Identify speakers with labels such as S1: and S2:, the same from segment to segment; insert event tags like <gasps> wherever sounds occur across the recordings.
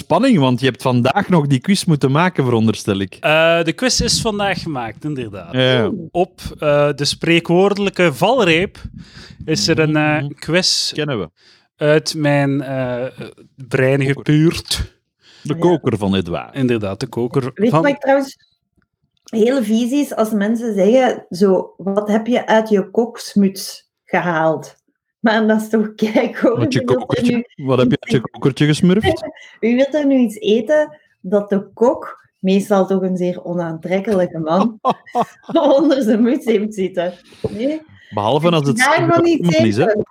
S1: Spanning, want je hebt vandaag nog die quiz moeten maken, veronderstel ik.
S2: Eh, de quiz is vandaag gemaakt,
S3: Ah,
S2: inderdaad.
S1: Ja.
S2: Op eh, de spreekwoordelijke valreep is er een eh, quiz
S1: kennen we.
S2: uit mijn eh brein gepuurd.
S3: Ah,
S1: De koker van Edouard.
S2: Inderdaad, de koker
S3: Weet je wat
S2: van...
S3: ik trouwens heel vies is? Als mensen zeggen, zo, wat heb je uit je koksmuts gehaald? Maar dat is toch kijk hoor.
S1: Wat, je
S3: wie wil er nu-
S1: kokertje, wat heb je uit je kokertje gesmurfd?
S3: Wie wil er nu iets eten dat de kok, meestal toch een zeer onaantrekkelijke
S1: <laughs>
S3: man, onder zijn muts heeft zitten? Nee?
S1: Behalve als het
S3: Daar nog niet
S1: Herman is, hè.
S3: eten.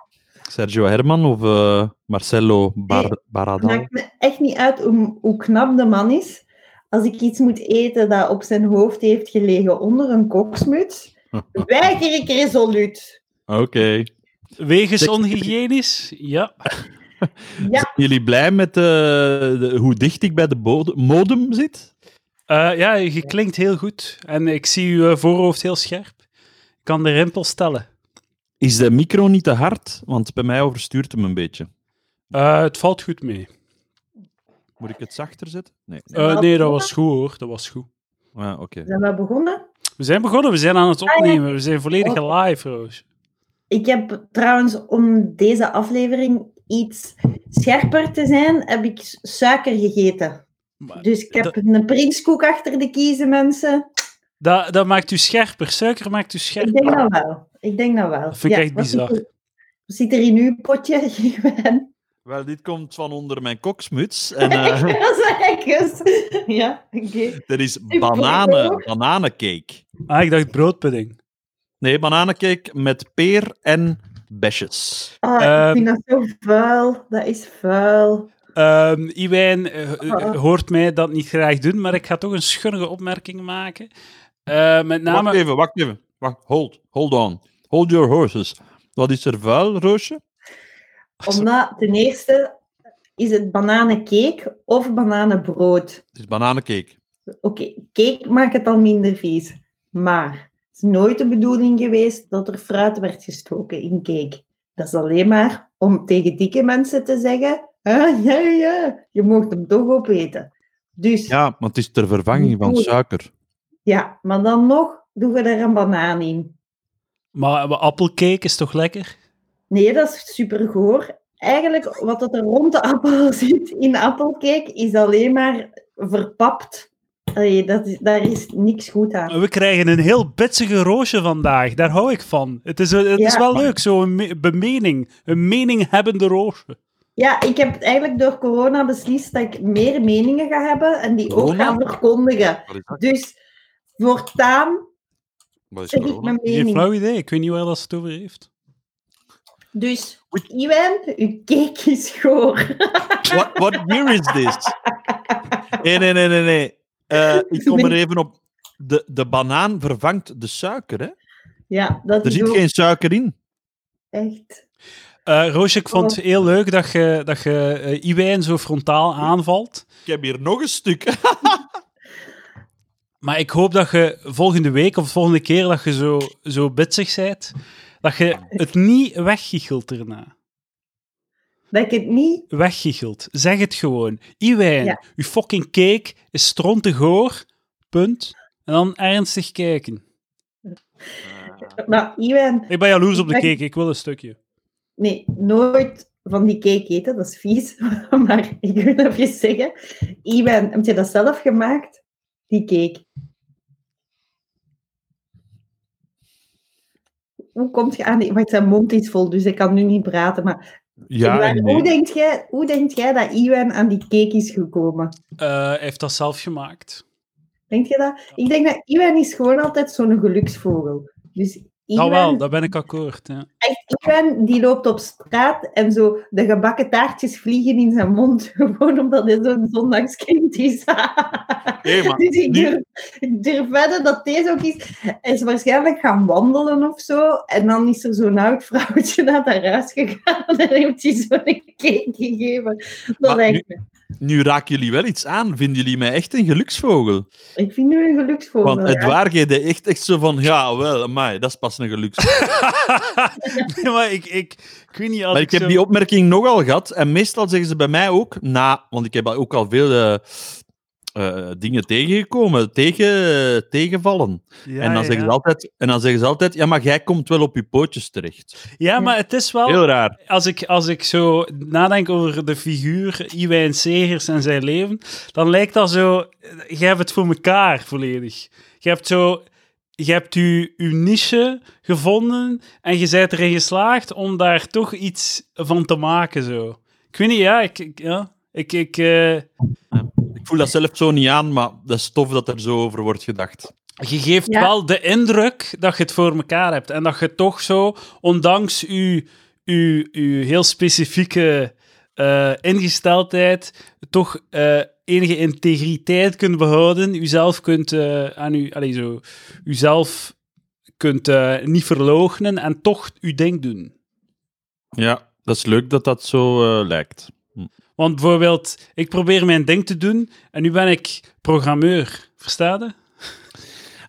S1: Sergio Herman of eh, Marcelo Bar
S3: Nee,
S1: Baradal.
S3: maakt me echt niet uit hoe, hoe knap de man is. Als ik iets moet eten dat op zijn hoofd heeft gelegen onder een
S1: <laughs>
S3: koksmuts, weiger ik resoluut.
S1: Oké.
S2: Wegens
S1: Zeg-
S2: onhygiënisch? Ja.
S3: Ja,
S1: Zijn jullie blij met eh, de- hoe dicht ik bij de bodem- modem zit?
S2: Eh, ja, je klinkt heel goed. En ik zie uw eh, voorhoofd heel scherp. Ik kan de rimpels tellen.
S1: Is de micro niet te hard? Want bij mij overstuurt hem een beetje.
S2: Eh, het valt goed mee.
S1: Moet ik het zachter zetten? Nee. nee.
S2: Eh, nee, dat was goed hoor. Dat was goed.
S1: Ah, oké.
S3: zijn we begonnen?
S2: We zijn begonnen, we zijn aan
S3: Ah,
S2: het opnemen. We zijn volledig live, Roos.
S3: Ik heb trouwens, om deze aflevering iets scherper te zijn, heb ik s- suiker gegeten.
S2: Maar
S3: Dus ik heb
S2: dat-
S3: een prinskoek achter de kiezen, mensen.
S2: Dat, dat maakt u scherper. Suiker maakt u
S3: Ik
S2: scherper.
S3: denk dat wel. Ik denk dat wel.
S2: Dat vind ik echt
S3: wat zit
S2: bizar.
S3: er- Wat zit er in uw potje, <laughs> Gwen?
S1: Wel, dit komt van onder mijn koksmuts. <laughs> En
S3: <laughs>
S1: eh
S3: Dat is ergens. Ja, oké.
S1: er is bananen, bananencake.
S2: Ah, ik dacht broodpudding.
S1: Nee, bananencake met peer en besjes.
S3: Ah,
S2: Ehm.
S3: ik vind dat zo vuil. Dat is vuil.
S2: Ehm Iwijn eh,
S3: Ah,
S2: eh, hoort mij dat niet graag doen, maar ik ga toch een schunnige opmerking maken. Eh, met name...
S1: Wacht even, wacht even. Wacht, hold, hold on. Hold your horses. Wat is er vuil, Roosje?
S3: Omdat ten eerste is het bananencake of bananenbrood.
S1: Het is bananencake.
S3: Oké, cake maakt het al minder vies. Maar het is nooit de bedoeling geweest dat er fruit werd gestoken in cake. Dat is alleen maar om tegen dikke mensen te zeggen: ah, ja, ja, ja, je mag hem toch opeten. Dus
S1: Ja, want het is ter vervanging van suiker.
S3: ja, maar dan nog doen we er een banaan in.
S2: Maar maar appelcake is toch lekker?
S3: Nee, dat is super goor. Eigenlijk, wat dat er rond de appel <laughs> zit in appelcake, is alleen maar verpapt. Allee, dat is, daar is niks goed aan.
S2: We krijgen een heel bitsige roosje vandaag. Daar hou ik van. Het is, het is
S3: Ja.
S2: wel leuk, zo'n me- bemening. Een mening-hebbende roosje.
S3: Ja, ik heb eigenlijk door corona beslist dat ik meer meningen ga hebben en die ook
S1: Corona?
S3: ga verkondigen.
S1: Wat is dat?
S3: Dus voortaan
S1: Wat is
S3: zeg ik
S1: corona?
S3: mijn
S2: Geen
S3: mening.
S2: flauw idee. Ik weet niet waar dat ze het over heeft.
S3: Dus, Iwan, uw cake is goor.
S1: What, what year is
S3: <laughs>
S1: this? Nee, nee, nee, nee. nee. Eh, ik kom er even op. De, de banaan vervangt de suiker, hè?
S3: Ja, dat
S1: Er
S3: is
S1: zit
S3: ook
S1: geen suiker in.
S3: echt...
S2: Eh Roosje, ik vond het
S3: Oh.
S2: heel leuk dat je, dat je eh, Iwijn zo frontaal aanvalt.
S1: Ik heb hier nog een stuk.
S2: Maar ik hoop dat je volgende week of volgende keer dat je zo, zo bitsig bent, dat je het niet weggichelt erna.
S3: Dat ik het niet...
S2: Weggichelt. Zeg het gewoon. Iwijn,
S3: Ja.
S2: uw fucking cake is strontig hoor. Punt. En dan ernstig kijken.
S3: Maar Iwan,
S2: Ik ben jaloers op de
S3: Ik-
S2: cake, ik wil een stukje.
S3: Nee, nooit van die cake eten, dat is vies. <laughs> Maar ik wil even zeggen, Iwan, heb je dat zelf gemaakt? Die cake. Hoe komt je aan die... Want zijn mond is vol, dus ik kan nu niet praten. Maar
S1: Ja,
S3: Iwan,
S1: en nee.
S3: hoe, denk jij, hoe denk jij dat Iwan aan die cake is gekomen?
S2: Eh, hij heeft dat zelf gemaakt.
S3: Denk je dat? Ik denk dat Iwan is gewoon altijd zo'n geluksvogel. Dus
S2: Nou
S3: Iwan,
S2: wel, daar ben ik akkoord. Ja.
S3: Iwan die loopt op straat en zo de gebakken taartjes vliegen in zijn mond. <laughs> Gewoon omdat hij zo'n zondagskind is. <laughs>
S1: Nee, maar
S3: dus ik
S1: nu-
S3: durf, ik durf wedden dat deze ook is. Hij is waarschijnlijk gaan wandelen of zo. En dan is er zo'n oud vrouwtje naar haar huis gegaan en heeft hij zo'n cake gegeven. Dat
S1: Maar
S3: lijkt me.
S1: Nu raken jullie wel iets aan. Vinden jullie mij echt een geluksvogel?
S2: Oh,
S3: Ik vind nu een geluksvogel.
S2: nou
S1: Want
S3: ja.
S1: Edouard deed echt, echt zo van, ja, wel, amai, dat is pas een
S2: <laughs>
S1: geluksvogel.
S2: nee, <laughs> maar ik, ik, ik weet niet als
S1: Maar ik heb
S2: zo-
S1: die opmerking nogal gehad. En meestal zeggen ze bij mij ook na, want ik heb ook al veel eh, eh, dingen tegengekomen, tegen, tegenvallen.
S2: Ja,
S1: en, dan
S2: ja,
S1: zeggen ze
S2: ja.
S1: altijd, en dan zeggen ze altijd, ja, maar jij komt wel op je pootjes terecht.
S2: Ja, maar het is wel...
S1: Heel raar.
S2: Als ik, als ik zo nadenk over de figuur Iwijn Segers en zijn leven, dan lijkt dat zo... Jij hebt het voor elkaar volledig. Je hebt zo... Je hebt je, je niche gevonden en je bent erin geslaagd om daar toch iets van te maken, zo. Ik weet niet, ja, ik... ik- ja. Ik, ik, eh,
S1: Ik voel dat zelf zo niet aan, maar dat is tof dat er zo over wordt gedacht.
S2: je geeft
S3: Ja.
S2: wel de indruk dat je het voor elkaar hebt. En dat je toch zo, ondanks je, je, je heel specifieke eh, ingesteldheid, toch eh, enige integriteit kunt behouden. Jezelf kunt, eh, aan u, allez, zo, uzelf kunt eh, niet verloochenen en toch je ding doen.
S1: Ja, dat is leuk dat dat zo eh, lijkt.
S2: Want bijvoorbeeld, ik probeer mijn ding te doen en nu ben ik programmeur. Versta je?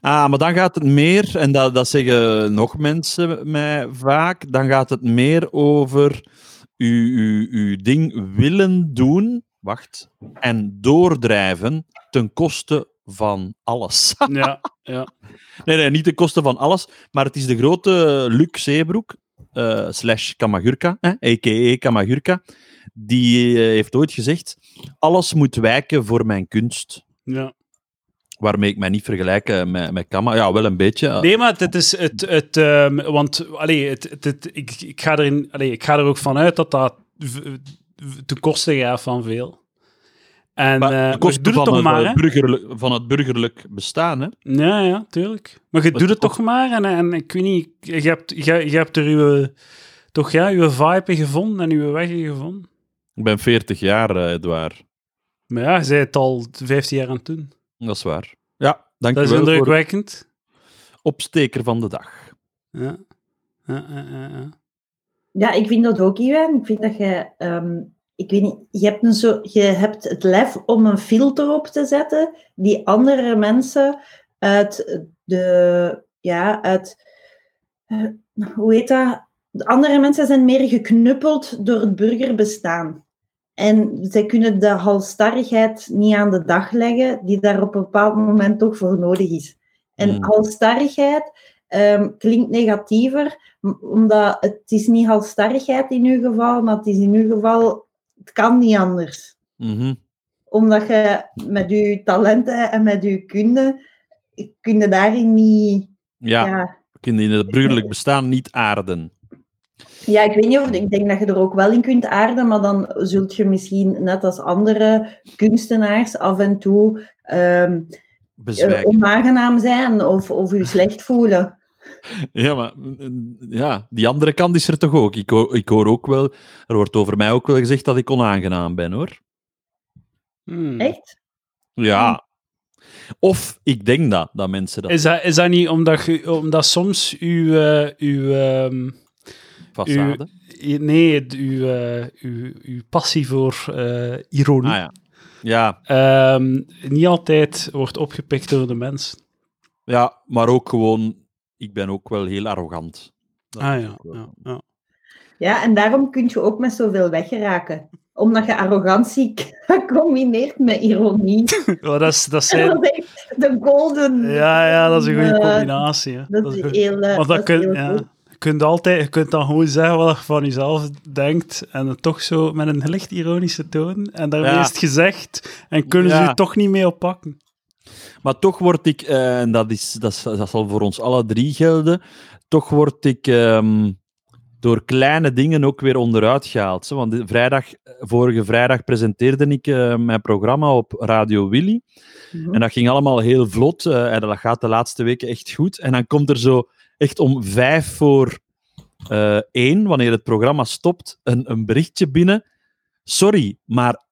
S1: Ah, maar dan gaat het meer, en dat, dat zeggen nog mensen mij vaak, dan gaat het meer over uw, uw, uw ding willen doen, wacht, en doordrijven ten koste van alles. <laughs>
S2: Ja, ja.
S1: nee, nee, niet ten koste van alles, maar het is de grote Luc Zeebroek, eh, slash Kamagurka, hè, a.k.a. Kamagurka, die eh, heeft ooit gezegd, alles moet wijken voor mijn kunst.
S2: ja.
S1: Waarmee ik mij niet vergelijk eh, met, met Kama. Ja, wel een beetje. eh,
S2: Nee, maar het is het. het ehm, want allee, het, het, het- ik, ik, ga erin, allee, ik ga er ook van uit dat dat v- v- ten koste gaat van veel. En
S1: Maar
S2: eh
S1: de
S2: maar je
S1: kosten
S2: doet het
S1: van,
S2: toch
S1: het,
S2: maar,
S1: eh,
S2: hè?
S1: burgerlijk, van het burgerlijk bestaan. Hè?
S2: Ja, ja, tuurlijk. Maar je
S1: de
S2: doet het
S1: kost-
S2: toch maar. En, en ik weet niet, je hebt, je, je hebt er uw, toch, ja, uw vibe in gevonden en uw weg in gevonden.
S1: Ik ben 40 jaar, eh, Edouard.
S2: Maar ja, je zei het al 15 jaar aan het doen.
S1: Dat is waar. Ja,
S2: Dat is
S1: dankjewel voor de
S2: indrukwekkend.
S1: opsteker van de dag.
S2: Ja. Ja, ja, ja, ja.
S3: Ja, ik vind dat ook, Iwan. Ik vind dat je, ehm, ik weet niet, je hebt, een zo, je hebt het lef om een filter op te zetten die andere mensen uit de, ja, uit, eh, hoe heet dat? De andere mensen zijn meer geknuppeld door het burgerbestaan. En zij kunnen de halstarrigheid niet aan de dag leggen die daar op een bepaald moment toch voor nodig is. En
S1: Mm.
S3: halstarrigheid ehm, klinkt negatiever, M- omdat het is niet halstarrigheid in uw geval, maar het is in uw geval, het kan niet anders.
S1: Mhm.
S3: Omdat je met je talenten en met je kunde, kun je daarin niet...
S1: Ja,
S3: Ja. Ja.
S1: we kunnen in het burgerlijk bestaan niet aarden.
S3: ik weet niet of... Ik denk dat je er ook wel in kunt aarden, maar dan zult je misschien, net als andere kunstenaars, af en toe ehm, eh,
S1: Bezwijken.
S3: onaangenaam zijn of, of je slecht voelen.
S1: Ja, maar eh, ja, die andere kant is er toch ook. Ik hoor, ik hoor ook wel, er wordt over mij ook wel gezegd dat ik onaangenaam ben hoor.
S2: Hmm.
S3: Echt?
S1: Ja. Of ik denk dat, dat mensen dat
S2: Is dat, is dat niet omdat, je, omdat soms uw, eh, uw, ehm,
S1: façade.
S2: i- nee, d- uw, eh, uw, uw passie voor eh, ironie
S1: Ah ja. Ja,
S2: ehm, niet altijd wordt opgepikt door de mens.
S1: ja, maar ook gewoon, ik ben ook wel heel arrogant. Dat
S2: Ah
S1: is
S2: ja,
S1: ook wel-
S2: ja, ja. <laughs>
S3: Ja, en daarom kun je ook met zoveel weggeraken. Omdat je arrogantie <laughs> combineert met ironie.
S2: Oh, <laughs> dat, is, dat
S3: En
S2: zijn,
S3: dat is echt de golden.
S2: ja, ja, dat is een goede
S3: Eh,
S2: combinatie. Hè.
S3: Dat
S2: is
S3: is
S2: goed.
S3: heel. eh,
S2: Want
S3: dat
S2: dat
S3: is
S2: kun,
S3: heel
S2: ja,
S3: goed.
S2: je, kunt altijd, je kunt dan gewoon zeggen wat je van jezelf denkt en het toch zo met een licht ironische toon. En daarmee
S1: Ja.
S2: is het gezegd en kunnen ze
S1: Ja.
S2: je toch niet mee oppakken.
S1: Maar toch word ik, eh, en dat, is, dat, is- dat zal voor ons alle drie gelden, toch word ik ehm, door kleine dingen ook weer onderuit gehaald. Hè? Want de- vrijdag, vorige vrijdag presenteerde ik eh, mijn programma op Radio Willy.
S3: Mhm.
S1: En dat ging allemaal heel vlot. eh, en dat gaat de laatste weken echt goed. En dan komt er zo echt om vijf voor eh, één, wanneer het programma stopt, een, een berichtje binnen. Sorry, maar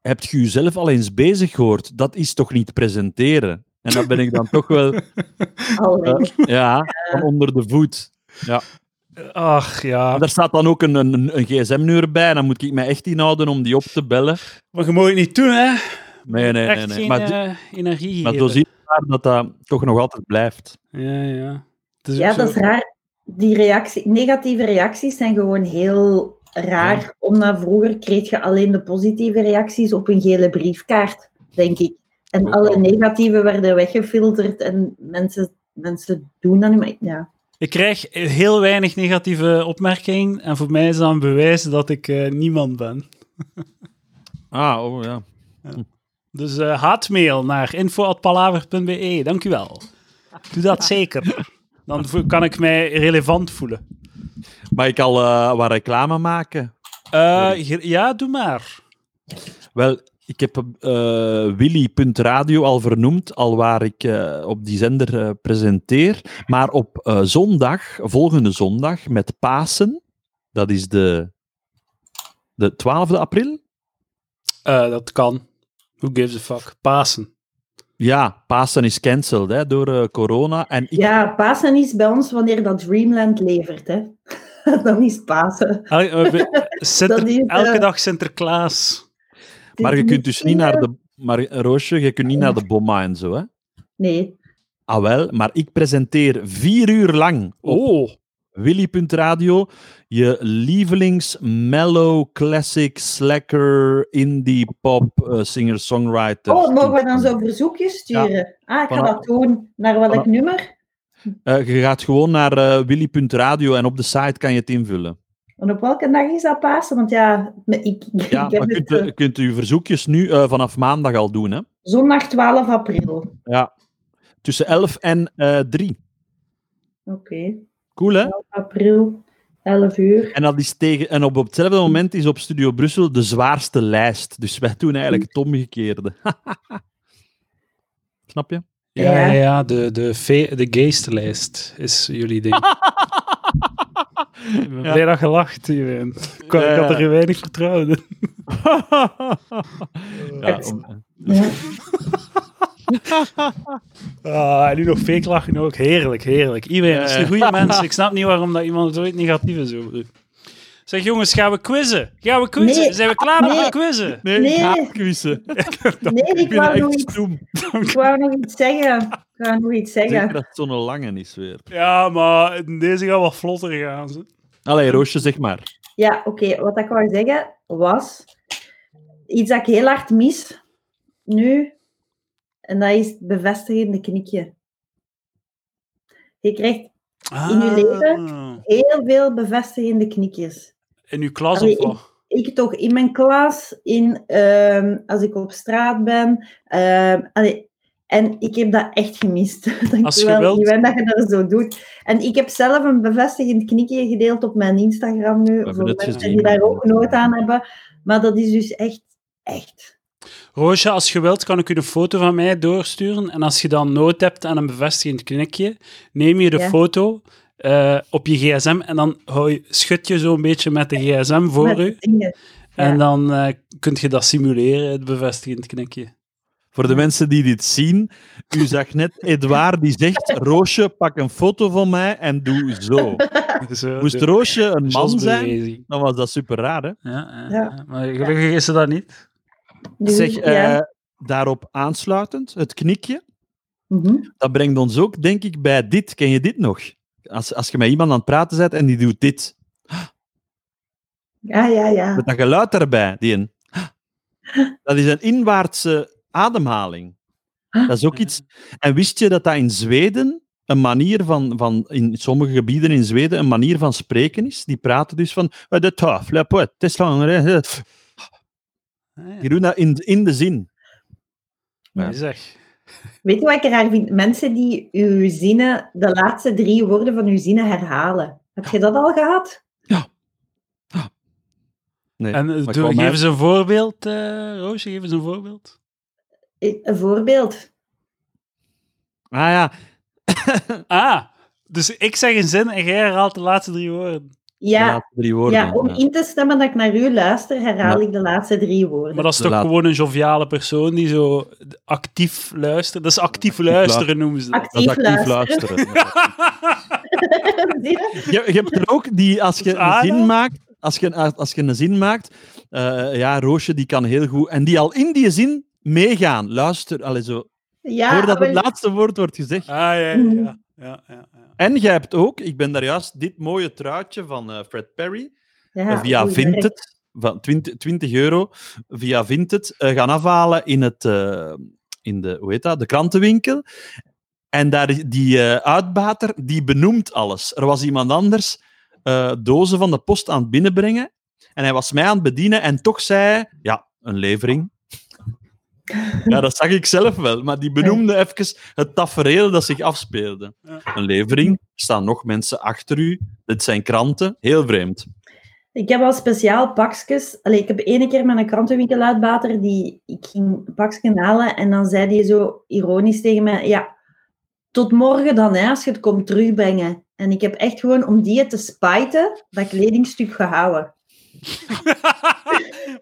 S1: hebt je jezelf al eens bezig gehoord? Dat is toch niet presenteren? En dan ben ik dan toch wel
S3: Allee.
S1: ja, van onder de voet. Ja.
S2: Ach ja.
S1: Daar staat dan ook een, een, een gsm-nummer bij. En dan moet ik mij echt inhouden om die op te bellen.
S2: Maar je moet het niet doen, hè?
S1: Nee, nee, nee.
S2: Echt
S1: nee.
S2: geen
S1: Maar, di-
S2: eh, energie
S1: maar zo
S2: geven.
S1: zie je maar dat dat toch nog altijd blijft.
S2: Ja, ja. Het is
S3: Ja,
S2: ook
S3: dat is
S2: zo-
S3: raar. Die reactie, negatieve reacties zijn gewoon heel raar. Omdat vroeger kreeg je alleen de positieve reacties op een gele briefkaart, denk ik. En
S1: Ook
S3: alle
S1: wel.
S3: negatieve werden weggefilterd en mensen, mensen doen dat niet meer. Ja.
S2: Ik krijg heel weinig negatieve opmerkingen. En voor mij is dat een bewijs dat ik eh, niemand ben.
S1: Ah, oh ja.
S2: Dus eh, haatmail naar info.palaver.be. Dank u wel. Doe
S3: <laughs>
S2: dat zeker. Dan vo- kan ik mij relevant voelen.
S1: Mag ik al eh, wat reclame maken?
S2: Eh, ge- ja, doe maar.
S1: Wel, ik heb eh, Willy.radio al vernoemd, al waar ik eh, op die zender eh, presenteer. Maar op eh, zondag, volgende zondag, met Pasen, dat is de, de 12e april?
S2: Eh, dat kan. Who gives a fuck? Pasen.
S1: Ja, Pasen is cancelled hè, door eh, corona. En ik,
S3: ja, Pasen is bij ons wanneer dat Dreamland levert. Hè. <laughs> Dan is Pasen.
S2: Elke, eh, we- Sinter-
S3: <laughs> Dat is, eh,
S2: elke dag Sinterklaas.
S1: maar je kunt dus niet naar de... Maar eh, Roosje, je kunt niet naar de bomma en zo, hè?
S3: Nee,
S1: Ah wel, maar ik presenteer vier uur lang op
S2: Oh.
S1: Willy.radio, je lievelings mellow, classic, slacker, indie, pop, eh, singer-songwriter.
S3: Oh, mogen we dan zo verzoekjes sturen? Ah, ik ga
S1: Vanaf-
S3: dat doen. Naar welk
S1: vanaf-
S3: nummer?
S1: Eh, je gaat gewoon naar eh, Willy.radio en op de site kan je het invullen.
S3: En op welke dag is dat Pasen? Want ja, me- ik,
S1: Ja,
S3: ik heb
S1: maar
S3: het...
S1: kunt,
S3: eh,
S1: u kunt u verzoekjes nu eh, vanaf maandag al doen, hè?
S3: zondag 12 april. Oké.
S1: Tussen 11 en eh 3. Cool, hè?
S3: April, 11 uur.
S1: <laughs> En, dat is tegen, en op, op hetzelfde moment is op Studio Brussel de zwaarste lijst. Dus wij doen eigenlijk het omgekeerde. <laughs> Snap je?
S2: Ja,
S3: Ja.
S2: ja, ja, de, de, fe- de geestlijst is jullie <laughs> ding. Ik ben
S1: Ja.
S2: blij dat je lacht, Jeroen. Ik, had- ik had er weinig vertrouwen in.
S1: ja,
S3: Het-
S1: om-
S3: Ja.
S2: Ah, en nu nog fake lachen ook. Heerlijk, heerlijk. Iedereen dat is een goede <laughs> mens. Ik snap niet waarom dat iemand het ooit negatief is over doet. Zeg jongens, gaan we quizzen? Gaan we quizzen?
S3: Nee.
S2: Zijn we klaar met
S3: Nee.
S2: de quizzen?
S1: Nee,
S3: Nee.
S1: ik haat quizzen.
S3: Nee, ik
S1: Ik ben
S3: wou, nog
S1: echt
S3: iets,
S1: stoem.
S3: ik wou nog iets zeggen. Ik wou nog iets
S1: Zeker
S3: zeggen.
S1: dat het zo'n lange is weer.
S2: Ja, maar in deze gaat wat vlotter gaan. ze.
S1: Allee, Roosje, zeg maar.
S3: Ja, oké. Wat ik wou zeggen was iets dat ik heel hard mis nu. En dat is het bevestigende knikje. Je krijgt In uw leven?
S2: Ah,
S3: heel veel bevestigende knikjes.
S2: In uw klas
S3: Allee,
S2: of wat?
S3: ik toch in mijn klas, in, ehm, als ik op straat ben. ehm, allee, en ik heb dat echt gemist. <laughs>
S2: Als je
S3: Dankjewel,
S2: wilt.
S3: Iwan, dat je dat zo doet. En ik heb zelf een bevestigend knikje gedeeld op mijn Instagram nu.
S1: hebben
S3: Voor
S1: het
S3: mensen
S1: gezien.
S3: die daar ook nood aan hebben. Maar dat is dus echt, echt.
S2: Roosje, als je wilt, kan ik u een foto van mij doorsturen. En als je dan nood hebt aan een bevestigend knikje, neem je de
S3: Ja.
S2: foto eh, op je gsm en dan hou je, schud je zo'n beetje met de gsm voor
S3: Met
S2: u.
S3: dingen. Ja.
S2: En dan eh kun je dat simuleren, het bevestigend knikje.
S1: Voor de mensen die dit zien, u zag net Edouard die zegt: Roosje, pak een foto van mij en doe zo.
S2: Zo,
S1: Moest
S2: de
S1: Roosje een man zijn,
S2: jazzbeweging.
S1: dan was dat super raar, hè?
S2: Ja, ja,
S3: Ja.
S2: ja. Maar gelukkig is ze dat niet.
S3: Dus,
S1: Zeg,
S3: ja.
S1: eh, daarop aansluitend, het knikje.
S2: eh,
S3: Mhm.
S1: Dat brengt ons ook, denk ik, bij dit. Ken je dit nog? Als, als je met iemand aan het praten bent en die doet dit.
S3: ja, ja, ja.
S1: Met dat geluid daarbij, die een... <gasps> Dat is een inwaartse ademhaling. Dat is ook iets... En wist je dat dat in Zweden een manier van... van in sommige gebieden in Zweden een manier van spreken is? Die praten dus van... eh, De taf, le poet, het is lang, <laughs> eh, eh.
S2: Ja,
S1: Die doen dat in, in de zin.
S2: ja. Zeg.
S3: Weet je wat ik raar vind? Mensen die uw zinnen, de laatste drie woorden van uw zinnen herhalen. Heb je dat al gehad?
S1: Nee,
S2: En eh,
S1: maar
S2: doe-
S1: gewoon
S2: geef
S1: mij-
S2: eens een voorbeeld, eh, Roosje, geef eens een voorbeeld.
S3: Eh, Een voorbeeld.
S1: Ah ja,
S2: Ah, dus ik zeg een zin en jij herhaalt de laatste drie woorden.
S1: de
S3: Ja,
S1: laatste drie woorden.
S3: ja, om in te stemmen dat ik naar u luister, herhaal ik de laatste drie woorden.
S2: Maar
S3: <laughs>
S2: dat is
S1: De
S2: toch
S1: laat-
S2: gewoon een joviale persoon die zo actief luistert. Dat is actief luisteren, noemen ze dat.
S1: Dat is
S3: Actief
S1: actief luisteren.
S3: <laughs>
S1: je, je hebt er ook die, als je een
S2: Aardig.
S1: zin maakt, als je, een- als je een zin maakt, eh, ja, Roosje die kan heel goed, en die al in die zin meegaan. Luister, allee, zo,
S3: ja,
S1: voordat het
S3: maar-
S1: laatste woord wordt gezegd.
S2: Ah, ja, ja,
S3: Mm.
S2: ja. ja, ja, ja. <laughs>
S1: En jij hebt ook, ik ben daar juist, dit mooie truitje van eh, Fred Perry,
S3: ja,
S1: eh, via
S3: oei,
S1: Vinted, van 20, 20 euro, via Vinted, eh, gaan afhalen in, het, eh, in de, hoe heet dat, de krantenwinkel. En daar, is- die eh, uitbater, die benoemt alles. Er was iemand anders eh, dozen van de post aan het binnenbrengen en hij was mij aan het bedienen en toch zei hij, ja, een levering. Ja, dat zag ik zelf wel, maar die benoemde even het tafereel dat zich afspeelde.
S2: Ja.
S1: Een levering, er staan nog mensen achter u, dit zijn kranten, heel vreemd.
S3: Ik heb al speciaal pakjes. Allee, ik heb ene keer met een krantenwinkeluitbater die ik ging pakjes halen en dan zei hij zo ironisch tegen mij: Ja, tot morgen dan, hè, als je het komt terugbrengen. En ik heb echt gewoon om die te spijten dat kledingstuk gehouden. <laughs>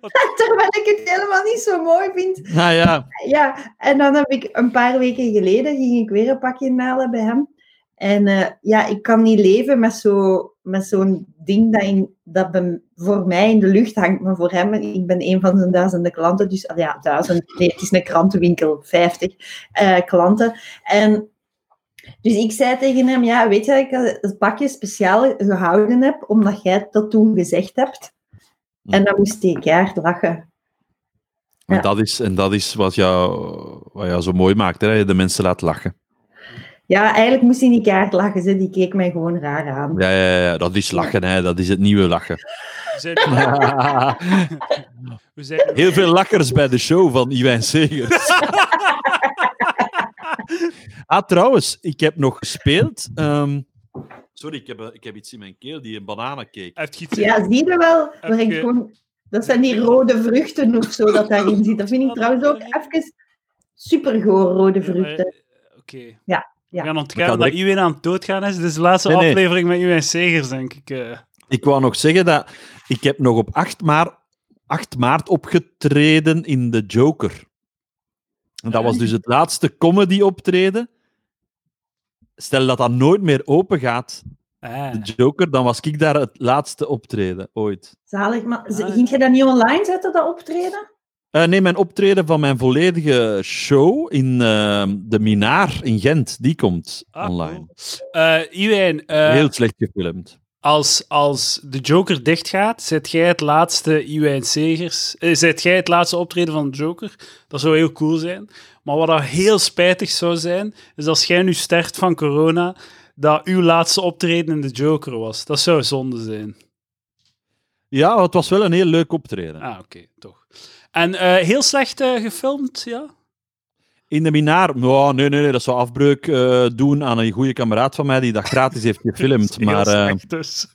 S2: Wat-
S3: Terwijl ik het helemaal niet zo mooi vind.
S1: Nou ja,
S3: Ja, en dan heb ik een paar weken geleden ging ik weer een pakje halen bij hem. En eh, ja, ik kan niet leven met zo- met zo'n ding dat, in, dat bij- voor mij in de lucht hangt. Maar voor hem, ik ben een van zijn duizenden klanten. Dus ah ja, duizend. Nee, het is een krantenwinkel, vijftig eh, klanten. En dus ik zei tegen hem, ja, weet je dat ik het pakje speciaal gehouden heb, omdat jij dat toen gezegd hebt? En dan moest hij keihard lachen.
S1: En,
S3: Ja.
S1: dat is, en dat is wat jou, wat jou zo mooi maakt, hè? dat je de mensen laat lachen.
S3: Ja, eigenlijk moest hij niet keihard lachen, ze. die keek mij gewoon raar aan.
S1: Ja, ja, ja, dat is lachen, hè? dat is het nieuwe <laughs> lachen.
S2: We zijn, we zijn,
S1: Heel veel lakkers bij de show van Iwijn Segers. <laughs> ah, trouwens, ik heb nog gespeeld. ehm, sorry, ik heb, eh, ik heb iets in mijn keel, die een bananencake.
S2: Hij heeft iets-
S3: Ja, zie je wel? Waar ik
S2: Oké.
S3: gewoon, dat zijn die rode vruchten of zo dat daarin zit. Dat vind ik trouwens ook even supergoor, rode
S2: Ja, maar-
S3: vruchten.
S2: Oké.
S3: Ja, ja.
S2: We gaan
S1: We gaan
S2: ontkennen dat
S1: direct-
S2: Iwin aan het doodgaan is. Dit is de laatste
S1: Nee, nee.
S2: aflevering met Iwin Segers, denk ik. eh.
S1: Ik wou nog zeggen dat ik heb nog op 8 maart, 8 maart opgetreden in de Joker. En dat
S2: Ah.
S1: was dus het laatste comedy optreden. Stel dat dat nooit meer open gaat,
S2: Ah.
S1: de Joker, dan was ik daar het laatste optreden ooit.
S3: Zalig, maar ze-
S2: Ah, ja.
S3: ging je dat niet online zetten, dat optreden?
S1: Eh, nee, mijn optreden van mijn volledige show in ehm, de Minaar in Gent, die komt
S2: Ah,
S1: online.
S2: Eh, Iwijn, eh,
S1: Heel slecht gefilmd.
S2: als, als de Joker dichtgaat, zet jij het laatste Iwijn Segers. eh, zet jij het laatste optreden van de Joker? Dat zou heel cool zijn. Maar wat dat heel spijtig zou zijn, is als jij nu sterft van corona, dat uw laatste optreden in de Joker was. Dat zou zonde zijn.
S1: Ja, het was wel een heel leuk optreden.
S2: Ah, oké, toch. En eh, heel slecht eh, gefilmd, ja?
S1: In de minaar? Nou, nee, nee, nee, dat zou afbreuk eh, doen aan een goede kameraad van mij die dat gratis heeft
S2: <laughs>
S1: gefilmd.
S2: Heel
S1: maar eh,
S2: slecht dus.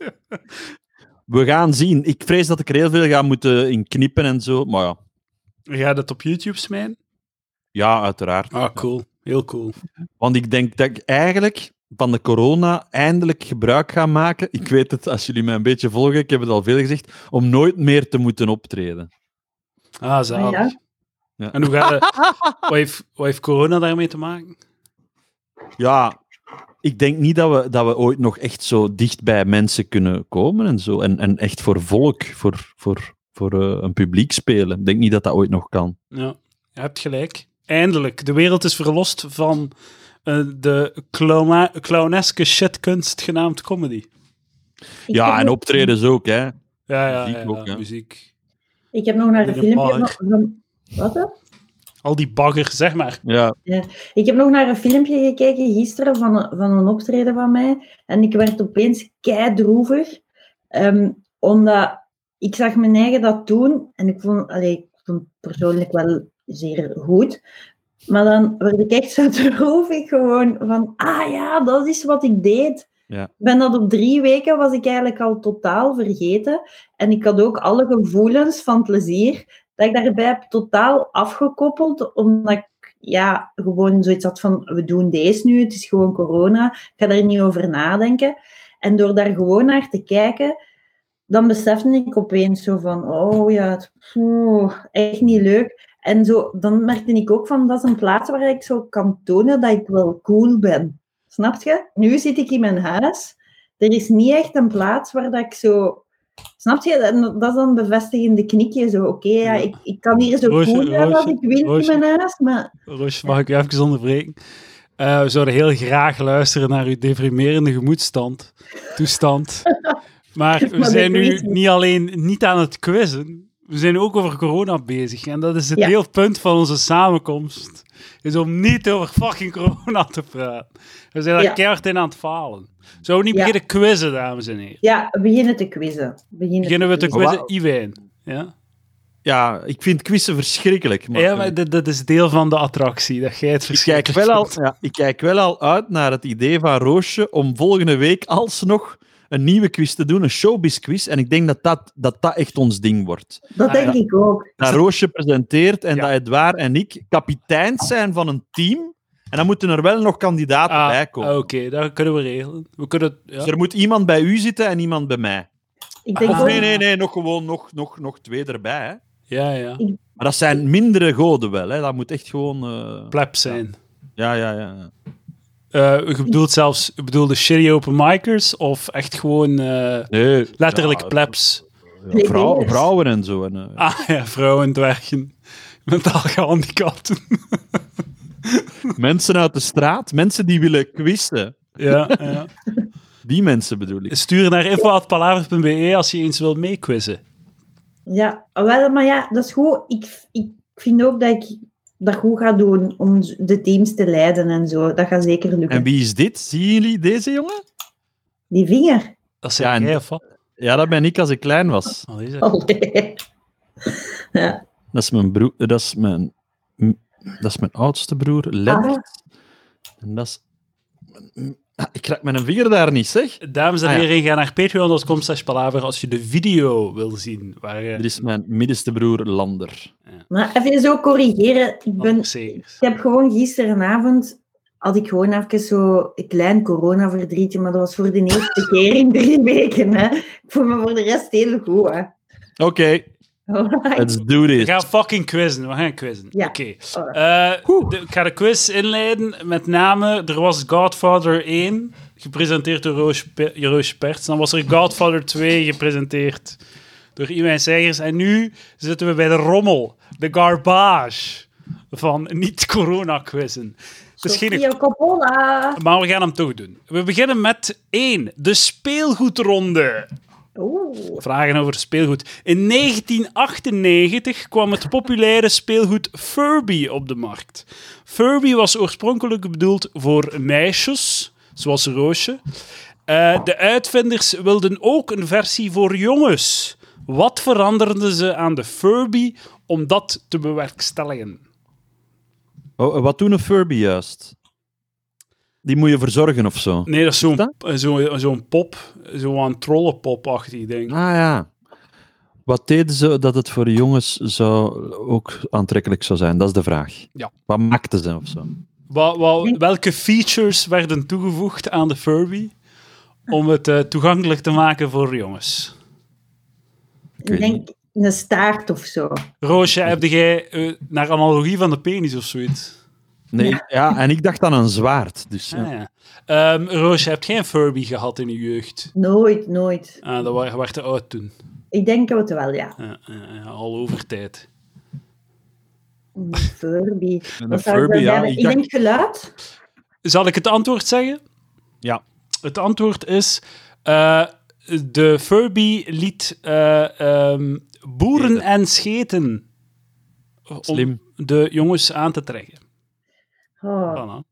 S1: we gaan zien. Ik vrees dat ik er heel veel ga moeten in knippen en zo. Maar ja,
S2: Ga je dat op YouTube smijten?
S1: ja uiteraard.
S2: Ah, cool. Heel cool.
S1: Want ik denk dat ik eigenlijk van de corona eindelijk gebruik ga maken. Ik weet het, als jullie mij een beetje volgen, ik heb het al veel gezegd, om nooit meer te moeten optreden.
S2: Ah, zalig.
S3: Ah, ja.
S1: Ja.
S2: En hoe gaat het? wat, heeft, wat heeft corona daarmee te maken?
S1: Ja, ik denk niet dat we, dat we ooit nog echt zo dicht bij mensen kunnen komen en zo. En, en echt voor volk, voor, voor, voor eh, een publiek spelen. Ik denk niet dat dat ooit nog kan.
S2: Ja, je hebt gelijk. Eindelijk. De wereld is verlost van eh, de clowna- clowneske shitkunst genaamd comedy.
S3: Ik
S1: ja,
S3: heb
S1: en
S3: nog-
S1: optredens ook, hè.
S2: Ja, ja,
S1: Muziek
S2: ja,
S1: ook,
S2: ja,
S1: hè.
S2: muziek.
S3: Ik heb nog naar een
S2: Met een
S3: filmpje
S2: bar.
S3: van... van- Wat? hè?
S2: Al die bagger, zeg maar.
S1: Ja.
S3: Ik heb nog naar een filmpje gekeken gisteren van een, van een optreden van mij. En ik werd opeens keidroevig. Ehm omdat ik zag mijn eigen dat doen. En ik vond, allee, ik vond het persoonlijk wel zeer goed. Maar dan werd ik echt zo <laughs> droevig gewoon van... Ah ja, dat is wat ik deed.
S1: Ja.
S3: Ik Ben dat op drie weken was ik eigenlijk al totaal vergeten. En ik had ook alle gevoelens van plezier dat ik daarbij heb totaal afgekoppeld. Omdat ik ja, gewoon zoiets had van, we doen deze nu, het is gewoon corona, ik ga daar niet over nadenken. En door daar gewoon naar te kijken, dan besefte ik opeens zo van, oh ja, het, oeh, echt niet leuk. En zo, dan merkte ik ook van, dat is een plaats waar ik zo kan tonen dat ik wel cool ben. Snap je? Nu zit ik in mijn huis. Er is niet echt een plaats waar dat ik zo... Snap je? En dat is dan een bevestigende knikje. Zo, oké, ja,
S2: Ja.
S3: ik, ik kan hier zo
S2: Roosje,
S3: cool zijn als
S2: Roosje,
S3: ik wil in
S2: Roosje.
S3: mijn huis, maar...
S2: Roos, mag ik u even onderbreken? Eh, we zouden heel graag luisteren naar uw deprimerende gemoedstand,
S3: <laughs>
S2: toestand. Maar we
S3: Maar
S2: zijn
S3: dat
S2: nu
S3: is niet.
S2: niet alleen niet aan het quizzen, we zijn ook over corona bezig. En dat is het
S3: Ja.
S2: heel punt van onze samenkomst, is om niet over fucking corona te praten. We zijn daar
S3: Ja.
S2: keihard in aan het falen. Zullen we niet
S3: Ja.
S2: beginnen quizzen, dames en heren?
S3: Ja, we beginnen te quizzen. We Beginnen,
S2: Beginnen we te
S1: Maar
S2: quizzen,
S1: wa-
S2: Iwijn. Ja?
S1: Ja, ik vind quizzen verschrikkelijk. Maar,
S2: ja, maar dat, dat is deel van de attractie, dat jij het
S1: ik, kijk
S2: verschrikkelijk
S1: wel al,
S2: vindt.
S1: ja, ik kijk wel al uit naar het idee van Roosje om volgende week alsnog een nieuwe quiz te doen, een showbiz-quiz. En ik denk dat dat, dat, dat echt ons ding wordt.
S3: Dat
S2: Ah,
S3: denk
S2: ja.
S3: ik ook.
S1: Dat Roosje presenteert en
S2: Ja.
S1: dat Edouard en ik kapiteins zijn van een team. En dan moeten er wel nog kandidaten
S2: Ah,
S1: bij komen.
S2: Oké, dat kunnen we regelen. We kunnen, ja.
S1: Dus er moet iemand bij u zitten en iemand bij mij.
S3: Ik denk
S2: Ah.
S1: Of
S3: ook-
S1: nee, nee, nee, nog gewoon nog, nog, nog twee erbij. Hè.
S2: ja, ja.
S1: Maar dat zijn mindere goden wel. Hè. Dat moet echt gewoon... eh,
S2: Pleb zijn.
S1: Ja, ja, ja.
S2: Eh, je bedoelt zelfs, je bedoelde shitty open micers of echt gewoon eh,
S1: Nee,
S2: letterlijk
S1: ja,
S2: plebs?
S1: ja, vrouw- vrouwen en zo. En, eh,
S2: Ah ja, vrouwen, dwergen, mentaal gehandicapten. Ah.
S1: Mensen uit de straat, mensen die willen quizzen.
S2: ja, ja.
S1: Die mensen bedoel ik.
S2: Stuur naar info.palaver.be als je eens wilt meequizzen.
S3: Ja, wel, maar ja, dat is goed. Ik, ik vind ook dat ik dat goed ga doen om de teams te leiden en zo. Dat gaat zeker lukken.
S1: En wie is dit? Zien jullie deze jongen?
S3: Die vinger. <laughs>
S2: Dat zeg
S1: Ja, en-
S2: jij of wat?
S1: Ja, dat ben ik als ik klein was.
S2: Wat is dat?
S3: Allee.
S1: Dat is mijn broer. Dat is mijn, m- dat is mijn oudste broer, Lennart. En dat is. m- ah, Ik raak mijn vinger daar niet, zeg.
S2: Dames en
S1: Ah, ja.
S2: heren, ga naar patreon.com slash palaver als je de video wil zien. Waar, eh,
S1: Er is mijn middenste broer, Lander.
S3: Maar even zo corrigeren. Ik, ben,
S2: anders zegers.
S3: ik heb gewoon gisterenavond... Had ik gewoon even zo een klein coronaverdrietje, maar dat was voor de
S2: <laughs>
S3: eerste keer in drie weken. Hè. Ik voel me voor de rest heel goed. Hè.
S1: Oké,
S3: Alright.
S1: let's do
S2: We
S1: this.
S2: gaan fucking quizzen, we gaan quizzen.
S3: Ja.
S2: Oké.
S3: Alright.
S2: Eh, de- ik ga de quiz inleiden. Met name, er was Godfather 1, gepresenteerd door Roosje Pe- Roosje Perts. Dan was er Godfather 2, gepresenteerd door Iwijn Segers. En nu zitten we bij de rommel, de garbage van niet-corona-quizzen. Het is geen-
S3: Sofia Coppola.
S2: Maar we gaan hem toch doen. We beginnen met 1, de speelgoedronde.
S3: Oeh.
S2: Vragen over speelgoed. In 1998 kwam het populaire speelgoed Furby op de markt. Furby was oorspronkelijk bedoeld voor meisjes, zoals Roosje. Eh, de uitvinders wilden ook een versie voor jongens. Wat veranderden ze aan de Furby om dat te bewerkstelligen?
S1: Oh, eh, wat doen een Furby juist? Die moet je verzorgen of zo.
S2: Nee, dat is zo'n
S1: Dat?
S2: eh, zo, zo'n pop, zo'n trollenpop-achtig ding.
S1: Ah ja. Wat deden ze dat het voor de jongens zou ook aantrekkelijk zou zijn? Dat is de vraag.
S2: Ja.
S1: Wat maakten ze of zo?
S2: Wa- wa- welke features werden toegevoegd aan de Furby om het eh, toegankelijk te maken voor jongens?
S1: weet
S3: Ik denk een staart of zo.
S2: Roosje, heb jij eh, naar analogie van de penis of zoiets?
S1: Nee, ja. en ik dacht aan een zwaard. Dus, ja.
S2: Ah, ja. Ehm, Roosje, heb geen Furby gehad in je jeugd?
S3: Nooit, nooit.
S2: Ah, dat wa- je werd te oud toen.
S3: Ik denk het wel, ja.
S2: Ja, ja, ja, al over tijd.
S3: Een Furby.
S1: Een
S3: Wat zou ik
S1: Furby,
S3: wel
S1: ja,
S3: hebben?
S1: ik
S3: Ik denk geluid.
S2: Zal ik het antwoord zeggen?
S1: Ja.
S2: Het antwoord is... eh, de Furby liet eh, ehm, boeren
S1: Scheten.
S2: en scheten... om
S1: Slim.
S2: de jongens aan te trekken.
S3: Oh,
S2: Voilà.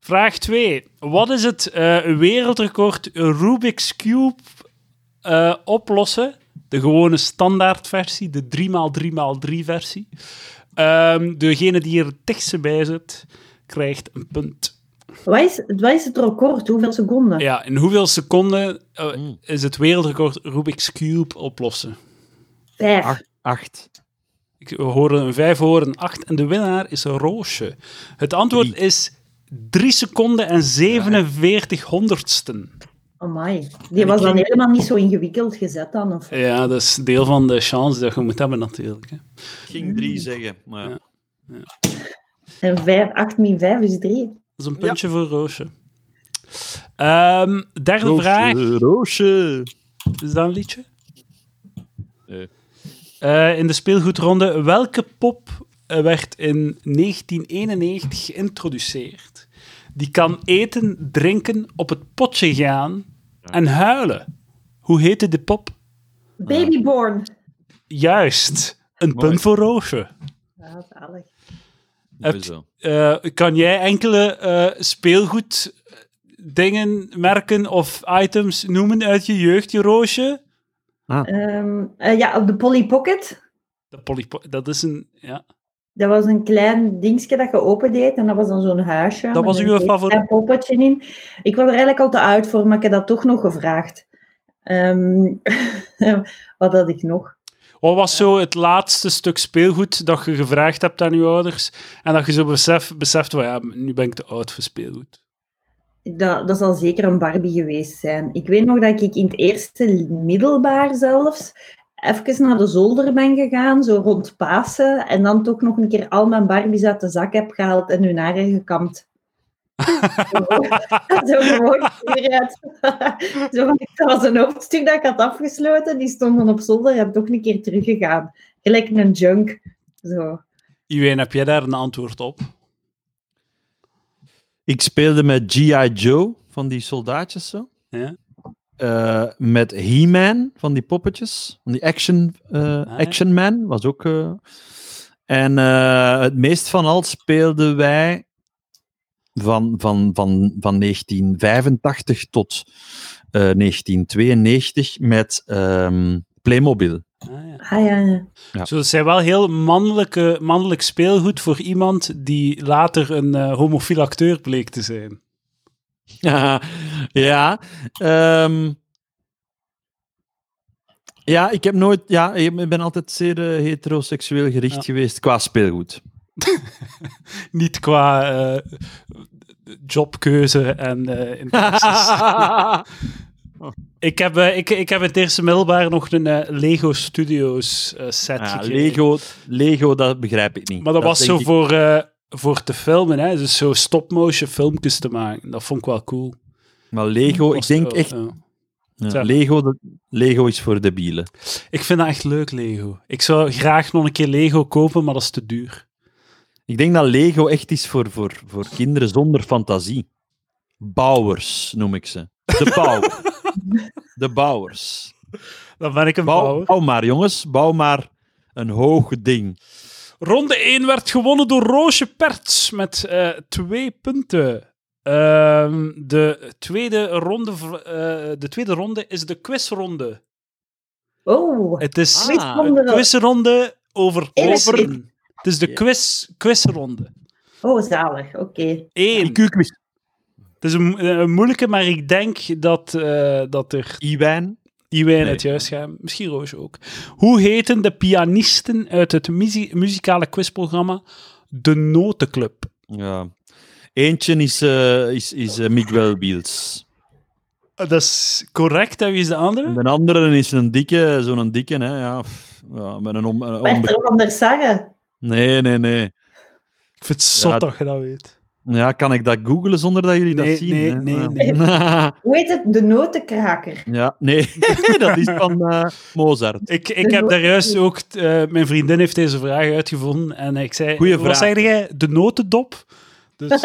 S2: Vraag 2. Wat is het eh, wereldrecord Rubik's Cube eh, oplossen? De gewone standaardversie, de 3x3x3 versie. Ehm, degene die er het dichtste bij zit, krijgt een punt.
S3: Wat, is, wat is het record? Hoeveel seconden?
S2: Ja, in hoeveel seconden eh,
S1: Mm.
S2: is het wereldrecord Rubik's Cube oplossen?
S3: Vijf.
S1: Acht. acht.
S2: Ik, we horen een 5, horen een 8 en de winnaar is Roosje. Het antwoord
S1: Drie.
S2: is 3 seconden en 47 honderdsten.
S3: Amai. Die was dan helemaal niet zo ingewikkeld gezet dan. Of...
S2: Ja, dat is deel van de chance dat je moet hebben natuurlijk. Hè.
S1: Ik ging drie zeggen, maar ja.
S3: En 5, 8 min 5 is 3.
S2: Dat is een puntje voor Roosje. Ehm, derde vraag.
S1: dus. Roosje.
S2: Is dat een liedje?
S1: Nee.
S2: Eh, in de speelgoedronde, welke pop eh, werd in 1991 geïntroduceerd? Die kan eten, drinken, op het potje gaan en huilen. Hoe heette de pop?
S3: Babyborn.
S2: Juist, een
S1: Mooi.
S2: punt voor Roosje.
S3: Ja, zalig.
S1: Mooi zo.
S2: Eh, kan jij enkele eh speelgoed eh, dingen, merken of items noemen uit je jeugd, je Roosje?
S3: Ehm, eh, ja, op de Polly Pocket.
S2: De polypo- dat is een... Ja.
S3: Dat was een klein dingetje dat je opendeed en dat was dan zo'n huisje.
S2: Dat was
S3: met
S2: uw
S3: een
S2: favoriet?
S3: klein poppetje in. Ik was er eigenlijk al te uit voor, maar ik heb dat toch nog gevraagd. Ehm, <laughs> wat had ik nog?
S2: Wat was zo het laatste stuk speelgoed dat je gevraagd hebt aan je ouders en dat je zo besef, beseft van ja, nu ben ik te oud voor speelgoed?
S3: Dat, dat zal zeker een Barbie geweest zijn. Ik weet nog dat ik in het eerste middelbaar zelfs even naar de zolder ben gegaan, zo rond Pasen, en dan toch nog een keer al mijn Barbies uit de zak heb gehaald en hun haren gekamd. zo gewoon eruit. zo, van, dat was een hoofdstuk dat ik had afgesloten, die stond dan op zolder en heb toch een keer teruggegaan. Gelijk een junk. Zo.
S2: Iwijn, heb jij daar een antwoord op?
S1: Ik speelde met G.I. Joe, van die soldaatjes zo.
S2: Ja.
S1: Eh, met He-Man, van die poppetjes. Van die Action, eh,
S2: ja.
S1: action Man, was ook... eh. En eh, het meest van al speelden wij van, van, van, van 1985 tot eh, 1992 met ehm, Playmobil.
S2: Ah, ja.
S3: Ah ja, ja.
S1: Ja.
S2: Zo, dat zijn wel heel mannelijke, mannelijk speelgoed voor iemand die later een eh homofiel acteur bleek te zijn.
S1: ja. ehm, ja, ik heb nooit. Ja, ik ben altijd zeer eh, heteroseksueel gericht
S2: Ja.
S1: geweest qua
S2: <laughs>
S1: speelgoed.
S2: Niet qua eh, jobkeuze en
S1: <laughs>
S2: eh interesses. Ik heb, eh, ik, ik heb in het eerste middelbaar nog een eh, Lego Studios eh, set
S1: Ja,
S2: gekregen.
S1: Lego, Lego, dat begrijp ik niet.
S2: Maar dat, was
S1: denk
S2: zo
S1: ik-
S2: voor, eh, voor te filmen, hè? dus zo stop-motion filmpjes te maken. Dat vond ik wel cool.
S1: Maar Lego, ik
S2: Was het
S1: denk
S2: wel,
S1: echt.
S2: ja.
S1: ja,
S2: Zeg.
S1: Lego, dat- Lego is voor debielen.
S2: Ik vind dat echt leuk, Lego. Ik zou graag nog een keer Lego kopen, maar dat is te duur.
S1: Ik denk dat Lego echt is voor, voor, voor kinderen zonder fantasie. Bouwers noem ik ze. De bouw.
S2: <laughs>
S1: De bouwers.
S2: Dan ben ik een
S1: Bouw,
S2: bouwer.
S1: bouw maar, jongens. Bouw maar een hoog ding.
S2: Ronde 1 werd gewonnen door Roosje Perts met eh, twee punten. Ehm, de, tweede ronde, v- eh, de tweede ronde is de quizronde.
S3: Oh,
S2: Het
S1: Ah.
S2: is een
S3: Quizronde.
S2: quizronde over
S3: Eerst-
S2: over. Het is de quiz, quizronde.
S3: oh zalig. Oké.
S2: Eén.
S1: IQ-quiz.
S2: Het is een, eh, een moeilijke, maar ik denk dat, eh, dat er
S1: Iwijn.
S2: Iwijn
S1: Nee.
S2: het juist gaat. Misschien Roos ook. Hoe heten de pianisten uit het muzie- muzikale quizprogramma De Notenclub?
S1: Ja. Eentje is, eh, is, is eh, Miguel Biels.
S2: Eh, Dat is correct. En wie is de
S1: En
S2: andere?
S1: de andere is een dikke, zo'n dikke, hè. Ja, pff, ja, met een om, een onbe-
S3: Peter van der Sarre.
S1: Nee, nee, nee.
S2: Ik vind het zot
S1: Ja,
S2: dat je dat weet.
S1: Ja, kan ik dat googlen zonder dat jullie
S2: Nee,
S1: dat zien?
S2: nee,
S1: hè?
S2: nee,
S1: Ja.
S3: Hoe heet het? De notenkraker.
S1: <laughs>
S3: <laughs>
S1: ja, nee. <laughs> dat is van eh, Mozart.
S2: Ik, ik heb daar juist ook... eh, mijn vriendin heeft deze vraag uitgevonden en ik zei...
S1: Goeie
S2: Wat
S1: vraag.
S2: zei jij? De notendop? <laughs> Dus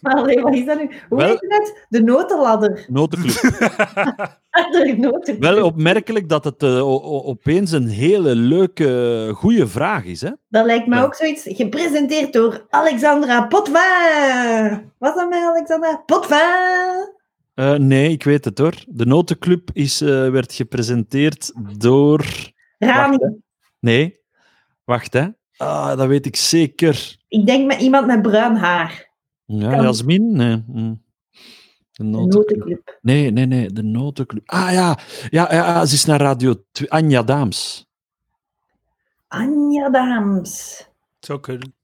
S3: Maar allee, wat is dat nu? Hoe
S1: Wel-
S3: heet het? De notenladder. <laughs> Ah,
S1: Notenclub.
S3: De noten...
S1: Wel opmerkelijk dat het eh, o- o- opeens een hele leuke, goede vraag is, hè?
S3: Dat lijkt me
S1: Ja.
S3: ook zoiets. Gepresenteerd door Alexandra Potva. Was dat mij, Alexandra? Potva.
S1: Eh, nee, ik weet het hoor. De Notenclub is, eh, werd gepresenteerd door.
S3: Rami.
S1: Nee, wacht hè. Ah, dat weet ik zeker.
S3: Ik denk met iemand met bruin haar.
S1: Ja,
S3: Kan-
S1: Jasmin? Nee. hm. De
S3: De
S1: Notenclub.
S3: notenclub.
S1: Nee, nee, nee, de Notenclub. Ah ja, ja, ja ze is naar Radio 2. Anja Daams.
S3: Anja Daams.
S2: het zou kunnen.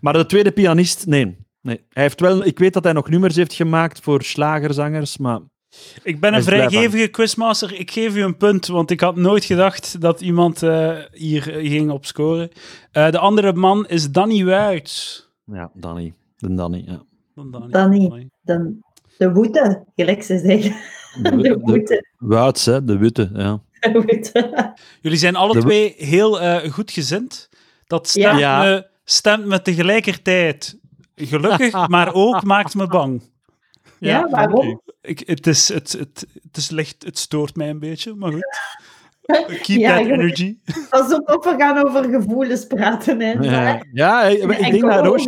S1: Maar de tweede pianist, nee. nee. Hij heeft wel, ik weet dat hij nog nummers heeft gemaakt voor slagerzangers, maar
S2: Ik ben
S1: Hij
S2: een
S1: is blij van.
S2: vrijgevige quizmaster. Ik geef u een punt, want ik had nooit gedacht dat iemand eh, hier eh, ging op scoren. Eh, de andere man is Danny Wuits.
S1: Ja, Danny. De Danny, ja.
S2: Dan
S3: Danny. Dan de woede, gelijk ze zeggen. <laughs> De woede.
S1: Wuits, hè, de witte, ja.
S3: De woede.
S2: Jullie zijn alle
S1: De-
S2: twee heel eh, goed gezind. Dat
S3: Ja.
S2: stemt,
S1: Ja.
S2: me, stemt me tegelijkertijd
S1: <laughs>
S2: gelukkig, maar ook maakt me bang.
S3: Ja, waarom?
S2: Ik, het, is, het, het, het is licht, het stoort mij een beetje, maar
S3: <laughs>
S2: goed. Keep
S3: Ja,
S2: that
S3: je-
S2: energy.
S3: Pas op, op, we gaan over gevoelens praten. Hè.
S1: Ja,
S3: Maar-
S1: ja ik, ik
S3: en
S1: denk dat Roosje,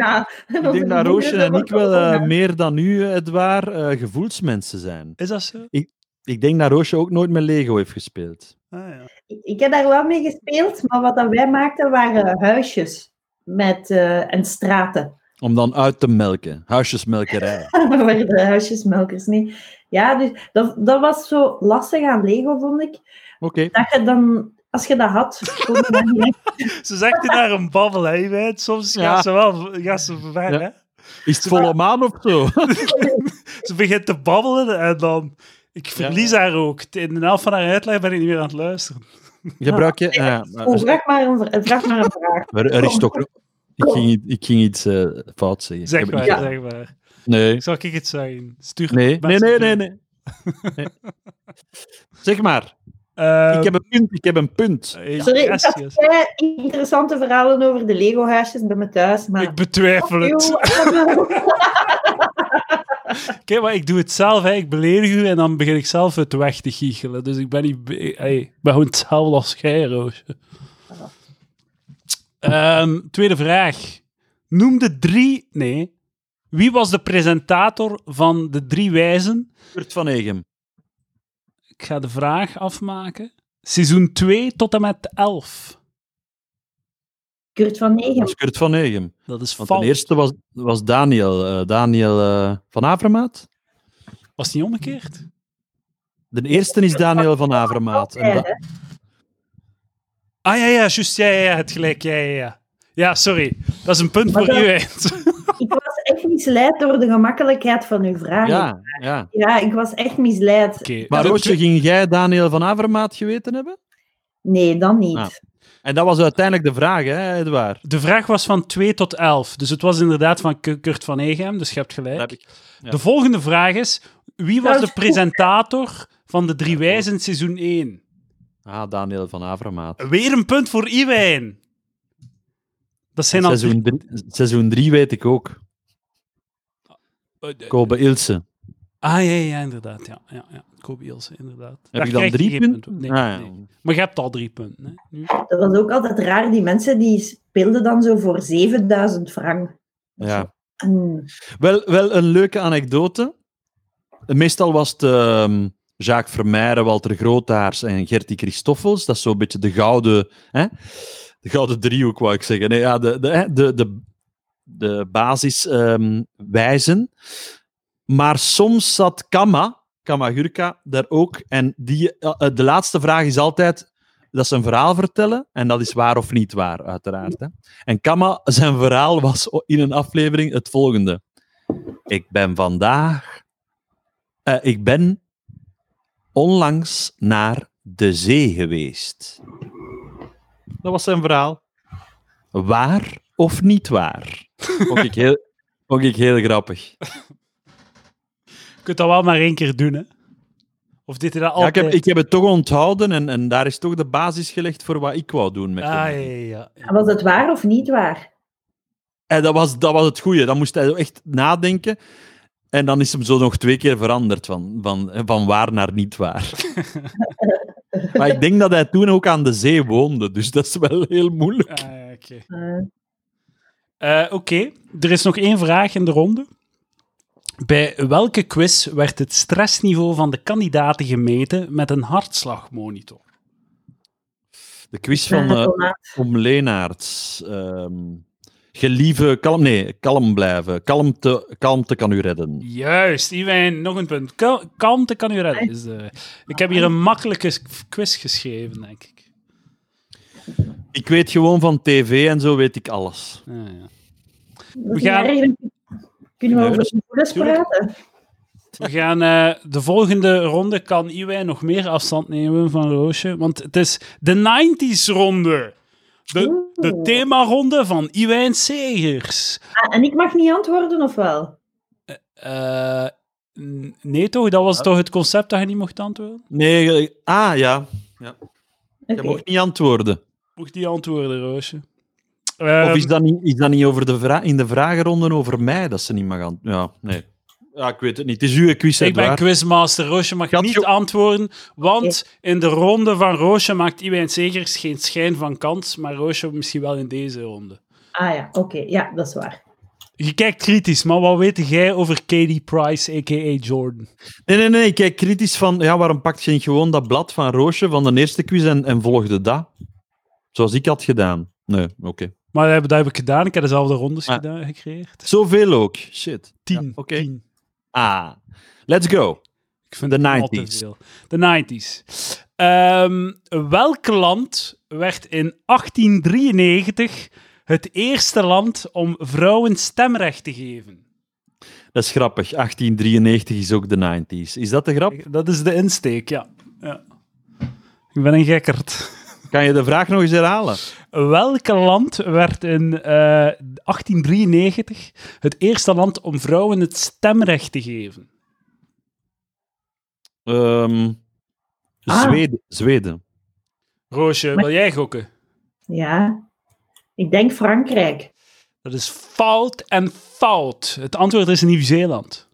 S3: corona.
S1: ik denk dat Roosje en ik wel eh,
S3: Corona.
S1: meer dan u, eh, Edouard, eh, gevoelsmensen zijn.
S2: Is dat zo?
S1: Ik denk dat Roosje ook nooit met Lego heeft gespeeld.
S2: Ah, ja.
S3: Ik heb daar wel mee gespeeld, maar wat dat wij maakten waren huisjes met, eh, en straten. <laughs>
S1: Om dan uit te melken. Huisjesmelkerij.
S3: We waren de huisjesmelkers, nee. Ja, dus dat, dat was zo lastig aan Lego, vond ik.
S1: <laughs> Oké.
S3: Dat je dan, als je dat had, kon je dat niet
S2: Ze zegt naar een babbel, hè. je weet. Soms
S1: Ja.
S2: gaat ze wel gaat ze ver,
S1: Ja.
S2: hè.
S1: Is het volle maan of <laughs> zo?
S2: Ze begint te babbelen en dan... Ik verlies haar ook. In de helft van haar uitleg ben ik niet meer aan het luisteren.
S1: Gebruik je... eh, ja,
S3: Oh, vraag maar een, vra- vraag maar een vraag.
S1: er, er is toch... Ik ging, i- ik ging iets eh, fout zeggen.
S2: Zeg
S1: Ik heb- ik-
S2: maar, zeg maar.
S1: Nee.
S2: Zal ik het zeggen? Stuur
S1: Nee. Nee,
S2: mensen
S1: nee,
S2: toe.
S1: nee, nee. Nee. Zeg maar.
S2: Ehm,
S1: Ik heb een punt. Ik heb een punt.
S2: eh,
S3: Sorry, ik
S2: yes,
S3: had
S2: yes.
S3: Eh, interessante verhalen over de Lego-huisjes bij me thuis, maar...
S2: Ik betwijfel het. Oké, maar ik doe het zelf. Hè. Ik beledig u en dan begin ik zelf het weg te giechelen. Dus ik ben niet... be- eh, hey, ik ben gewoon hetzelfde als jij, Roosje. Ehm, tweede vraag. Noem de drie... Nee. Wie was de presentator van de drie wijzen?
S1: Kurt van Egem.
S2: Ik ga de vraag afmaken. Seizoen 2 tot en met 11.
S3: Kurt van
S1: Dat
S3: Negen.
S1: is Kurt van Egem.
S2: Dat is
S1: Want
S2: fout.
S1: de eerste was, was Daniel. eh, Daniel eh, van Avermaat.
S2: Was het niet omgekeerd?
S1: De eerste is Daniel van Avermaat. En da-
S2: Ah ja, ja, juist. Ja, ja, ja, het gelijk. Ja, ja, ja. Ja, sorry. Dat is een punt
S3: Maar
S2: voor
S3: dat-
S2: u, eind.
S3: Ik was echt misleid door de gemakkelijkheid van uw vraag.
S1: ja, ja.
S3: Ja, ik was echt
S2: <laughs>
S3: misleid.
S2: Oké.
S1: Maar
S2: de
S1: Roosje,
S2: twe-
S1: ging jij Daniel van Avermaat geweten hebben?
S3: Nee, dan niet.
S1: Ah. En dat was uiteindelijk de vraag, hè, Edouard?
S2: de vraag was van 2 tot 11. Dus het was inderdaad van K- Kurt van Egem, dus je hebt gelijk.
S1: Dat heb ik. ja.
S2: De volgende vraag is, wie was
S3: Nou,
S2: de
S3: het-
S2: presentator van de Drie Wijzen seizoen 1?
S1: Ah, Daniel van Avermaat.
S2: Weer een punt voor Iwijn. Dat zijn al...
S1: Seizoen drie, seizoen drie weet ik ook. Oh, Kobe Ilse.
S2: Ah, ja, ja, inderdaad. Ja, ja, ja. Kobe Ilse, inderdaad.
S1: Heb
S2: Daar
S1: ik dan
S2: krijg je
S1: drie
S2: geen
S1: punten?
S2: punt op. Nee,
S1: Ah, ja.
S2: nee. Maar je hebt al drie punten. Hè? Nu.
S3: Dat was ook altijd raar. Die mensen die speelden dan zo voor 7000 frank.
S1: Ja.
S3: Mm.
S1: Wel, wel een leuke anekdote. Meestal was het ehm, Jacques Vermeijren, Walter Grootaars en Gertie Christoffels. Dat is zo'n beetje de gouden, hè? De gouden driehoek, wou ik zeggen. Nee, ja, de, de, hè, de, de, de basiswijzen. maar soms zat Kama, Kamagurka, daar ook. En die, eh, de laatste vraag is altijd dat ze een verhaal vertellen. En dat is waar of niet waar, uiteraard. Hè? En Kama, zijn verhaal was o- in een aflevering het volgende. Ik ben vandaag... eh, ik ben onlangs naar de zee geweest. Dat was zijn verhaal. Waar of niet waar? <laughs> Vond ik heel, vond ik heel grappig.
S2: Je kunt dat wel maar één keer doen, hè? Of dit je dat
S1: Ja, ik,
S2: altijd?
S1: heb, ik heb het toch onthouden en, en daar is toch de basis gelegd voor wat ik wou doen met
S2: Ah, ja,
S1: comedy.
S2: ja, ja.
S3: En was het waar of niet waar?
S1: En dat was, dat was het goede. Dan moest hij zo echt nadenken. En dan is hem zo nog twee keer veranderd, van, van, van waar naar niet waar. maar ik denk dat hij toen ook aan de zee woonde, dus dat is wel heel moeilijk.
S2: Ah, ja, oké.
S3: Eh,
S2: Eh, Oké, er is nog één vraag in de ronde. Bij welke quiz werd het stressniveau van de kandidaten gemeten met een hartslagmonitor?
S1: De quiz
S3: nou
S1: van eh
S3: Tomaat.
S1: Om Leenaerts. ehm, gelieve, kalm, nee, kalm blijven. Kalmte, kalmte kan u redden.
S2: Juist, Iwijn, nog een punt. Kal- Kalmte kan u redden. is de- Ik heb hier een makkelijke s- quiz geschreven, denk ik.
S1: Ik weet gewoon van tv en zo weet ik alles.
S2: Ah, ja.
S3: Dat is
S2: gaan-
S3: erg. Kunnen we
S1: Nee,
S3: over
S1: dat is-
S3: gevoelens
S1: tuurlijk.
S3: praten?
S2: We gaan eh, de volgende ronde kan Iwijn nog meer afstand nemen van Roosje. Want het is de 90s ronde. De, de
S3: Oeh.
S2: themaronde van Iwijn Segers.
S3: Ah, en ik mag niet antwoorden, of wel?
S2: Eh, n- nee, toch? Dat was toch het concept dat je niet mocht antwoorden?
S1: Nee, eh, ah ja.
S3: Oké.
S1: Je mocht niet antwoorden.
S2: Mocht die antwoorden, Roosje?
S1: of
S2: Ehm,
S1: is dat niet, is dat niet over de vra- in de vragenronden over mij dat ze niet mag antwoorden? Ja, nee. Ja, ik weet het niet. Het is uw quiz,
S2: Ik ben
S1: Edouard.
S2: quizmaster. Roosje mag
S1: Gat,
S2: niet
S1: joh.
S2: antwoorden, want in de ronde van Roosje maakt Iwijn Segers geen schijn van kans, maar Roosje misschien wel in deze ronde.
S3: Ah ja, oké. Ja, dat is waar.
S2: Je kijkt kritisch, maar wat weet jij over Katie Price, a.k.a. Jordan?
S1: Nee, nee, nee. Ik kijk kritisch van... Ja, waarom pakt je niet gewoon dat blad van Roosje van de eerste quiz en, en volgde dat? Zoals ik had gedaan. Nee, oké.
S2: Maar dat heb, dat heb ik gedaan. Ik heb dezelfde rondes
S1: Ah.
S2: gedaan, gecreëerd.
S1: Zoveel ook. Shit.
S2: Tien.
S1: Ja, oké.
S2: tien.
S1: Ah. Let's go.
S2: Ik vind
S1: De
S2: het al te
S1: 90s.
S2: veel. De 90s. Ehm, welk land werd in 1893 het eerste land om vrouwen stemrecht te geven?
S1: Dat is grappig. 1893 is ook de 90s. Is dat de grap?
S2: Dat is de insteek, ja. ja. Ik ben een gekkerd.
S1: Kan je de vraag nog eens herhalen?
S2: Welk land werd in eh, 1893 het eerste land om vrouwen het stemrecht te geven?
S1: Ehm,
S3: Ah.
S1: Zweden. Zweden.
S2: Roosje, wil jij gokken?
S3: Ja. Ik denk Frankrijk.
S2: Dat is fout en fout. Het antwoord is Nieuw-Zeeland.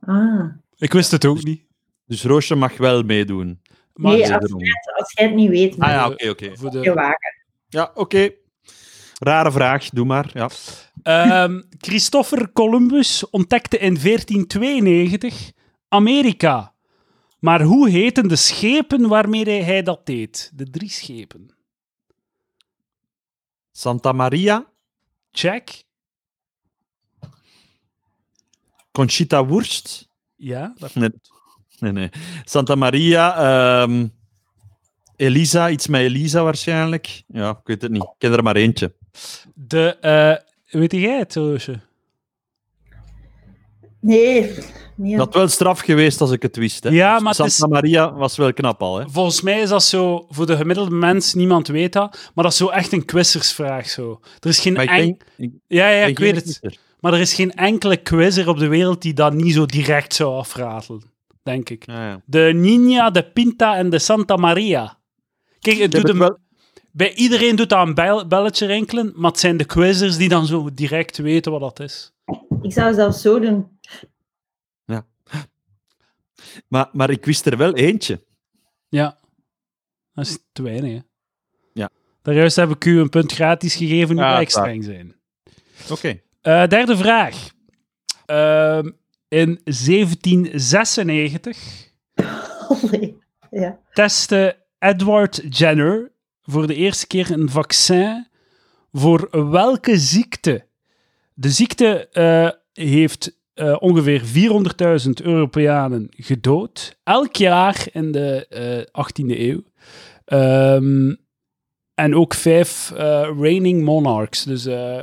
S3: Ah.
S2: Ik wist het ook niet.
S1: Dus Roosje mag wel meedoen.
S2: Maar
S3: Nee,
S1: Deze
S3: als,
S1: ronde.
S3: als jij het niet weet,
S1: Ah
S3: moet
S1: ja, oké, oké.
S2: voor
S3: je
S2: de,
S3: wagen.
S1: Ja, oké. Rare vraag, doe maar. Ja.
S2: Ehm, Christopher Columbus ontdekte in 1492 Amerika. Maar hoe heten de schepen waarmee hij dat deed? De drie schepen.
S1: Santa Maria,
S2: Check.
S1: Conchita Wurst.
S2: Ja, dat-
S1: Nee, nee. nee. Santa Maria, ehm, Elisa, iets met Elisa waarschijnlijk. Ja, ik weet het niet. Ik ken er maar eentje.
S2: De, eh, weet jij het, Roosje?
S3: Nee. nee.
S1: Dat wel straf geweest als ik het wist. Hè.
S2: Ja, maar het
S1: Santa
S2: is-
S1: Maria was wel knap al. Hè.
S2: Volgens mij is dat zo, voor de gemiddelde mens, niemand weet dat, maar dat is zo echt een quizzersvraag. Zo. Er is geen
S1: Maar ik
S2: en-
S1: denk, ik,
S2: Ja, ja,
S1: ben
S2: ik
S1: geen
S2: weet het.
S1: kiezer.
S2: Maar er is geen enkele quizzer op de wereld die dat niet zo direct zou afratelen, denk ik.
S1: Ja, ja.
S2: De Nina, de Pinta en de Santa Maria. Kijk, het
S1: heb
S2: doet
S1: het
S2: hem-
S1: wel-
S2: bij iedereen doet dat een bel- belletje rinkelen, maar het zijn de quizzers die dan zo direct weten wat dat is.
S3: Ik zou zelfs zo doen. <laughs>
S1: Maar, maar ik wist er wel eentje.
S2: Ja. Dat is te weinig, hè?
S1: Ja.
S2: Daarjuist heb ik u een punt gratis gegeven, nu
S1: Ja,
S2: ja, ik
S1: dat is waar.
S2: streng zijn.
S1: Oké.
S2: Eh, derde vraag. Ehm, in 1796
S3: Allee. Ja.
S2: testte Edward Jenner voor de eerste keer een vaccin voor welke ziekte? De ziekte eh, heeft eh, ongeveer 400.000 Europeanen gedood. Elk jaar in de eh, 18e eeuw. Ehm, en ook vijf eh, reigning monarchs. Dus eh,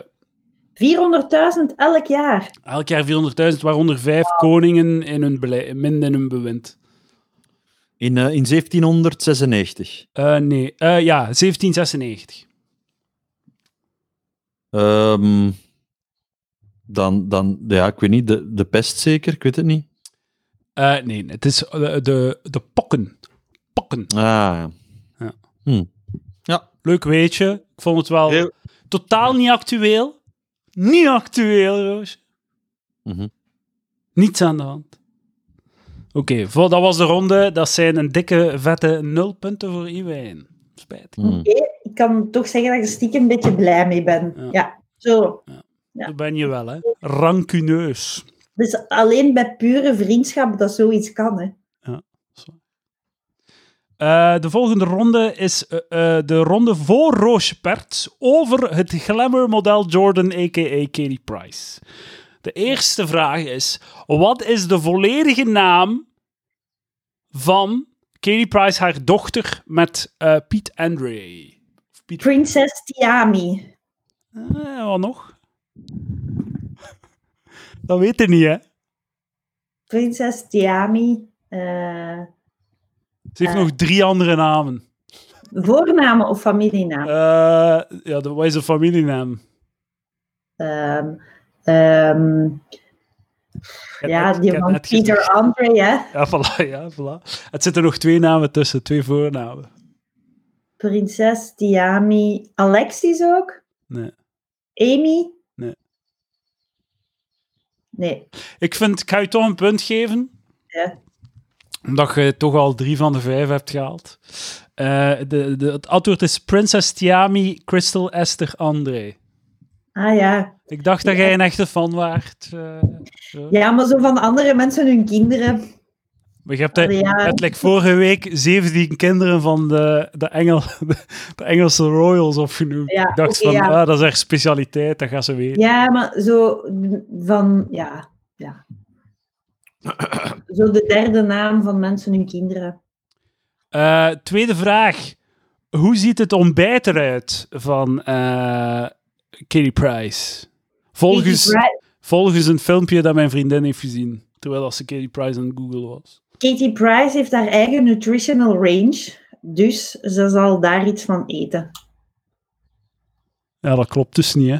S3: 400.000 elk jaar.
S2: Elk jaar 400.000, waaronder vijf koningen in hun beleid, minder in hun bewind.
S1: In, eh, in 1796.
S2: Eh, nee, Eh, ja, 1796.
S1: Ehm, dan, dan, ja, ik weet niet, de, de pest zeker, ik weet het niet.
S2: Eh, nee, het is eh, de, de pokken. Pokken.
S1: Ah, ja.
S2: Ja.
S1: Hm.
S2: Leuk weetje. Ik vond het wel
S1: Heel-
S2: totaal niet actueel. Niet actueel, Roos.
S1: Mhm.
S2: Niets aan de hand. Oké, voor- dat was de ronde. Dat zijn een dikke, vette nul punten voor iedereen. Spijt.
S1: Hm.
S3: Ik kan toch zeggen dat ik er stiekem een beetje blij mee ben.
S2: Ja.
S3: Ja. Zo. Ja.
S2: Dat ben je wel, hè. Rancuneus.
S3: Dus alleen bij pure vriendschap dat zoiets kan, hè.
S2: Eh, de volgende ronde is eh, eh, de ronde voor Roosje Perts over het glamourmodel Jordan, a.k.a. Katie Price. De eerste vraag is, wat is de volledige naam van Katie Price, haar dochter, met eh Piet Andre? Of Piet...
S3: Princess Tiami.
S2: <laughs> Eh, wat nog? Dat weet je niet, hè?
S3: prinses Tiami. eh,
S2: Ze heeft nog drie andere namen.
S3: voornamen of familienamen?
S2: Eh, ja, de- wat is de familienaam?
S3: Ehm, ehm, ja,
S2: Het-
S3: die
S2: het-
S3: van
S2: het-
S3: Peter Andre, hè?
S2: Ja, voilà, ja, voilà. Het zitten nog twee namen tussen, twee voornamen.
S3: Prinses Tiami. Alexis ook?
S2: Nee.
S3: Amy?
S2: Nee.
S3: Nee.
S2: Ik vind, ik ga je toch een punt geven.
S3: Ja.
S2: Omdat je toch al drie van de vijf hebt gehaald. Eh, de, de, het antwoord is Princess Tiami, Crystal Esther André.
S3: Ah ja.
S2: Ik dacht dat
S3: Ja.
S2: jij een echte fan waart. eh, zo.
S3: Ja, maar zo van andere mensen hun kinderen.
S2: Maar je hebt, eh,
S3: Allee, ja.
S2: je hebt like, vorige week 17 kinderen van de, de, Engel, <laughs> de Engelse Royals opgenoemd.
S3: Ja,
S2: ik dacht
S3: oké,
S2: van,
S3: ja.
S2: ah, dat is haar specialiteit, dat gaan ze weten.
S3: Ja, maar zo van, ja, ja. Zo de derde naam van mensen hun kinderen.
S2: Eh, tweede vraag. Hoe ziet het ontbijt eruit van eh Kitty Price? Volgens,
S3: Katie, Pri-
S2: volgens een filmpje dat mijn vriendin heeft gezien. Terwijl als ze Kitty Price aan Google was.
S3: Katie Price heeft haar eigen nutritional range, dus ze zal daar iets van eten.
S2: Ja, dat klopt dus niet, hè?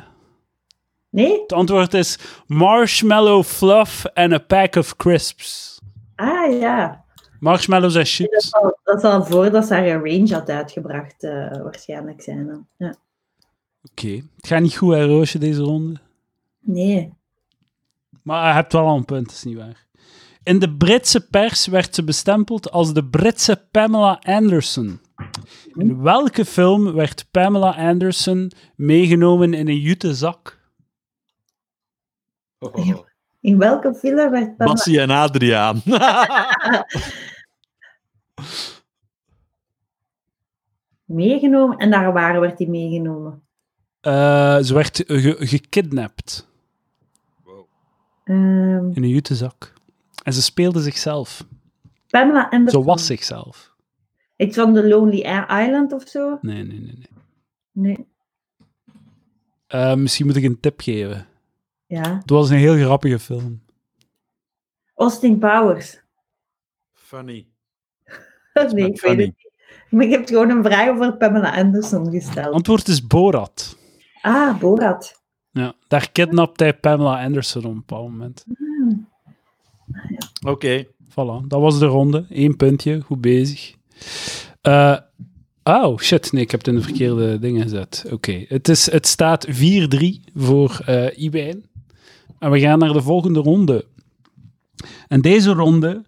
S3: Nee?
S2: Het antwoord is marshmallow fluff en a pack of crisps.
S3: Ah ja,
S2: Marshmallows en
S3: dat
S2: chips.
S3: zal, dat zal voordat ze haar range had uitgebracht eh, waarschijnlijk zijn. dan. Ja.
S2: Oké. Het gaat niet goed, hè, Roosje, deze ronde.
S3: Nee.
S2: Maar je hebt wel al een punt, is niet waar. In de Britse pers werd ze bestempeld als de Britse Pamela Anderson. In welke film werd Pamela Anderson meegenomen in een jute zak?
S3: In welke film werd Pamela...
S1: Bassie en Adriaan. <laughs>
S3: meegenomen? En daar waar werd die meegenomen?
S2: Eh, ze werd ge- gekidnapt
S3: Ehm,
S2: in een jute zak. En ze speelde zichzelf.
S3: Pamela en de
S2: Ze was zichzelf.
S3: Iets van The Lonely Island of zo?
S2: Nee, nee, nee. nee.
S3: Nee.
S2: Eh, misschien moet ik een tip geven.
S3: Ja.
S2: Het was een heel grappige film.
S3: Austin Powers. <laughs>
S1: Funny.
S3: Nee, ik weet het niet. Maar ik heb gewoon een vraag over Pamela Anderson gesteld.
S2: Antwoord is Borat.
S3: Ah, Borat.
S2: Ja, daar kidnapt hij Pamela Anderson op een bepaald moment.
S1: Oké.
S2: Voilà, dat was de ronde. Eén puntje, goed bezig. Eh, oh, shit, nee, ik heb het in de verkeerde dingen gezet. Oké, het, is- het staat 4-3 voor eh Iwijn. En we gaan naar de volgende ronde. En deze ronde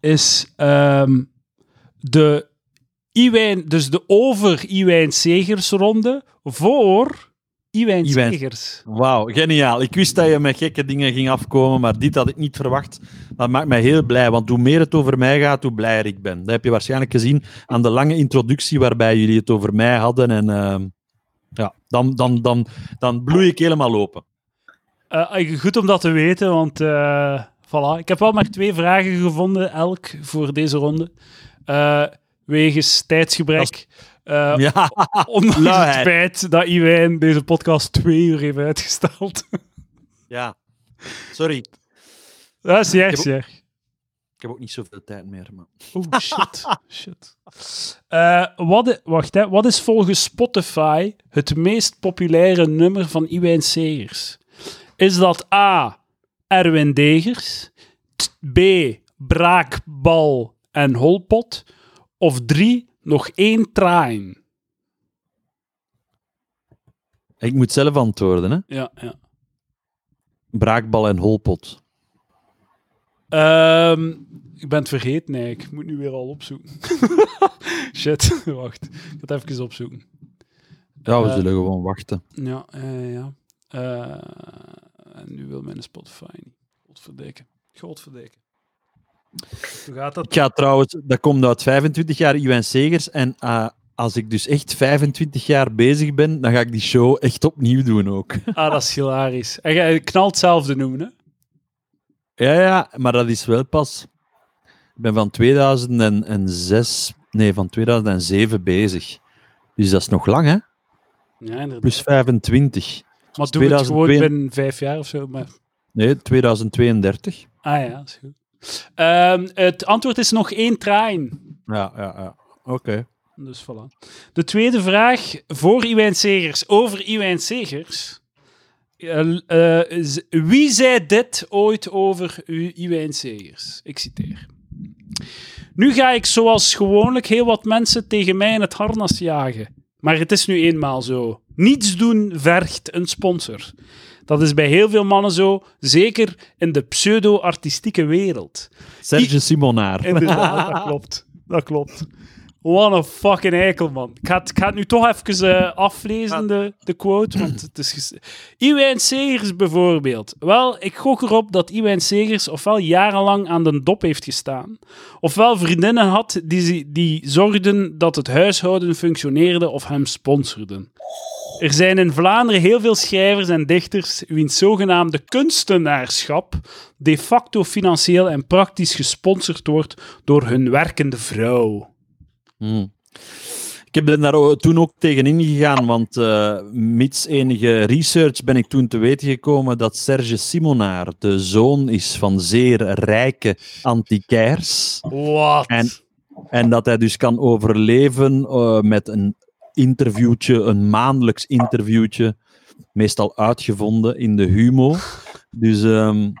S2: is ehm, de Iwijn, dus de over Iwijn Segers ronde voor Iwijn
S1: Iwijn.
S2: Segers.
S1: Wauw, geniaal. Ik wist dat je met gekke dingen ging afkomen, maar dit had ik niet verwacht. Dat maakt mij heel blij, want hoe meer het over mij gaat, hoe blijer ik ben. Dat heb je waarschijnlijk gezien aan de lange introductie waarbij jullie het over mij hadden. En ehm, ja, dan, dan, dan, dan bloei ik helemaal open.
S2: Eh, goed om dat te weten, want eh, voilà. Ik heb wel maar twee vragen gevonden, elk, voor deze ronde. Eh, wegens tijdsgebrek. Eh
S1: ja,
S2: Ondanks het
S1: luiheid.
S2: feit dat Iwijn deze podcast twee uur heeft uitgesteld.
S1: <laughs>
S2: <laughs>
S1: ja. Sorry, ik
S2: dat is niet erg,
S1: Ik heb-
S2: niet erg.
S1: heb ook niet zoveel tijd meer. Maar...
S2: Oh, shit. shit. Eh, wat, i- wacht, hè. wat is volgens Spotify het meest populaire nummer van Iwijn Segers? Is dat A. Erwin Degers? t- B. Braakbal en Holpot? Of 3. Nog één traan?
S1: Ik moet zelf antwoorden, hè.
S2: Ja, ja.
S1: Braakbal en holpot.
S2: Ehm, ik ben het vergeten, nee. Ik moet nu weer al opzoeken. <laughs> shit, wacht. Ik ga het even opzoeken.
S1: Ja, we
S2: Eh.
S1: zullen gewoon wachten.
S2: Ja, eh, ja. Eh, en nu wil mijn Spotify niet. Godverdikke. Godverdikke. Hoe gaat dat?
S1: Ik ga trouwens, dat komt uit 25 jaar Iwan Segers. En eh, als ik dus echt 25 jaar bezig ben, dan ga ik die show echt opnieuw doen ook.
S2: <laughs>
S1: <laughs>
S2: Ah, dat is hilarisch. En jij knalt hetzelfde noemen, hè?
S1: ja, ja, maar dat is wel pas. Ik ben van 2006, nee, van 2007 bezig. Dus dat is nog lang, hè?
S2: Ja, inderdaad.
S1: Plus 25.
S2: maar doe het gewoon
S1: 2002.
S2: binnen vijf jaar of zo. Maar...
S1: Nee, 2032.
S2: Ah ja, is goed. Ehm, het antwoord is nog één trein.
S1: Ja, ja, ja. Oké.
S2: Dus voilà. De tweede vraag voor Iwijn Segers, over Iwijn Segers. Eh, eh, z- wie zei dit ooit over u- Iwijn Segers? Ik citeer. Nu ga ik zoals gewoonlijk heel wat mensen tegen mij in het harnas jagen. Maar het is nu eenmaal zo. Niets doen vergt een sponsor. Dat is bij heel veel mannen zo, zeker in de pseudo-artistieke wereld.
S1: Serge
S2: <laughs>
S1: Simonaar.
S2: Inderdaad, dat klopt. Dat klopt. What a fucking eikel, man. Ik ga het, ik ga het nu toch even eh, aflezen, de, de quote. Want het is ges- Iwijn Segers bijvoorbeeld. Wel, ik gok erop dat Iwijn Segers ofwel jarenlang aan de dop heeft gestaan, ofwel vriendinnen had die, ze- die zorgden dat het huishouden functioneerde of hem sponsorden. Er zijn in Vlaanderen heel veel schrijvers en dichters wiens zogenaamde kunstenaarschap de facto financieel en praktisch gesponsord wordt door hun werkende vrouw.
S1: Hmm. Ik heb er daar o- toen ook tegen ingegaan, want eh, mits enige research ben ik toen te weten gekomen dat Serge Simonaar de zoon is van zeer rijke antiquairs.
S2: Wat?
S1: En- En dat hij dus kan overleven eh, met een interviewtje, een maandelijks interviewtje, meestal uitgevonden in de humo. Dus, ehm, d-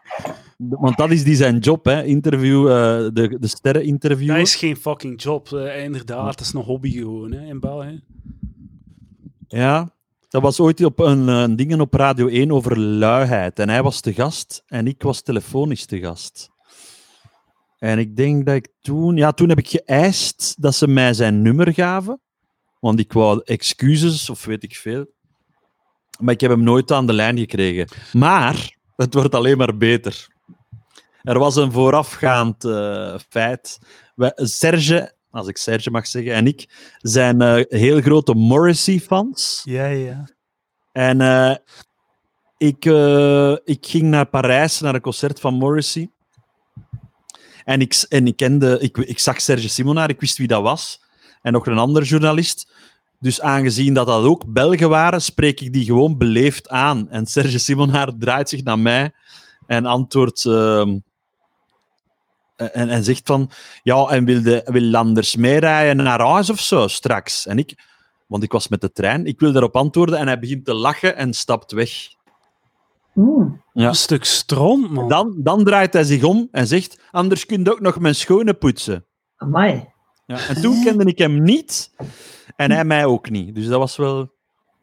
S1: want dat is die zijn job, hè? Interview, eh, de, de sterren
S2: Dat
S1: interviewen.
S2: is geen fucking job, eh, inderdaad. Dat is een hobby gewoon, hè, in België.
S1: Ja, dat was ooit op een, eh, dingen op Radio 1 over luiheid. En hij was te gast en ik was telefonisch te gast. En ik denk dat ik toen... Ja, toen heb ik geëist dat ze mij zijn nummer gaven. Want ik wou excuses of weet ik veel. Maar ik heb hem nooit aan de lijn gekregen. Maar het wordt alleen maar beter. Er was een voorafgaand eh, feit. Wij- Serge, als ik Serge mag zeggen, en ik zijn eh, heel grote Morrissey-fans.
S2: Ja, ja.
S1: En eh, ik, eh, ik ging naar Parijs, naar een concert van Morrissey. En ik, s- en ik, kende, ik, ik zag Serge Simonaar, ik wist wie dat was. En nog een ander journalist. Dus aangezien dat dat ook Belgen waren, spreek ik die gewoon beleefd aan. En Serge Simonaar draait zich naar mij en antwoordt... ehm, en, en zegt van... Ja, en wil, de, wil Landers meerijden naar huis of zo straks? En ik... Want ik was met de trein. Ik wil daarop antwoorden en hij begint te lachen en stapt weg.
S3: Hmm.
S1: Ja.
S2: Een stuk stront, man.
S1: Dan, dan draait hij zich om en zegt: Anders kun je ook nog mijn schoenen poetsen.
S3: Amai.
S1: Ja. En toen kende ik hem niet en hij mij ook niet. Dus dat was wel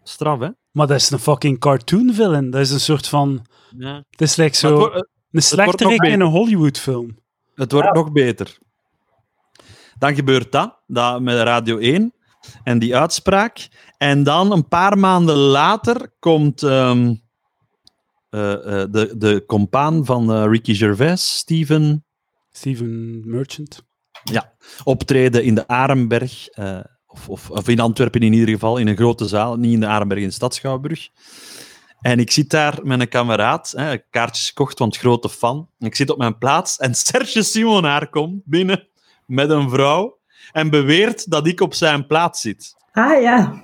S1: straf, hè?
S2: Maar dat is een fucking cartoon villain. Dat is een soort van...
S1: Ja.
S2: Het is like
S1: Het,
S2: zo...
S1: wordt,
S2: Een
S1: wordt nog
S2: slechterik in een Hollywood-film.
S1: het wordt nog beter. Dan gebeurt dat, dat met Radio 1 en die uitspraak. En dan een paar maanden later komt ehm, eh, eh, de, de compaan van eh, Ricky Gervais, Steven.
S2: Steven Merchant.
S1: optreden in de Aremberg. eh, of, of, of in Antwerpen in ieder geval, in een grote zaal. Niet in de Aremberg, in de Stadschouwburg. En ik zit daar met een kameraad, hè, kaartjes gekocht, want grote fan. En ik zit op mijn plaats en <laughs> Serge Simonaar komt binnen met een vrouw en beweert dat ik op zijn plaats zit.
S3: Ah ja.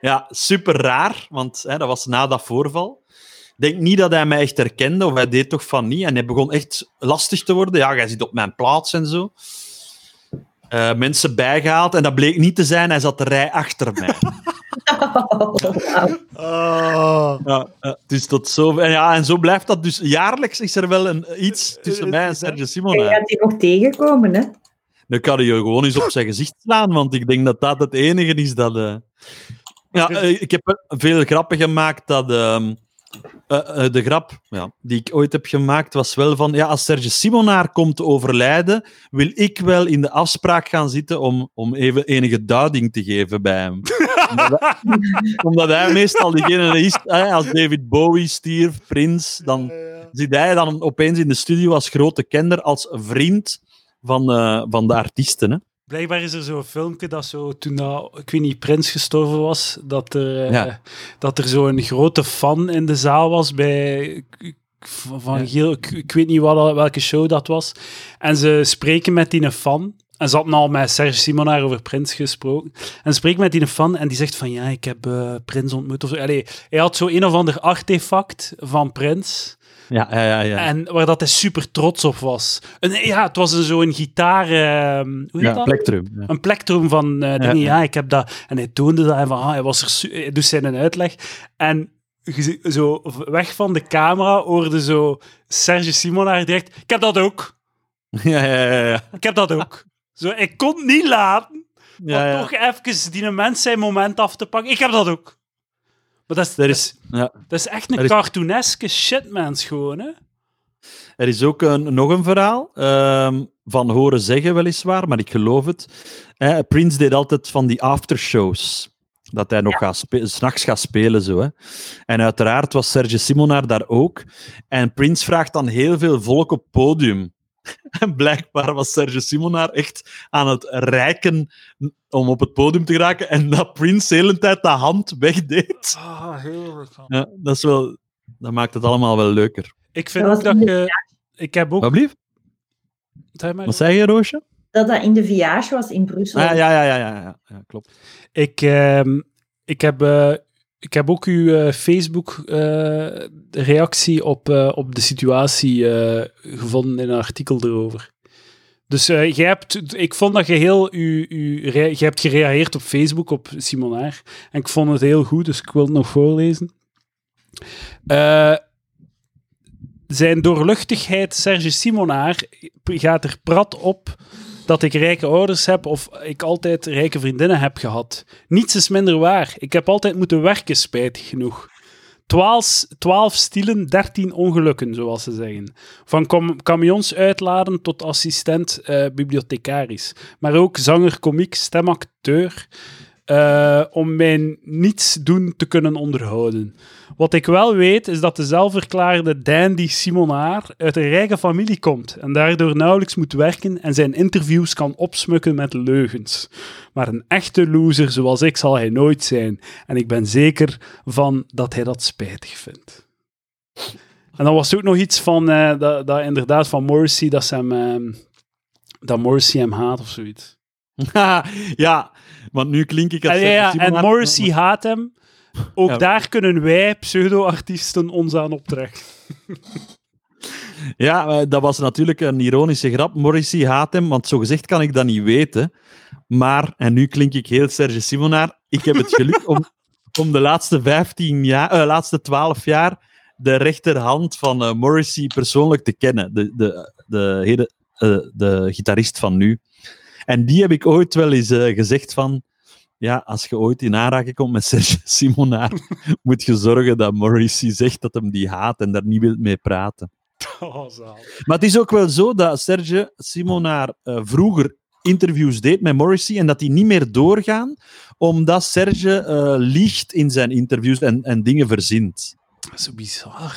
S1: Ja, super raar, want hè, dat was na dat voorval. Ik denk niet dat hij mij echt herkende, of hij deed toch van niet. En hij begon echt lastig te worden. Ja, jij zit op mijn plaats en zo. Eh, mensen bijgehaald, en dat bleek niet te zijn. Hij zat de rij achter mij.
S2: Ah.
S1: ja, eh, dus tot zo... En, ja, en zo blijft dat dus. Jaarlijks is er wel een, iets tussen mij en Sergio
S3: Je
S1: Simona.
S3: gaat die nog tegenkomen, hè?
S1: Dan kan hij je gewoon eens op zijn gezicht slaan, want ik denk dat dat het enige is dat... eh. Ja, eh, ik heb wel veel grappen gemaakt dat... ehm, eh, eh, de grap ja, die ik ooit heb gemaakt was wel van... Ja, als Serge Simonaar komt te overlijden, wil ik wel in de afspraak gaan zitten om, om even enige duiding te geven bij hem. omdat, hij, omdat hij meestal diegene is... eh, als David Bowie stierf, Prince, dan zit hij dan opeens in de studio als grote kender, als vriend van, eh, van de artiesten. Hè?
S2: Blijkbaar is er zo'n filmpje dat zo, toen dat, ik weet niet, Prins gestorven was, dat er, eh,
S1: Ja.
S2: dat er zo'n grote fan in de zaal was bij ik- ik- Van Giel, ik, ik weet niet wat, dat- welke show dat was. En ze spreken met die fan En ze hadden al met Serge Simonaar over Prins gesproken. En spreek met die fan en die zegt van ja, ik heb eh, Prins ontmoet. Of zo. Allee, hij had zo een of ander artefact van Prins.
S1: Ja, ja, ja. ja.
S2: En waar dat hij super trots op was. En, eh, ja, het was een- zo'n gitaar... ehm, hoe heet
S1: ja
S2: dat?
S1: plektrum. Ja.
S2: Een plektrum van eh dingen.
S1: Ja.
S2: Ja, ik heb dat. En hij toonde dat en van, ah, hij was er... su- Hij doet zijn uitleg. En je ziet zo weg van de camera hoorde zo Serge Simonaar direct... Ik heb dat ook.
S1: Ja, ja, ja, ja.
S2: Ik heb dat ook. Zo, ik kon het niet laten om
S1: ja, ja.
S2: toch even die mens zijn moment af te pakken. Ik heb dat ook. Maar dat
S1: Er
S2: is, dat
S1: is-
S2: is,
S1: ja.
S2: dat is echt een
S1: Er is-
S2: cartooneske shitmens gewoon, hè?
S1: Er is ook een, nog een verhaal, ehm, van horen zeggen weliswaar, maar ik geloof het. Eh, Prince deed altijd van die aftershows. Dat hij nog gaat spe- 's s'nachts gaat spelen. Zo, hè. En uiteraard was Serge Simonaar daar ook. En Prince vraagt dan heel veel volk op podium. <laughs> En blijkbaar was Serge Simonaar echt aan het reiken om op het podium te geraken. En dat Prince de hele tijd de hand wegdeed.
S2: Ah, heerlijk.
S1: Ja, dat, is wel, dat maakt het allemaal wel leuker.
S2: Ik vind
S3: Dat
S2: ook
S3: was
S2: dat je... Ik heb ook...
S1: Wat blieft?
S2: Zeg maar.
S1: Wat zei je, Roosje?
S3: Dat dat in de viage was in Brussel.
S1: Ah, ja, ja, ja, ja, ja, ja, klopt. <laughs>
S2: Ik, ehm, ik, heb, eh, ik heb ook uw eh, Facebook-reactie op, eh, op de situatie eh, gevonden in een artikel erover. Dus eh, jij hebt, ik vond dat je heel, u, u, re- jij hebt gereageerd op Facebook op Simonaar. En ik vond het heel goed, dus ik wil het nog voorlezen. Eh, zijn doorluchtigheid, Serge Simonaar, gaat er prat op dat ik rijke ouders heb of ik altijd rijke vriendinnen heb gehad. Niets is minder waar. Ik heb altijd moeten werken, spijtig genoeg. 12, 12 stielen, 13 ongelukken, zoals ze zeggen. Van kam- camions uitladen tot assistent eh, bibliothecaris. Maar ook zanger, komiek, stemacteur. eh, om mijn niets doen te kunnen onderhouden. Wat ik wel weet is dat de zelfverklaarde Dandy Simonaar uit een rijke familie komt en daardoor nauwelijks moet werken en zijn interviews kan opsmukken met leugens. Maar een echte loser zoals ik zal hij nooit zijn en ik ben zeker van dat hij dat spijtig vindt. En dan was er ook nog iets van, eh, dat, dat inderdaad van Morrissey, dat, ze hem, ehm, dat Morrissey hem haat of zoiets.
S1: ja, want nu klink ik als
S2: Ah, ja, ja,
S1: Simon
S2: en
S1: Hart-
S2: Morrissey haat hem. Ook
S1: Ja.
S2: daar kunnen wij, pseudo-artiesten, ons aan
S1: <laughs>
S2: optrekken.
S1: Ja, eh, dat was natuurlijk een ironische grap. Morrissey haat hem, want zogezegd kan ik dat niet weten. Maar, en nu klink ik heel Serge Simonaar, ik heb het geluk om, om de laatste 15 jaar, eh, laatste 12 jaar de rechterhand van eh, Morrissey persoonlijk te kennen. De, de, de, hele- eh, de gitarist van nu. En die heb ik ooit wel eens eh, gezegd van... Ja, als je ooit in aanraking komt met <laughs> Serge Simonaar, moet je zorgen dat Morrissey zegt dat hem die haat en daar niet wil mee praten.
S2: Oh, zalig.
S1: Maar het is ook wel zo dat Serge Simonaar eh, vroeger interviews deed met Morrissey en dat die niet meer doorgaan, omdat Serge eh, liegt in zijn interviews en, en dingen verzint.
S2: Dat is zo bizar.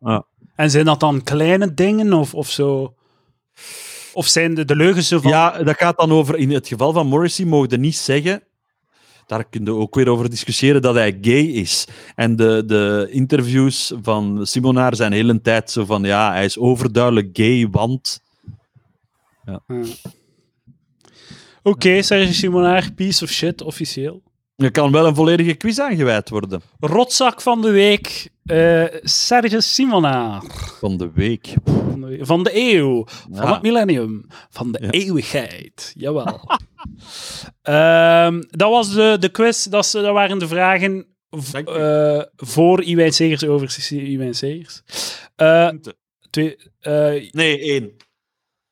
S1: Ja.
S2: En zijn dat dan kleine dingen of, of zo? Of zijn de, de leugens zo van...
S1: Ja, dat gaat dan over, in het geval van Morrissey mogen niet zeggen, daar kunnen we ook weer over discussiëren, dat hij gay is. En de, de interviews van Simonaar zijn de hele tijd zo van, ja, hij is overduidelijk gay, want...
S2: Oké, Serge Simonaar, piece of shit, officieel.
S1: Er kan wel een volledige quiz aangeweid worden
S2: Rotzak van de week, eh, Serge Simonaar.
S1: van de week.
S2: Van de, we- van de eeuw, van
S1: Ja.
S2: het millennium, van de
S1: Ja.
S2: eeuwigheid. Jawel. <laughs> Ehm, dat was de, de quiz, dat, is- dat waren de vragen v-
S1: Dank u.
S2: eh, voor Iwijn Segers over C- C- Iwijn Segers. Eh, twee, eh,
S1: Nee, één.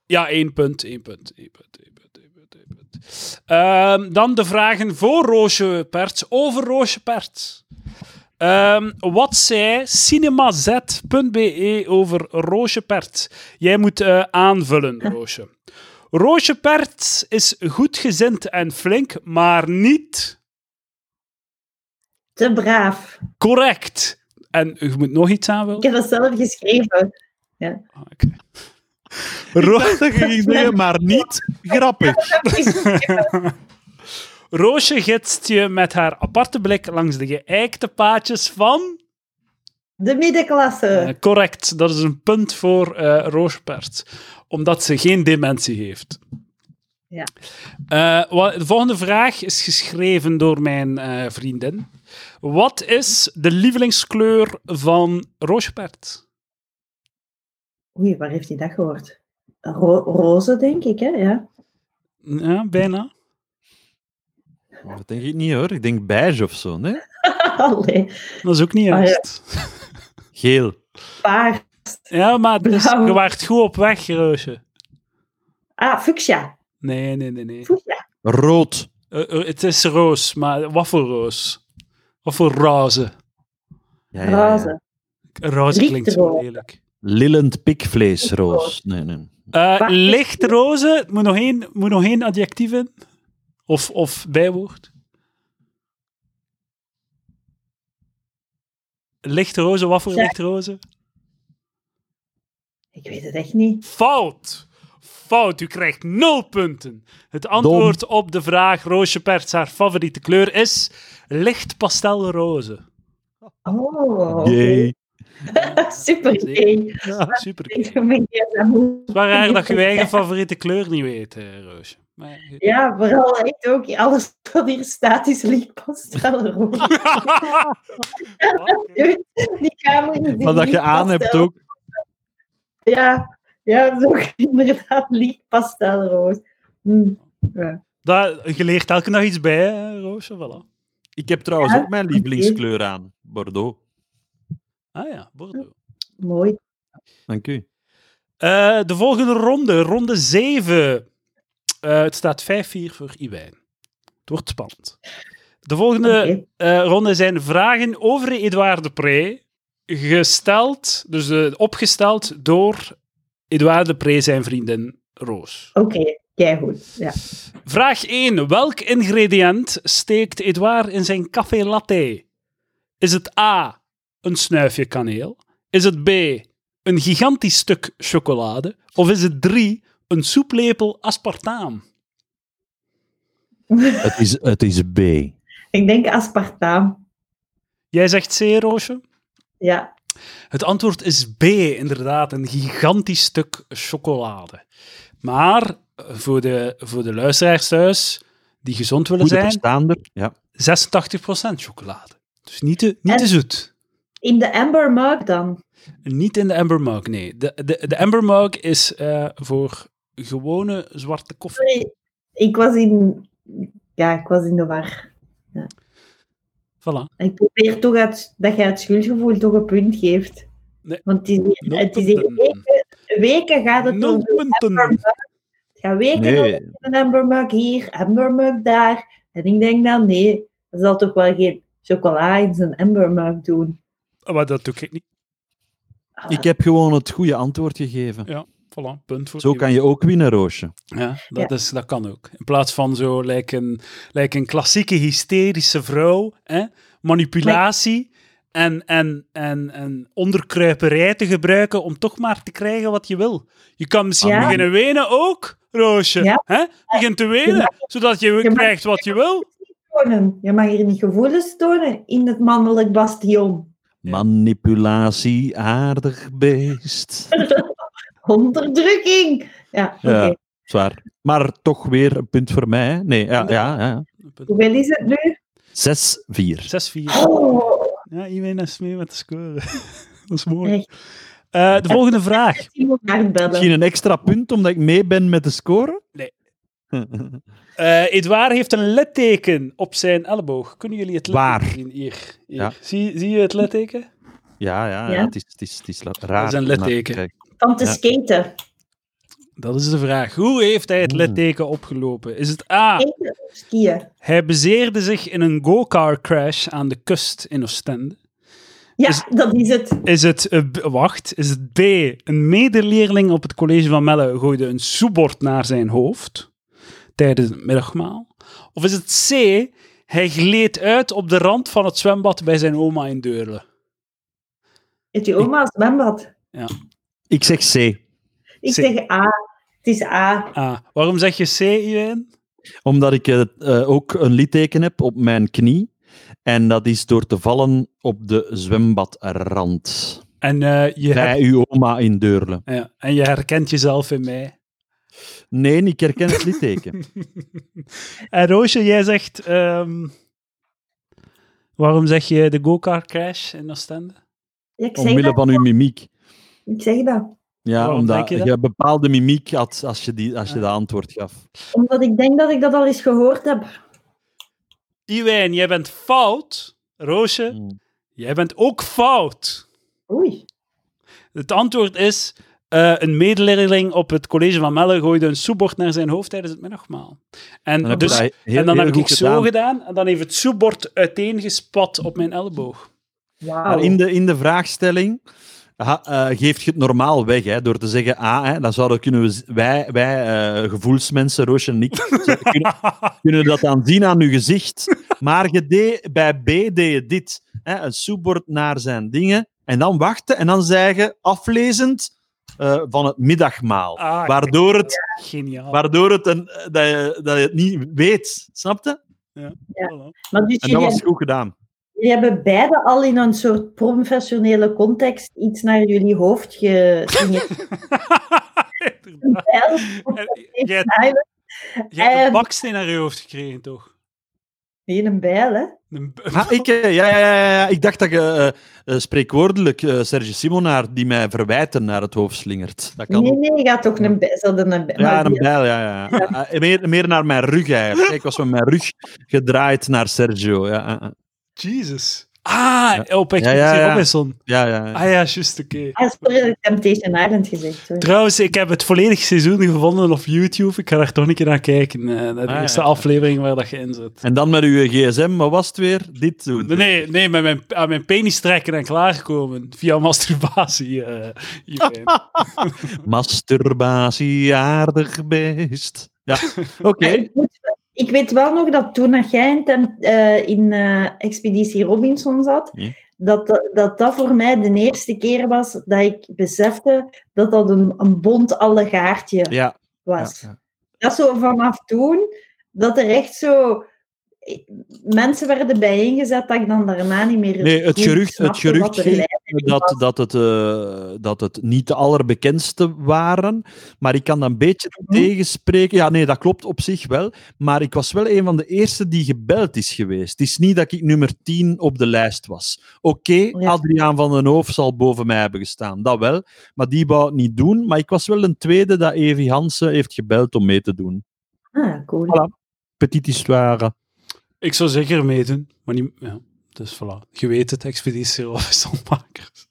S2: Ja, één punt, één punt, één punt, één punt, één punt, één punt. Ehm, dan de vragen voor Roosje Perts, over Roosje Perts. Ehm, wat zei cinemaz.be E over Roosje Perts? Jij moet eh, aanvullen, Roosje. Roosje Perts is goedgezind en flink, maar niet
S3: Te braaf.
S2: correct. En je moet nog iets aanvullen?
S3: Ik heb dat zelf
S1: <laughs>
S3: geschreven.
S2: Ah, oké. Ro-
S3: <laughs>
S1: dat ging zeggen, maar niet grappig.
S2: Roosje gidst je met haar aparte blik langs de geëikte paadjes van...
S3: De middenklasse.
S2: Eh, correct, dat is een punt voor eh Roosje Perts. Omdat ze geen dementie heeft.
S3: Ja.
S2: Eh, wa- de volgende vraag is geschreven door mijn eh, vriendin. Wat is de lievelingskleur van Roosjepert?
S3: Oei, waar heeft hij dat gehoord? Ro- roze, denk ik, hè? Ja. <laughs>
S2: Ja, bijna.
S1: Dat denk ik niet hoor. Ik denk beige of zo. Nee?
S3: Allee,
S2: Dat is ook niet
S3: Ah, ja.
S2: juist.
S1: Geel.
S3: paars.
S2: ja. maar dus,
S3: Blauw.
S2: je waart goed op weg, Roosje.
S3: Ah, fuchsia.
S2: Nee, nee, nee. nee.
S3: Fuchsia.
S1: Rood.
S2: Eh, eh, het is roos, maar wat voor roos? Wat voor roze?
S1: Ja, ja, ja.
S3: Roze.
S2: Roze klinkt zo
S3: Lichtroze.
S2: lelijk.
S1: Lillend pikvleesroos. Nee, nee.
S2: Eh,
S3: Waar is-
S2: lichtroze, moet nog één, moet nog één adjectief in? Of, of bijwoord? Lichtroze, wat voor
S3: Ja.
S2: lichtroze?
S3: Ik weet het echt niet.
S2: Fout! Fout, u krijgt nul punten. Het antwoord op de vraag Roosje Perts haar favoriete kleur is licht pastelroze.
S3: Oh, oké.
S1: Jee.
S3: <laughs> super. gay.
S2: Super.
S3: Ik vind mijn gsm
S2: Het
S3: ook.
S2: is maar raar dat je je eigen favoriete kleur niet weet, eh, Roosje. Maar,
S3: Ja, vooral echt ook. Alles wat hier staat is
S1: <laughs>
S3: lichtpastel rood. <laughs> Die kamer is
S1: Wat dat je aan hebt
S3: lichtpastel.
S1: ook.
S3: Ja, ja, zo inderdaad lichtpastelrood. Hm. Ja.
S2: Daar, je leert elke dag iets bij, hè, Roosje. Voilà.
S1: Ik heb trouwens
S3: Ja,
S1: ook mijn lievelingskleur aan. Bordeaux.
S2: Ah ja, Bordeaux.
S3: Mooi.
S1: Dank u.
S2: Eh, de volgende ronde, ronde 7. het staat 5-4 voor Iwijn. Het wordt spannend. De volgende
S3: Oké.
S2: eh, ronde zijn vragen over Edouard de Pre. Gesteld, dus eh, opgesteld door Edouard de Pre, zijn vriendin Roos.
S3: Oké, jij goed. Ja.
S2: Vraag 1. Welk ingrediënt steekt Edouard in zijn café latte? Is het A. Een snuifje kaneel? Is het B. Een gigantisch stuk chocolade? Of is het 3. Een soeplepel aspartaam?
S1: Het is, het is B.
S3: Ik denk aspartaam.
S2: Jij zegt C, Roosje?
S3: Ja.
S2: Het antwoord is B, inderdaad. Een gigantisch stuk chocolade. Maar eh, voor de, voor de luisteraars thuis die gezond willen
S1: Goed
S2: zijn,
S1: verstaander. Ja.
S2: 86% chocolade. Dus niet te, niet te
S3: En-
S2: zoet.
S3: In de Amber Mug dan.
S2: Niet in de Amber Mug, nee. De, de, de Amber Mug is eh, voor gewone zwarte koffie.
S3: Sorry, ik was in... Ja, ik was in de war.
S2: Voilà.
S3: Ik probeer toch uit, dat je het schuldgevoel toch een punt geeft.
S2: Nee.
S3: Want het is, hier-
S2: Nul
S3: het is hier
S2: punten.
S3: weken, weken gaat het
S2: Nul
S3: om de Amber
S2: punten.
S3: Mug. Het gaat weken over
S1: Nee.
S3: een Amber Mug hier, Amber Mug daar. En ik denk dan, nee, er zal toch wel geen chocola in zijn Amber Mug doen.
S2: Maar dat doe ik niet.
S3: Ah,
S1: Ik heb gewoon het goede antwoord gegeven.
S2: Voilà, punt voor
S1: Zo kan je ook winnen, Roosje.
S2: Ja, dat, Is, dat kan ook. In plaats van zo, lijkt een, lijkt een klassieke hysterische vrouw, hè, manipulatie en, en, en, en onderkruiperij te gebruiken om toch maar te krijgen wat je wil. Je kan misschien
S3: Ja.
S2: beginnen wenen ook, Roosje.
S3: Ja.
S2: Hè? Begin te wenen, zodat je,
S3: mag-
S2: krijgt wat je wil.
S3: tonen. Je mag hier niet gevoelens tonen in het mannelijk bastion.
S1: Manipulatie, aardig beest.
S3: Onderdrukking! Ja, oké.
S1: Ja. Zwaar. Maar toch weer een punt voor mij. hè? Nee, ja, ja, ja.
S3: Hoeveel is het nu?
S1: 6-4.
S2: 6-4.
S3: Oh,
S2: Ja, iedereen is mee met de score. <laughs> dat is mooi.
S3: Echt.
S2: Eh, de volgende vraag.
S3: ik moet naar
S1: Misschien
S3: bellen.
S1: een extra punt omdat ik mee ben met de score?
S2: eh,
S1: <laughs>
S2: Nee. Eh Edouard heeft een letteken op zijn elleboog. Kunnen jullie het letteken
S1: Waar?
S2: zien? Hier. hier.
S1: Ja.
S2: Zie, zie je het letteken?
S1: ja, ja, ja.
S3: Ja?
S1: Het is, het is, het is la- raar.
S2: is een
S1: maar
S2: litteken.
S1: kijk,
S3: Van te
S1: Ja.
S3: skaten.
S2: Dat is de vraag. Hoe heeft hij het
S1: Hmm.
S2: letteken opgelopen? Is het A.
S3: Skaten of skiën?
S2: Hij bezeerde zich in een go-car crash aan de kust in Oostende.
S3: Ja,
S2: Is-
S3: dat is het.
S2: Is het, eh, b- wacht, is het B, een medeleerling op het college van Melle gooide een soebord naar zijn hoofd tijdens het middagmaal? Of is het C, hij gleed uit op de rand van het zwembad bij zijn oma in Deurle?
S3: Heeft je oma als zwembad?
S1: Ik zeg C.
S3: Ik
S2: Zee.
S3: zeg A. Het is A.
S2: Ah, waarom zeg je C, Iwijn?
S1: Omdat ik eh, eh, ook een litteken heb op mijn knie. En dat is door te vallen op de zwembadrand.
S2: En, eh, je
S1: Bij
S2: her-
S1: uw oma in Deurle.
S2: ja, en je herkent jezelf in mij.
S1: Nee, ik herken het litteken.
S2: En Roosje, jij zegt... ehm, waarom zeg je de go-kart crash in Oostende?
S3: Ja, <laughs> ik, zeg
S1: Omwille
S3: dat,
S1: van uw mimiek.
S3: ik zeg dat.
S1: Ja,
S2: Waarom
S1: omdat
S2: denk je
S1: je,
S2: dat?
S1: bepaalde mimiek had als je, die, als je
S2: Ah.
S1: dat antwoord gaf.
S3: Omdat ik denk dat ik dat al eens gehoord heb.
S2: Iwijn, jij bent fout. Roosje,
S1: Mm.
S2: jij bent ook fout.
S3: Oei.
S2: Het antwoord is... eh, een medeleerling op het college van Melle gooide een soepbord naar zijn hoofd tijdens het middagmaal. En,
S1: Dan heb je
S2: dus,
S1: dat heel-
S2: en dan
S1: heel
S2: heb ik
S1: goed
S2: zo gedaan, en dan heeft het soepbord uiteengespat op mijn elleboog.
S3: Wauw.
S1: Maar Ah, in de, in de vraagstelling ha- eh, geeft je het normaal weg hè, door te zeggen A. hè, dan zouden kunnen we, z- wij, wij eh, gevoelsmensen, Roosje en <laughs> ik,
S2: <laughs>
S1: zouden kunnen, kunnen dat dan zien aan uw gezicht. Maar je deed, bij B deed je dit. Hè, een soepbord naar zijn dingen. En dan wachten en dan zei je aflezend eh, van het middagmaal. <laughs>
S2: Ah, kijk.
S1: waardoor, het,
S2: Geniaal.
S1: waardoor het een, eh, dat, je, dat je het niet weet. Snapte?
S2: Voilà.
S3: Maar dus
S1: En dat
S3: jullie,
S1: was goed gedaan.
S3: jullie hebben beide al in een soort professionele context iets naar jullie hoofd
S1: <laughs>
S3: gesigneerd.
S2: <laughs> Inderdaad. En Jij jij hebt een
S3: Ehm.
S2: baksteen naar je hoofd gekregen, toch?
S3: Nee, een bijl, hè?
S2: Een b-
S1: Ah, ik, eh, ja, ja, ja, ja, ik dacht dat je eh, eh, spreekwoordelijk eh Serge Simonaar die mij verwijten naar het hoofd slingert. Dat kan
S3: Nee,
S1: ook.
S3: nee, je gaat toch een bijl. ze hadden een bijl.
S1: Ja,
S3: maar
S1: een
S3: die-
S1: bijl, ja. ja. Ah, meer, meer naar mijn rug eigenlijk. Kijk, Ik was met mijn rug gedraaid naar Sergio. Ja, ah, ah.
S2: <laughs> Jesus. Ah, op echt
S1: Ja, ja, ja.
S2: Robinson.
S1: ja, ja, ja.
S2: Ah ja, juist, oké.
S3: Ah, sorry, dat ik Temptation Island gezegd. Sorry.
S2: Trouwens, ik heb het volledige seizoen gevonden op YouTube. Ik ga daar toch een keer naar kijken. eh, naar de
S1: Ah,
S2: eerste
S1: ja.
S2: aflevering waar dat je in zit.
S1: En dan met uw gsm, wat was het weer? Dit doen.
S2: Nee, Nee, nee, met mijn, aan mijn penis trekken en klaarkomen. Via masturbatie. eh
S1: <laughs>
S2: Iwijn.
S1: Masturbatie, aardig beest. Ja, oké.
S3: Maar Eh, <laughs> Ik, moet- ik weet wel nog dat toen dat jij in, Tem- eh, in eh, Expeditie Robinson zat,
S1: Ja.
S3: dat, dat- dat dat voor mij de eerste keer was dat ik besefte dat dat een, een bont allegaartje
S1: Ja, ja,
S3: was.
S1: ja.
S3: Dat zo vanaf toen, dat er echt zo... eh, Mensen werden bijeengezet dat ik dan daarna niet meer...
S1: Nee, het
S3: goed
S1: gerucht, het
S3: snapte wat
S1: gerucht
S3: er
S1: ging
S3: leidde.
S1: dat, dat, het, eh, dat het niet de allerbekendste waren. Maar ik kan dat een beetje tegenspreken. Ja, nee, dat klopt op zich wel. Maar ik was wel een van de eerste die gebeld is geweest. Het is niet dat ik nummer 10 op de lijst was. Oké,
S3: Ja.
S1: Adriaan van den Hoof zal boven mij hebben gestaan. Dat wel. Maar die wou het niet doen. Maar ik was wel een tweede dat Evi Hansen heeft gebeld om mee te doen.
S3: Ah, cool.
S1: Voilà. Petite histoire.
S2: Ik zou zeker meedoen, maar niet... Ja. Dus voilà, je weet het, expeditie Robinson-makers.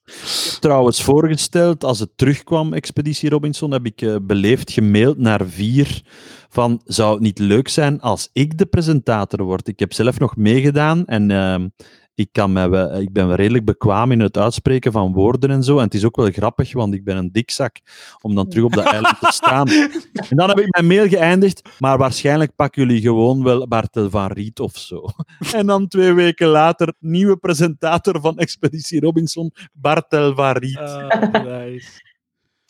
S1: trouwens voorgesteld, als het terugkwam, Expeditie Robinson, heb ik eh, beleefd gemaild naar vier van, zou het niet leuk zijn als ik de presentator word? Ik heb zelf nog meegedaan en ehm, ik, kan mij wel- ik ben wel redelijk bekwaam in het uitspreken van woorden en zo. En het is ook wel grappig, want ik ben een dikzak om dan terug op dat eiland te staan.
S3: <laughs>
S1: En dan heb ik mijn mail geëindigd, maar waarschijnlijk pakken jullie gewoon wel Bartel van Riet of
S3: <laughs>
S1: zo. En dan twee weken later, nieuwe presentator van Expeditie Robinson, Bartel van Riet.
S3: Eh.
S2: Ah, nice.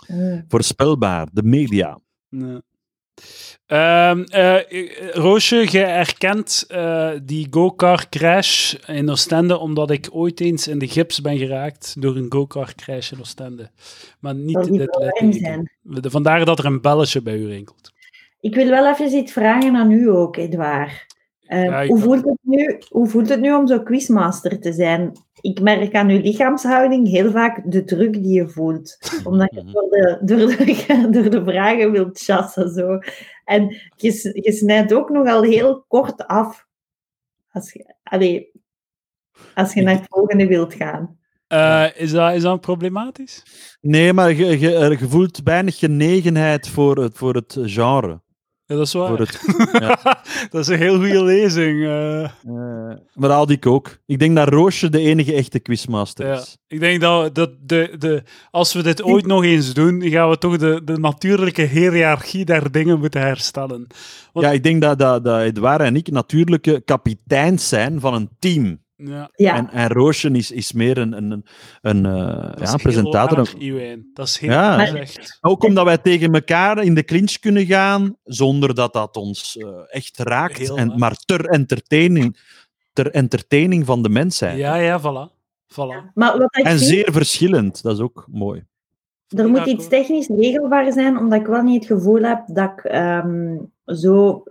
S3: Ah.
S1: Voorspelbaar, de media.
S2: Nee. Ehm, eh, Roosje, jij herkent eh, die go-kart crash in Oostende omdat ik ooit eens in de gips ben geraakt door een go-kart crash in Oostende. Maar
S3: Dat
S2: niet
S3: die
S2: dit
S3: klein zijn.
S2: litteken. Vandaar dat er een belletje bij u rinkelt.
S3: Ik wil wel even iets vragen aan u ook, Edouard. Eh,
S2: Ja, ik-
S3: hoe, voelt het nu, hoe voelt het nu om zo quizmaster te zijn? Ik merk aan uw lichaamshouding heel vaak de druk die je voelt. Omdat je door de, door de, <laughs> door de vragen wilt chassen. Zo. En je, s- je snijdt ook nogal heel kort af. Als je, allee, als je naar het volgende wilt gaan.
S2: Eh, is, dat, is dat problematisch?
S1: Nee, maar je, je, er- je voelt weinig genegenheid voor het, voor het genre.
S2: Ja, dat is waar. <laughs>
S1: Voor het,
S2: dat is een heel goede lezing. eh.
S1: eh, maar dat had ik ook. Ik denk dat Roosje de enige echte quizmaster
S2: Ja,
S1: is.
S2: ik denk dat, dat de, de, als we dit ooit nog eens doen, gaan we toch de, de natuurlijke hiërarchie der dingen moeten herstellen. Wat-
S1: Ja, ik denk dat, dat, dat Edouard en ik natuurlijke kapiteins zijn van een team.
S2: Ja,
S3: Ja,
S1: En, en Roosje is, is meer een, een, een, een, eh,
S2: dat
S1: ja,
S2: is
S1: presentator.
S2: heel raar, Iwijn. Dat is heel
S1: Ja.
S2: raar
S3: Maar-
S2: gezegd.
S1: Ook omdat wij tegen elkaar in de clinch kunnen gaan, zonder dat dat ons eh, echt raakt.
S2: Heel
S1: En,
S2: waar.
S1: maar ter entertaining, ter entertaining van de mensheid.
S2: Ja, ja, voilà. voilà.
S3: maar wat ik
S1: En
S3: vind-
S1: zeer verschillend, dat is ook mooi.
S3: Er moet
S2: Ja,
S3: iets technisch regelbaar zijn, omdat ik wel niet het gevoel heb dat ik ehm, zo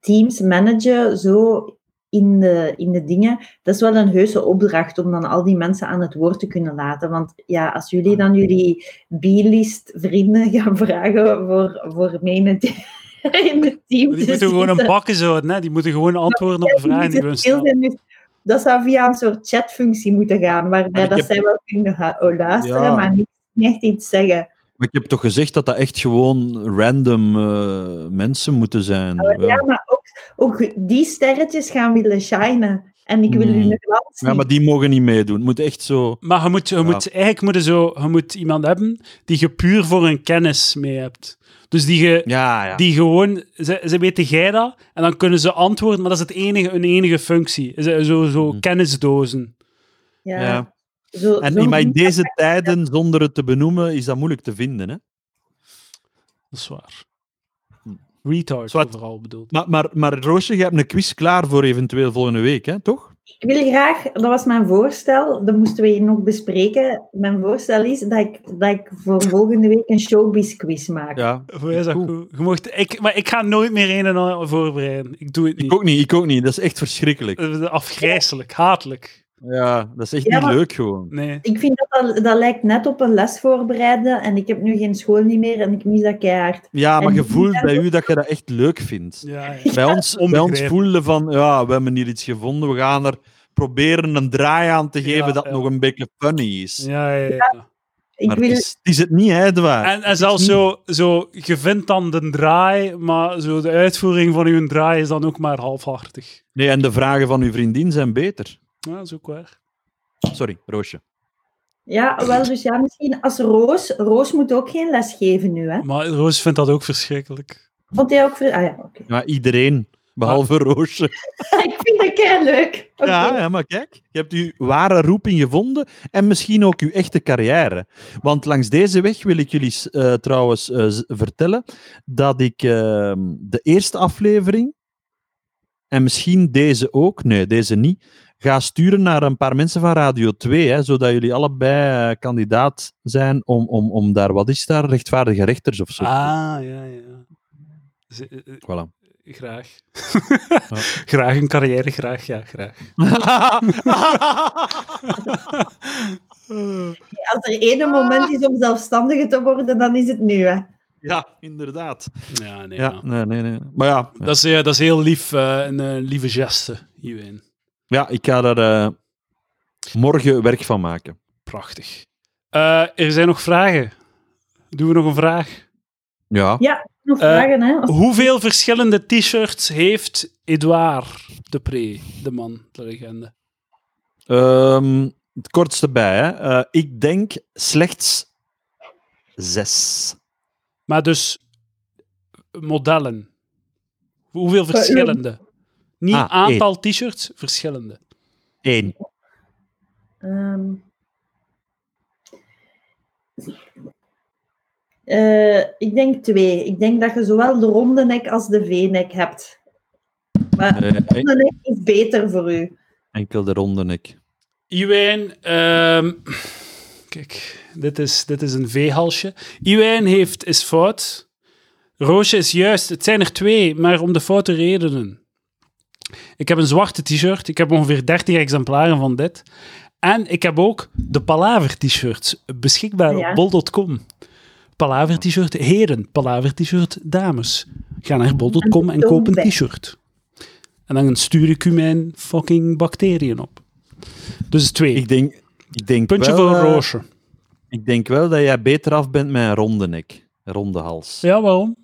S3: teams managen, zo in de, in de dingen. Dat is wel een heuse opdracht om dan al die mensen aan het woord te kunnen laten. Want ja, als jullie dan jullie B-list vrienden gaan <laughs> vragen voor, voor mee in het, <laughs> in het team
S2: Die
S3: te
S2: moeten gewoon
S3: zitten,
S2: een bakken houden, hè? Die moeten gewoon antwoorden op de vragen die we hun
S3: die
S2: stellen.
S3: zijn dus- dat zou via een soort chatfunctie moeten gaan, waarbij
S1: ik
S3: dat
S1: heb-
S3: zij wel kunnen hu- luisteren,
S1: Ja.
S3: maar niet, niet echt iets zeggen.
S1: Maar ik heb toch gezegd dat dat echt gewoon random eh, mensen moeten zijn.
S3: Oh, Ja,
S1: Ja.
S3: maar ook, ook die sterretjes gaan willen shinen. En ik wil
S1: Hmm.
S3: hun glans
S1: Ja, maar die mogen niet meedoen. Het moet echt zo...
S2: Maar je moet, je moet, eigenlijk moet je, zo, je moet iemand hebben die je puur voor hun kennis mee hebt. Dus die, je,
S1: Ja, ja.
S2: die gewoon, ze, ze weten jij dat, en dan kunnen ze antwoorden, maar dat is het enige, hun enige functie. Ze- Zo, zo
S1: Hm.
S2: kennisdozen.
S3: Ja.
S1: Ja.
S3: Zo,
S1: En
S3: zo
S1: in, maar in deze tijden, zonder het te benoemen, is dat moeilijk te vinden. Hè?
S2: Dat is waar.
S1: Hm.
S2: Retard
S1: Zwart.
S2: vooral bedoeld.
S1: Maar, maar, maar Roosje, je hebt een quiz klaar voor eventueel volgende week, hè? toch?
S3: Ik wil graag, dat was mijn voorstel, dat moesten we hier nog bespreken. Mijn voorstel is dat ik, dat ik voor volgende week een showbiz quiz maak.
S1: Ja.
S2: Voor mij is dat
S1: Cool.
S2: goed. Je mocht, ik, maar ik ga nooit meer een en ander voorbereiden. Ik doe het
S1: Ik
S2: niet.
S1: ook niet, ik ook niet. Dat is echt verschrikkelijk.
S2: Eh, Afgrijselijk, hatelijk.
S1: Ja, dat is echt
S3: Ja,
S1: niet
S3: maar-
S1: leuk gewoon.
S2: Nee.
S3: Ik vind dat, dat dat lijkt net op een les voorbereiden en ik heb nu geen school niet meer en ik mis dat keihard.
S1: Ja, maar
S3: En-
S1: je voelt bij u dat je dat echt leuk vindt.
S2: Ja, <laughs> ja.
S1: Bij ons, bij ons
S2: Onbegrijpelijk.
S1: voelde van, ja, we hebben hier iets gevonden, we gaan er proberen een draai aan te geven
S2: Ja,
S1: dat
S2: ja.
S1: nog een beetje funny is.
S2: Ja, ja, ja.
S3: Ik
S1: maar
S3: wil,
S1: het, is, het is het niet, hè, Edouard?
S2: En, en zelfs
S1: niet.
S2: zo, zo, je vindt dan de draai, maar zo de uitvoering van uw draai is dan ook maar halfhartig.
S1: Nee, en de vragen van uw vriendin zijn beter.
S2: Ja, dat is ook waar.
S1: Sorry, Roosje.
S3: Ja, wel, dus ja, misschien als Roos. Roos moet ook geen les geven nu,
S1: Mm.
S3: hè?
S2: Maar Roos vindt dat ook verschrikkelijk.
S3: Vond jij ook... ver- Ah ja, oké. <laughs>
S1: Ja, iedereen, behalve
S2: Ah.
S1: Roosje.
S3: ik vind dat kei leuk.
S1: Ja, ja, maar kijk, je hebt uw ware roeping gevonden en misschien ook uw echte carrière. Want langs deze weg wil ik jullie s- eh, trouwens eh, z- vertellen dat ik ehm, de eerste aflevering, en misschien deze ook, nee, deze niet, ga sturen naar een paar mensen van Radio 2, hè, zodat jullie allebei eh, kandidaat zijn om, om, om daar, wat is daar, rechtvaardige rechters of zo.
S2: Ah, ja, ja. Z- eh, eh,
S1: Voilà.
S2: graag. <laughs> graag een carrière, graag, ja, <laughs> graag.
S3: Als er ene moment is om zelfstandige te worden, dan is het nu, hè?
S1: ja, inderdaad.
S2: Ja, nee.
S1: Ja,
S2: ja.
S1: nee, nee, nee. Maar ja,
S2: Dat, is, eh, dat is heel lief, eh, een eh, lieve geste hierin.
S1: Ja, ik ga daar eh, morgen werk van maken.
S2: Prachtig. Eh, er zijn nog vragen. Doen we nog een vraag?
S1: Ja.
S3: Nog
S2: Eh,
S3: vragen, hè? Als-
S2: Hoeveel verschillende t-shirts heeft Edouard de Pre, de man, de legende?
S1: Ehm, het kortste bij, hè. Eh, ik denk slechts zes.
S2: Maar dus modellen. Hoeveel verschillende? Niet
S1: Ah,
S2: aantal t-shirts, verschillende.
S1: Eén.
S3: Ehm. Eh, ik denk twee. Ik denk dat je zowel de ronde nek als de V-nek hebt. Maar de
S1: Eh, en-
S3: ronde nek is beter voor u.
S1: enkel de ronde ik.
S2: Iwijn, ehm, kijk, dit is, dit is een V-halsje. Iwijn heeft, is fout. Roosje is juist. Het zijn er twee, maar om de foute redenen. Ik heb een zwarte t-shirt. Ik heb ongeveer 30 exemplaren van dit. En ik heb ook de Palaver t-shirts beschikbaar
S3: Ja.
S2: op bol.com. Palaver t-shirt heren, Palaver t-shirt dames. Ga naar bol.com en koop een t-shirt. En dan stuur ik u mijn fucking bacteriën op. Dus twee.
S1: Ik denk, ik denk
S2: Puntje
S1: wel,
S2: voor
S1: eh,
S2: Roosje.
S1: Ik denk wel dat jij beter af bent met een ronde nek. Een Ronde hals.
S2: Ja, waarom?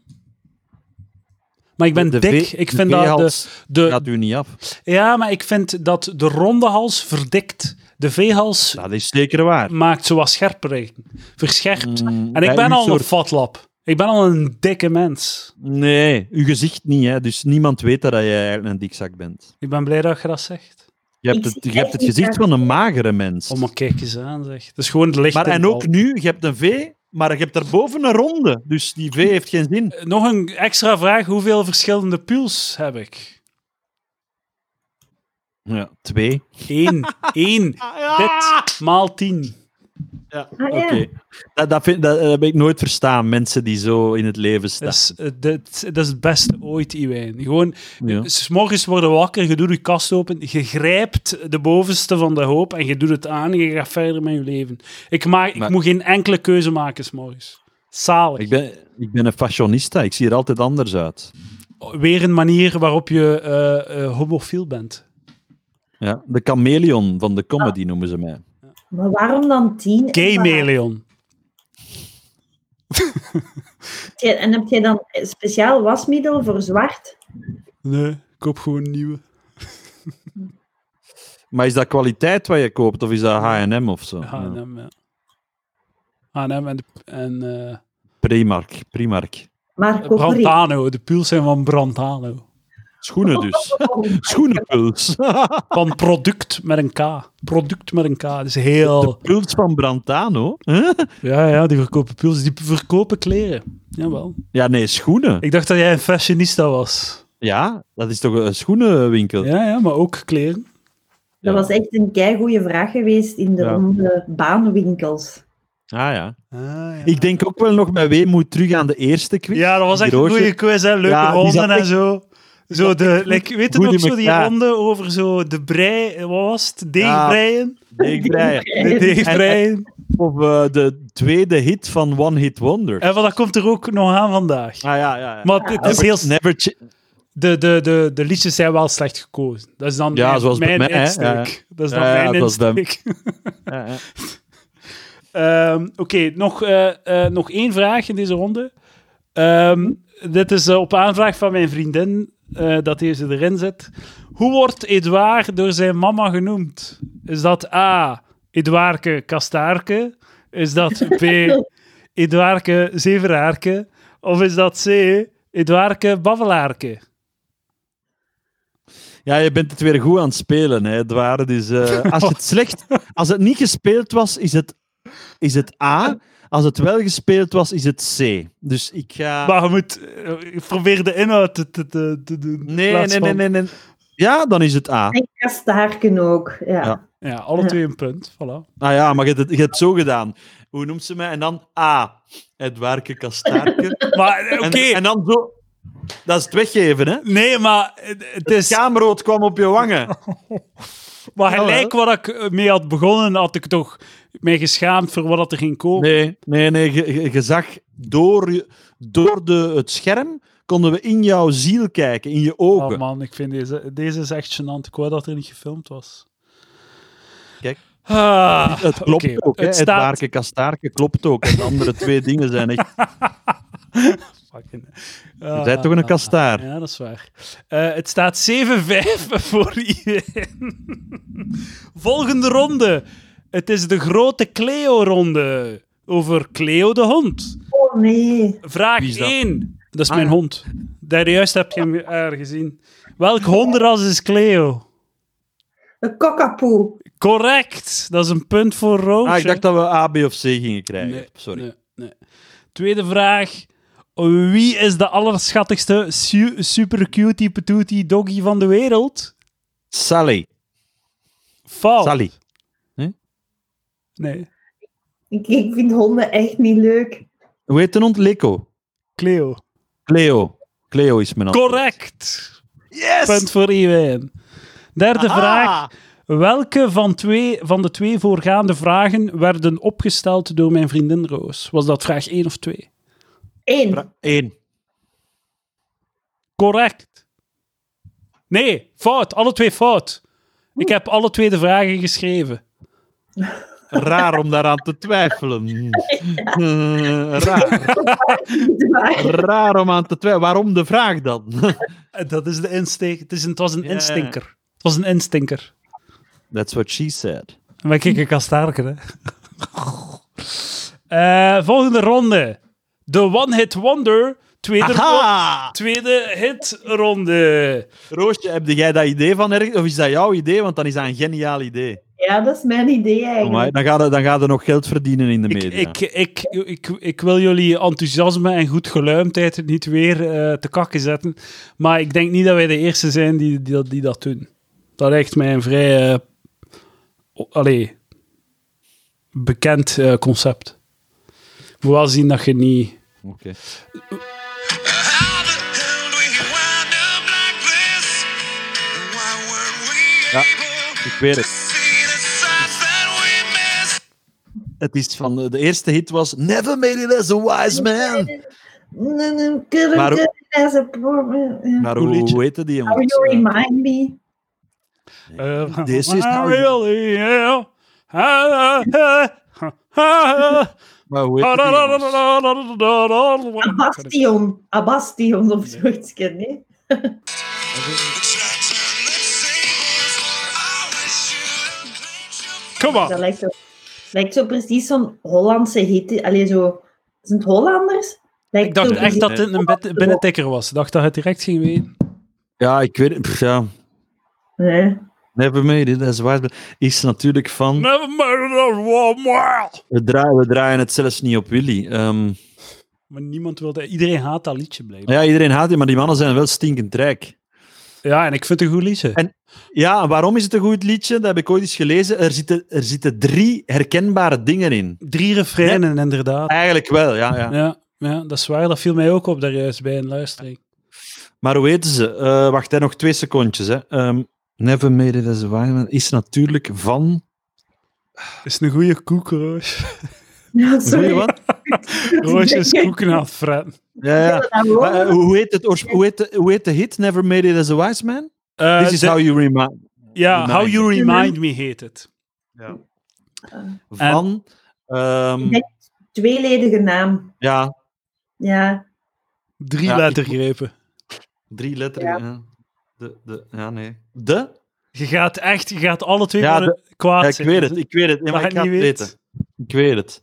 S2: Maar ik ben
S1: De
S2: dik.
S1: V-
S2: ik
S1: de
S2: vind dat de,
S1: V-hals
S2: de,
S1: gaat u niet af.
S2: ja, maar ik vind dat de ronde hals verdikt. De V-hals
S1: Dat is zeker waar.
S2: maakt ze wat scherper. Verscherpt.
S1: Mm,
S2: en ik
S1: bij
S2: ben
S1: uw
S2: al
S1: soort-
S2: een fatlap. Ik ben al een dikke mens.
S1: Nee, uw gezicht niet, hè. Dus niemand weet dat jij eigenlijk een dikzak bent.
S2: Ik ben blij dat je dat zegt.
S1: Je hebt
S3: Ik
S1: het,
S3: zie
S1: je hebt het
S3: echt niet
S1: gezicht
S3: waar.
S1: van een magere mens.
S2: Oh, maar kijk eens aan, zeg. Het is gewoon de licht.
S1: Maar
S2: in
S1: en
S2: de
S1: ook
S2: bal.
S1: nu, je hebt een V, maar je hebt daarboven een ronde. Dus die V heeft geen zin.
S2: Nog een extra vraag. Hoeveel verschillende puls heb ik?
S1: Ja, twee. <laughs>
S2: Eén. Eén. Dit maal tien. Ja.
S3: Ah,
S1: Oké.
S3: ja.
S1: Dat, dat, vind- dat, eh, dat heb ik nooit verstaan, mensen die zo in het leven staan.
S2: Dat is, eh, dat, dat is het beste ooit, Iwijn. Gewoon,
S1: Ja.
S2: s morgens worden wakker, je doet je kast open, je grijpt de bovenste van de hoop en je doet het aan en je gaat verder met je leven. Ik, maak, ik
S1: Maar-
S2: moet geen enkele keuze maken s'morgens. Zalig.
S1: Ik, ben, ik ben een fashionista, ik zie er altijd anders uit.
S2: Weer een manier waarop je eh, eh, homofiel bent.
S1: Ja, de chameleon van de
S3: Ah.
S1: comedy noemen ze mij.
S3: Maar waarom dan tien? en
S2: Gay
S3: waar?
S2: meleon.
S3: En heb jij dan speciaal wasmiddel voor zwart?
S2: Nee, koop gewoon een nieuwe.
S1: Maar is dat kwaliteit wat je koopt of is dat H&M of zo? Ja.
S2: H&M, ja. H&M en, de, en eh,
S1: Primark, Primark. Eh,
S3: Maar koper
S2: Brantano. De puls zijn van Brantano.
S1: Schoenen
S3: <laughs>
S1: dus. Schoenenpuls.
S2: Van product met een K. Product met een K. Dat is heel...
S1: Puls van Brantano. Huh?
S2: Ja, ja, die verkopen pulsen. Die verkopen kleren. Jawel.
S1: Ja, nee, schoenen.
S2: Ik dacht dat jij een fashionista was.
S1: Ja, dat is toch een schoenenwinkel?
S2: Ja, ja, maar ook kleren.
S1: Ja.
S3: <laughs> Dat was echt een keigoede vraag geweest in de
S1: Ja.
S3: ronde baanwinkels.
S1: Ah ja.
S2: ja.
S1: Ik denk ook wel nog met weemoed terug aan de eerste quiz.
S2: dat was echt een
S1: Roosje.
S2: goede quiz, hè. Leuke
S1: Ja, die
S2: ronden
S1: zat
S2: en
S1: echt-
S2: zo. Zo de, like, weet je
S1: goed
S2: nog,
S1: in
S2: zo die
S1: elkaar.
S2: ronde over zo de brei... Wat was het? Deegbreien?
S1: Deegbreien.
S2: De deegbreien.
S1: Of eh, de tweede hit van One Hit Wonder.
S2: En dat komt er ook nog aan vandaag.
S1: Ah ja, ja. ja.
S2: Eh, Maar het is
S1: Never-
S2: heel...
S1: never chi-
S2: De, de, de, de liedjes zijn wel slecht gekozen. Dat is dan
S1: Ja,
S2: mijn,
S1: zoals bij
S2: mijn
S1: mij, hè.
S2: insteek. Dat is dan
S1: Ja, ja,
S2: mijn
S1: dat was bij-
S2: insteek.
S1: ja, ja.
S2: Ehm, Oké, nog, eh, eh, nog één vraag in deze ronde. Ehm, dit is eh, op aanvraag van mijn vriendin eh, dat deze erin zit. Hoe wordt Edouard door zijn mama genoemd? Is dat A. Edouardke Kastaarke? Is dat B. Edouardke Zeveraarke? Of is dat C. Edouardke Babbelaarke?
S1: Ja, je bent het weer goed aan het spelen, hè, Edouard. Dus, eh,
S2: <laughs>
S1: als het slecht... Als het niet gespeeld was, is het, is het A. Als het wel gespeeld was, is het C. Dus ik ga...
S2: Maar je moet eh, ik probeer de inhoud te, te, te, te doen. in
S1: Nee,
S2: plaats
S1: nee, nee,
S2: van-
S1: nee, nee. Ja, dan is het A.
S3: En kastaarken ook, ja.
S1: Ja.
S2: Ja, alle
S3: Ja.
S2: twee een punt. Voilà.
S1: Ah ja, maar je hebt het, je hebt het zo gedaan. Hoe noemt ze mij? En dan A. Edouardke
S2: <laughs>
S1: Kastaarke.
S2: Maar eh, oké.
S1: En, en dan zo... Dat is het weggeven, hè.
S2: Nee, maar eh, het is.
S1: Schaamrood kwam op je wangen.
S2: Maar
S1: Jawel.
S2: gelijk wat ik eh, mee had begonnen, had ik toch mij geschaamd voor wat dat er ging komen.
S1: Nee, nee, nee. Je, je- je zag door, je- door de, het scherm konden we in jouw ziel kijken, in je
S2: Oh
S1: ogen.
S2: man, ik vind deze, deze is echt gênant. Ik wou dat er niet gefilmd was.
S1: Kijk.
S2: Ah,
S1: het klopt
S2: oké,
S1: ook. hè.
S2: Het
S1: Het
S2: staat...
S1: Waarke kastaarke klopt ook. En de andere twee <laughs> dingen zijn echt...
S2: Fucking-
S1: Je
S2: Ah,
S1: bent toch een kastaar?
S2: Ja, dat is waar. Eh, het staat 7-5 <laughs> voor iedereen. Volgende ronde. Het is de grote Cleo-ronde. Over Cleo de hond.
S3: Oh nee.
S2: Vraag
S1: Wie is dat?
S2: 1. Dat is
S1: Ah,
S2: mijn
S1: ja.
S2: hond. Daar juist heb je hem eh, gezien. Welk hondenras is Cleo?
S3: Een kakapoe.
S2: Correct. Dat is een punt voor Roosje.
S1: Ah, ik dacht dat we A, B of C gingen krijgen.
S2: Nee,
S1: Sorry.
S2: nee, nee. Tweede vraag. Wie is de allerschattigste su- super cutie patootie doggy van de wereld?
S1: Sally.
S2: Fout.
S1: Sally.
S2: Nee,
S3: Ik, ik vind honden echt niet leuk.
S1: Hoe heet de hond? Leko.
S2: Cleo.
S1: Cleo. Cleo is mijn antwoord.
S2: Correct.
S1: Yes! Ah!
S2: Punt voor Iwijn. Derde
S1: Aha!
S2: vraag. Welke van, twee, van de twee voorgaande vragen werden opgesteld door mijn vriendin Roos? Was dat vraag 1 of 2?
S3: Eén.
S1: Vra- Eén.
S2: Correct. Nee, fout. Alle twee fout. Ik heb alle twee de vragen geschreven.
S1: Raar om daaraan te twijfelen. <laughs> Eh, raar. Raar om aan te twijfelen. Waarom de vraag dan? <laughs>
S2: Eh, Dat is de insteek. Het, is een, het was een
S1: Ja.
S2: instinker. Het was een instinker.
S1: That's what she said.
S2: Maar kijk, ik kan sterker, hè. Eh, volgende ronde. De One Hit Wonder. Tweede, ro-
S1: Aha!
S2: tweede hitronde.
S1: Roosje, heb jij dat idee van ergens? Of is dat jouw idee? Want dan is dat een geniaal idee.
S3: <laughs> Ja, dat is mijn idee
S1: Amai,
S3: eigenlijk.
S1: dan, gaat er, dan gaat er nog geld verdienen in de
S2: Ik,
S1: media.
S2: ik, ik, ik, ik wil jullie enthousiasme en goed geluimdheid niet weer eh, te kakken zetten. Maar ik denk niet dat wij de eerste zijn die, die, dat- die dat doen. Dat lijkt mij een vrij... eh, o- allee, bekend eh, concept. Moet wel zien dat je niet...
S1: Oké.
S4: How the hell do we wind up like this? Why weren't we
S1: Ja,
S4: able
S1: Ik weet
S4: to
S1: het.
S4: see the signs that we missed?
S1: Het is van de eerste hit was Never Made It As a Wise Man. Maar hoe- Maar
S2: Goed
S1: hoe,
S2: liedje.
S1: hoe heette die
S3: How
S1: jongens?
S3: you remind me.
S2: Eh,
S1: This is
S2: I
S1: how you-
S2: really am. Ah, ah, ah, ah,
S1: Maar hoe heette die jongens?
S2: ah.
S3: Abastion. Abastion of zoiets. Nee?
S4: But should I turn the tables? I wish you had played your
S2: Come
S1: Ah.
S3: Dat
S2: on.
S3: lijkt zo, lijkt zo precies zo'n Hollandse hit. Allee, zo... Zijn het Hollanders? Lijkt
S2: Ik dacht
S3: zo
S2: echt dat dit een bed- binnentikker was. Ik dacht dat het direct ging weten.
S1: Ja, ik weet het. Pff, ja.
S3: Nee. <laughs>
S1: Never Made It As a Wise Man is natuurlijk van...
S2: Never mind, one more.
S1: We draaien, we draaien het zelfs niet op Willy. Ehm,
S2: Maar niemand wilde... Iedereen haat dat liedje blijven.
S1: ja, iedereen haat die, maar die mannen zijn wel stinkend rijk.
S2: Ja, en ik vind het een goed liedje.
S1: En- Ja, en waarom is het een goed liedje? Dat heb ik ooit eens gelezen. Er zitten, er zitten drie herkenbare dingen in.
S2: Drie refreinen, inderdaad.
S1: Eigenlijk wel, ja. ja.
S2: Ja, ja, dat is waar. Dat viel mij ook op daar juist bij een luistering.
S1: Maar hoe weten ze? Eh, wacht, hè, nog twee secondjes. Hè. Ehm, Never Made It As a Wise Man is natuurlijk van...
S2: Is een goede koek, Roos. <laughs>
S3: Ja,
S1: Sorry,
S3: sorry. <laughs>
S1: wat?
S2: Roos is koeken aan het fretten.
S1: Ja, ja. Maar, eh, hoe, heet het, oors- hoe, heet de, hoe heet de hit? Never Made It As a Wise Man?
S2: Eh,
S1: This is
S2: de-
S1: how you remind...
S2: ja, How
S1: remind
S2: You
S3: me.
S2: Remind Me heet het.
S1: Van... ehm,
S3: Ik denk- Tweeledige naam.
S1: ja,
S3: Ja.
S2: Drie
S1: Ja, ik-
S2: lettergrepen.
S1: drie letters. Ja. De, de, ja, nee. De?
S2: Je gaat echt, je gaat alle twee
S1: Ja,
S2: naar de- kwaad
S1: Ja, ik
S2: zijn.
S1: weet het, ik weet het. Ja,
S2: Maar
S1: maar ik
S2: het
S1: ga het
S2: niet weet.
S1: weten. Ik weet het.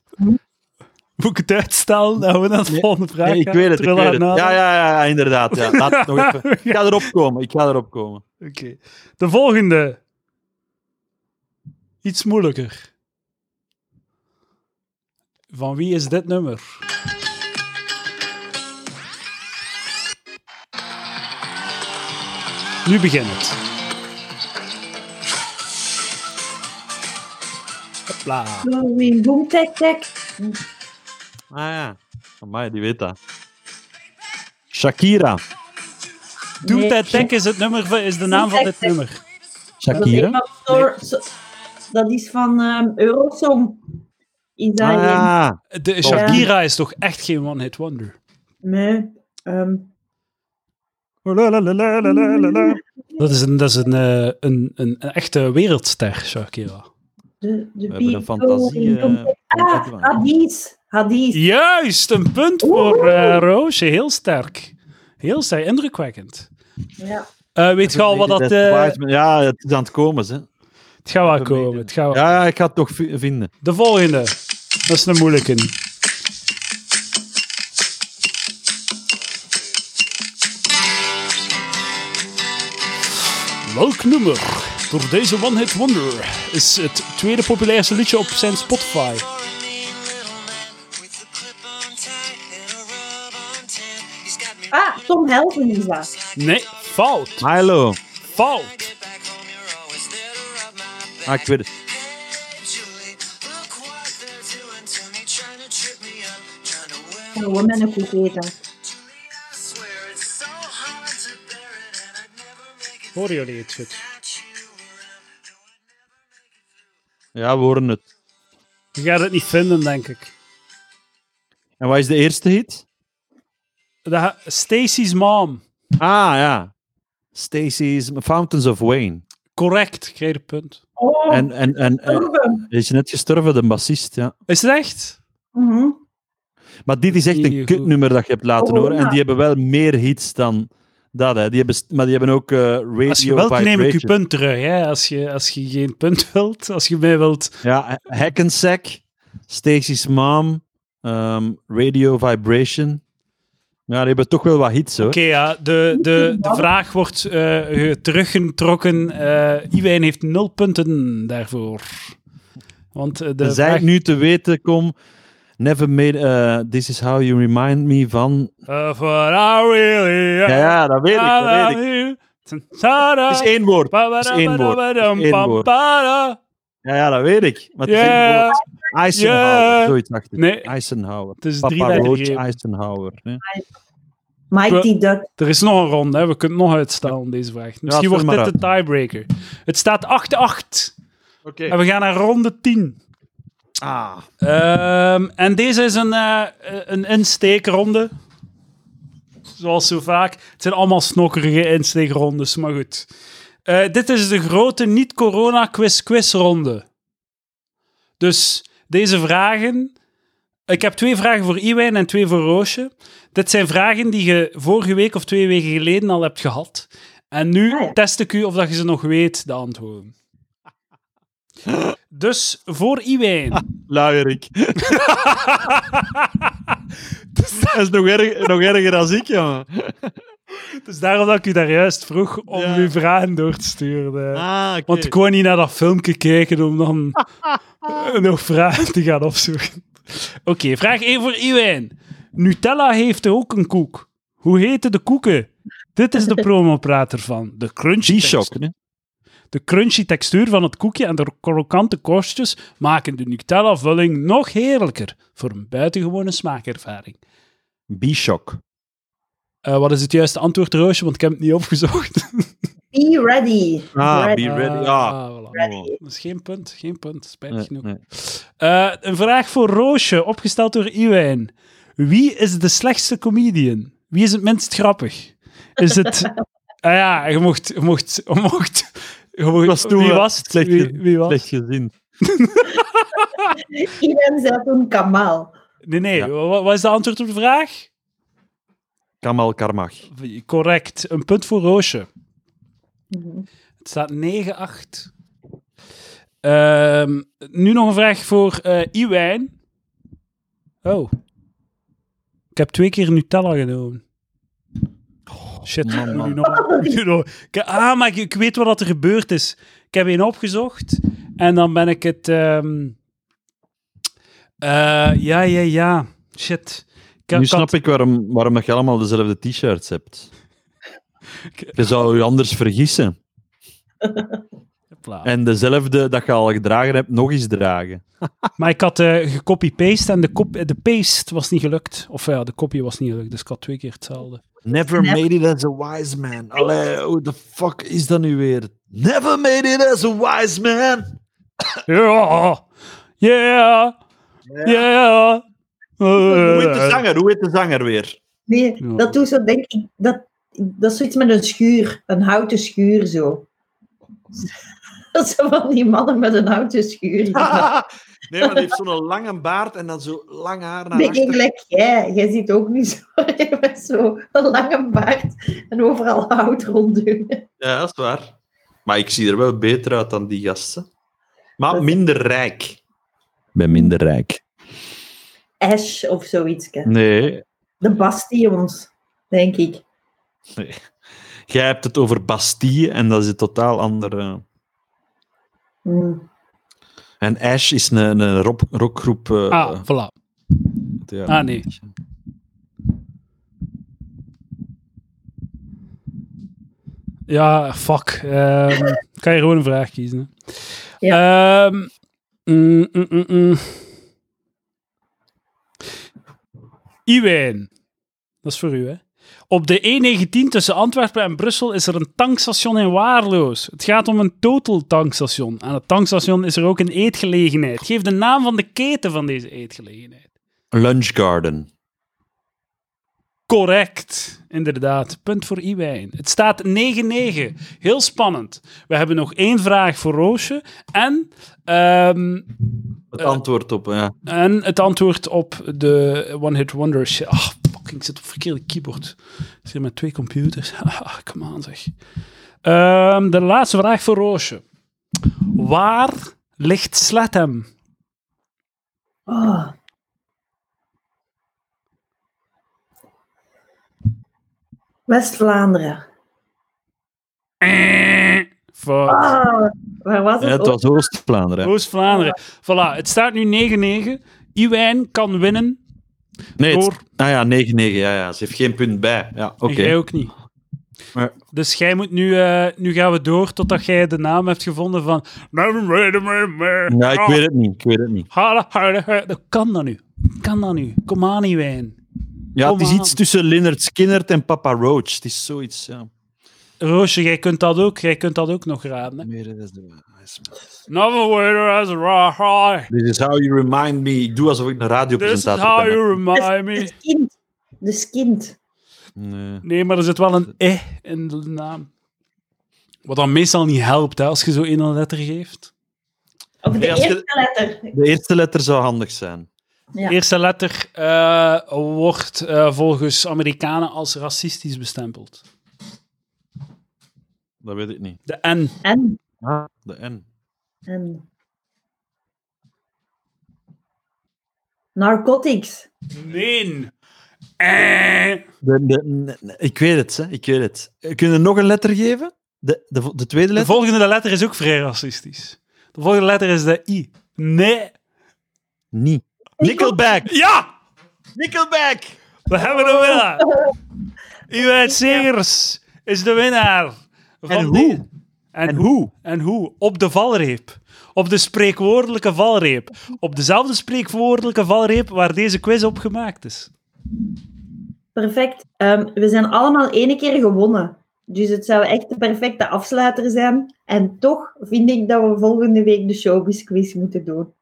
S2: Moet ik het uitstellen? Dan we naar de
S1: Nee,
S2: volgende vraag
S1: Nee, ik
S2: gaan,
S1: weet het, ik
S2: terwijl
S1: weet
S2: we
S1: het. Ja,
S2: nadenken?
S1: ja, ja, ja, inderdaad. Ja. Laat het
S2: <laughs>
S1: nog even. Ik ga erop komen, ik ga erop komen.
S2: Oké. De volgende. Iets moeilijker. Van wie is dit nummer? Nu begint het. Hopla.
S3: Boom, boom, tak, tak.
S1: Ah ja. Amai, die weet dat. Shakira.
S2: Doe
S3: Nee,
S2: dat Tech is, het nummer van, is de naam van dit nummer.
S3: Dat is,
S1: Shakira?
S3: van Sor- Sor- dat is van ehm, Eurosong. Is dat
S1: Ah,
S3: een-
S1: ja.
S2: De Shakira is toch echt geen one-hit wonder?
S3: Nee. ehm,
S2: Dat is een, dat is een, eh, een, een, een echte wereldster, Shakira.
S3: de, de
S1: We hebben een
S3: people
S1: fantasie.
S3: in-
S1: eh,
S3: ah, Hadis. Hadis.
S2: Juist, een punt voor eh Roosje. Heel sterk. Heel sterk, indrukwekkend.
S3: Ja.
S2: Eh, weet je al wat dat... eh,
S1: Wise Man- Ja, het is aan het komen. Hè.
S2: het gaat wel komen. Het gaat wel-
S1: Ja, ja, ik ga het toch vi- vinden.
S2: De volgende. Dat is een moeilijke. Welk nummer door deze One Hit Wonder is het tweede populairste liedje op zijn Spotify?
S4: For a mean little man with a clip on tight and a rub on ten. He's got me
S3: Ah, Tom Helden is dat.
S2: Nee, fout.
S1: Milo.
S2: Fout.
S4: get back home, you're always there to rub my
S1: Ah,
S4: back.
S1: ik weet het.
S4: Hey, Julie, look what they're doing to me, trying to trip me up, trying to wear
S3: Een woman Oh, een koek eten.
S4: Julie, I swear it's so hard to bear it, and I'd never make it
S2: Horen jullie het goed?
S4: without you around. No, I'd never make it
S1: Ja, we horen het.
S2: Je gaat het niet vinden, denk ik.
S1: En wat is de eerste hit?
S2: Dat ga- Stacy's Mom.
S1: Ah, ja. Stacy's Fountains of Wayne.
S2: Correct, krijg je een punt.
S3: Oh,
S1: En, en, en, en
S3: Torben.
S1: is je net gestorven, de bassist, ja.
S2: Is het echt?
S3: Mhm.
S1: Maar dit is echt
S2: Heel
S1: een
S2: goed.
S1: kutnummer dat je hebt laten
S3: Oh,
S1: horen.
S3: ja.
S1: En die hebben wel meer hits dan dat. Hè. Die hebben, st- maar die hebben ook eh Radio
S2: Als je wilt, neem ik je
S1: Vibration.
S2: punt terug. Hè? Als, je, als je geen punt wilt, als je mij wilt
S1: Ja, Ha- Hackensack, Stacy's Mom, ehm, Radio Vibration. Ja, die hebben toch wel wat hits, hoor.
S2: Oké, ja, de, de, de vraag wordt eh, eh, teruggetrokken. Eh Iwijn heeft nul punten daarvoor. Want eh, de
S1: Dan zei
S2: vraag...
S1: ik nu te weten, kom... Never made... eh, this is how you remind me van...
S2: Eh, for I really am-
S1: Ja, ja, dat weet ik, dat weet ik.
S2: I love you. Ta-da.
S1: Het is één woord. Het is één woord. Het is één woord. Ja, ja, dat weet ik. Maar het is
S2: Ja.
S1: inderdaad Eisenhower,
S2: Ja.
S1: zoiets dacht ik.
S2: Nee.
S1: Eisenhower.
S2: Het is drie
S1: Papa
S2: dagen
S1: Roach
S2: gegeven.
S1: Eisenhower. hè.
S3: Mighty Duck.
S2: Er is nog een ronde, hè. we kunnen nog uitstellen deze vraag. Misschien
S1: stel
S2: wordt
S1: maar
S2: dit de tiebreaker. Het staat 8-8
S1: Oké.
S2: en we gaan naar ronde 10.
S1: Ah.
S2: Ehm, en deze is een, eh, een insteekronde. Zoals zo vaak. Het zijn allemaal snokkerige insteekrondes, maar goed. Eh, dit is de grote niet-corona-quiz-quiz-ronde. Dus deze vragen... Ik heb twee vragen voor Iwijn en twee voor Roosje. Dit zijn vragen die je vorige week of twee weken geleden al hebt gehad. En nu
S3: Ah, ja.
S2: test ik u of dat je ze nog weet, de
S3: <laughs>
S2: antwoorden. Dus voor Iwijn... <laughs>
S1: Luierik. dat is nog, erg, nog erger dan ik, jongen.
S2: Dus daarom dat ik u daar juist vroeg om
S1: Ja.
S2: uw vragen door te sturen. eh.
S1: Ah, oké.
S2: Want ik kon niet naar dat filmpje kijken om
S1: <laughs>
S2: dan eh, nog vragen te gaan opzoeken. Oké, vraag 1 voor Iwijn. Nutella heeft ook een koek. Hoe heten de koeken? Dit is de promoprater van. De crunchy,
S1: G-Shock.
S2: text-
S1: hè.
S2: de crunchy textuur van het koekje en de krokante korstjes maken de Nutella-vulling nog heerlijker. Voor een buitengewone smaakervaring.
S1: B-Shock.
S2: Eh, wat is het juiste antwoord, Roosje? Want ik heb het niet opgezocht.
S3: Be ready.
S1: Ah,
S3: ready.
S1: be ready.
S2: Ah,
S1: Ja.
S2: voilà.
S3: Ready.
S2: Dat is geen punt, geen punt. Spijtig
S1: Nee,
S2: genoeg.
S1: nee.
S2: Eh, een vraag voor Roosje, opgesteld door Iwijn. Wie is de slechtste comedian? Wie is het minst grappig? Is het... ah ja, je mocht... Je mocht, je mocht, je mocht-
S1: was toen
S2: wie
S1: wel
S2: was het?
S1: slecht
S2: Wie,
S1: gezien.
S2: wie was?
S1: Slecht gezien.
S3: Iedereen zei toen Kamal.
S2: Nee, nee.
S1: Ja.
S2: wa- wa- Wat, is de antwoord op de vraag?
S1: Kamal Karmach.
S2: Correct. Een punt voor Roosje.
S3: Mhm.
S2: Het staat 9-8. Ehm, nu nog een vraag voor eh Iwijn. Oh. Ik heb twee keer Nutella genomen.
S1: Oh,
S2: Shit, ik moet nu nog- ik moet nu nog- ik- Ah, maar ik, ik weet wat dat er gebeurd is. Ik heb één opgezocht en dan ben ik het... ehm, eh, ja, ja, ja. Shit. Ik,
S1: nu
S2: ik had-
S1: snap ik waarom, waarom dat je allemaal dezelfde t-shirts
S2: <laughs>
S1: hebt. Je zou je anders vergissen.
S2: Hopla.
S1: En dezelfde dat je al gedragen hebt, nog eens dragen.
S2: Maar ik had eh gecopy-paste en de, kop- de paste was niet gelukt. Of ja, de copy was niet gelukt, dus ik had twee keer hetzelfde.
S1: Never made it as a wise man. Allee, hoe de fuck is dat nu weer? Never made it as a wise man.
S2: Ja! Yeah! Yeah!
S1: Hoe heet de zanger? Hoe heet de zanger <laughs> weer?
S3: Nee, dat doet zo, denk ik, dat, dat is zoiets met een schuur, een houten schuur zo. <laughs> Dat zijn van die mannen met een houten schuur.
S1: Ah, nee, maar die heeft zo'n lange baard en dan zo lang haar naar
S3: Ben ik
S1: achter.
S3: gelijk jij? Jij ziet ook niet zo, <laughs> jij bent zo een lange baard en overal hout rondduwen.
S1: Ja, dat is waar. Maar ik zie er wel beter uit dan die gasten. Maar
S3: Dat-
S1: minder rijk. Ik ben minder rijk.
S3: Ash of zoiets.
S1: Mm. Nee,
S3: De bastions, denk ik.
S1: jij hebt het over Bastille en dat is een totaal eh. andere.
S3: Hmm.
S1: En Ash is een, een rock, rockgroep. eh,
S2: Ah, voilà.
S1: ja.
S2: Ah, nee. Ja, fuck. Ehm, kan je gewoon een vraag kiezen. Hè? Ehm, mm, mm, mm, mm. Iwijn. Dat is voor u, hè? Op de E19 tussen Antwerpen en Brussel is er een tankstation in Waarloos. Het gaat om een total tankstation. Aan het tankstation is er ook een eetgelegenheid. Geef de naam van de keten van deze eetgelegenheid.
S1: Lunch Garden.
S2: Correct, inderdaad. Punt voor Iwijn. Het staat 9-9. Heel spannend. We hebben nog één vraag voor Roosje. En, ehm,
S1: Het antwoord op. Ja.
S2: en het antwoord op de One Hit Wonders. Ah, fucking, ik zit op verkeerde keyboard. Ik zit met twee computers. <laughs> Ah, come on zeg. Ehm, de laatste vraag voor Roosje. Waar ligt Sletham?
S3: Ah. West-Vlaanderen.
S2: Voor
S3: Ah, waar was
S1: Ja,
S3: het?
S1: het was Oost-Vlaanderen.
S2: Oost-Vlaanderen. Voilà, het staat nu 9-9. Iwijn kan winnen.
S1: Nee, het-
S2: Door.
S1: ah ja, 9-9. Ja, ja. Ze heeft geen punt bij. Ja, oké.
S2: En jij ook niet.
S1: Ja.
S2: Dus jij moet nu, eh, nu gaan we door totdat jij de naam hebt gevonden van.
S1: Nee, Nou,
S2: oh,
S1: ik weet het niet. Ik weet het niet.
S2: Dat kan dat nu. Kan dat nu? Kom aan, niet wijn.
S1: Ja, het
S2: Kom
S1: is iets
S2: aan.
S1: tussen Leonard Skinner en Papa Roach. Het is zoiets, ja.
S2: Roosje, jij kunt dat ook. Jij kunt dat ook nog raden. Hè?
S1: Meer is de is-
S2: Another waiter has a raw
S1: This is how you remind me. Ik doe alsof ik een
S2: This is
S1: radiopresentator
S2: how
S1: ben.
S2: you remind me.
S3: Het kind. Dus kind.
S1: Nee.
S2: Nee, maar er zit wel een e in de naam. Wat dan meestal niet helpt, hè, als je zo één een letter geeft.
S3: Of de
S1: Nee, als je-
S3: eerste letter.
S1: De eerste letter zou handig zijn.
S3: Ja.
S2: De eerste letter eh, wordt eh, volgens Amerikanen als racistisch bestempeld.
S1: Dat weet ik niet.
S2: De N.
S3: En.
S1: De N.
S3: en. Narcotics.
S2: Nee. Eh.
S1: De, de- nee, nee, ik weet het, hè. Ik weet het. Eh, Kun je nog een letter geven? De, de, vo- de tweede
S2: De
S1: letter?
S2: volgende letter is ook vrij racistisch. De volgende letter is de I. Nee.
S1: niet. Nickelback!
S2: Ja!
S1: Nickelback!
S2: We hebben de <laughs> winnaar. Iwijn Segers is de winnaar. Van
S1: En hoe?
S2: dit. En,
S1: En
S2: hoe? En hoe? Op de valreep. Op de spreekwoordelijke valreep. Op dezelfde spreekwoordelijke valreep waar deze quiz op gemaakt is.
S3: Perfect. Ehm, we zijn allemaal één keer gewonnen. Dus het zou echt de perfecte afsluiter zijn. En toch vind ik dat we volgende week de showbiz quiz moeten doen.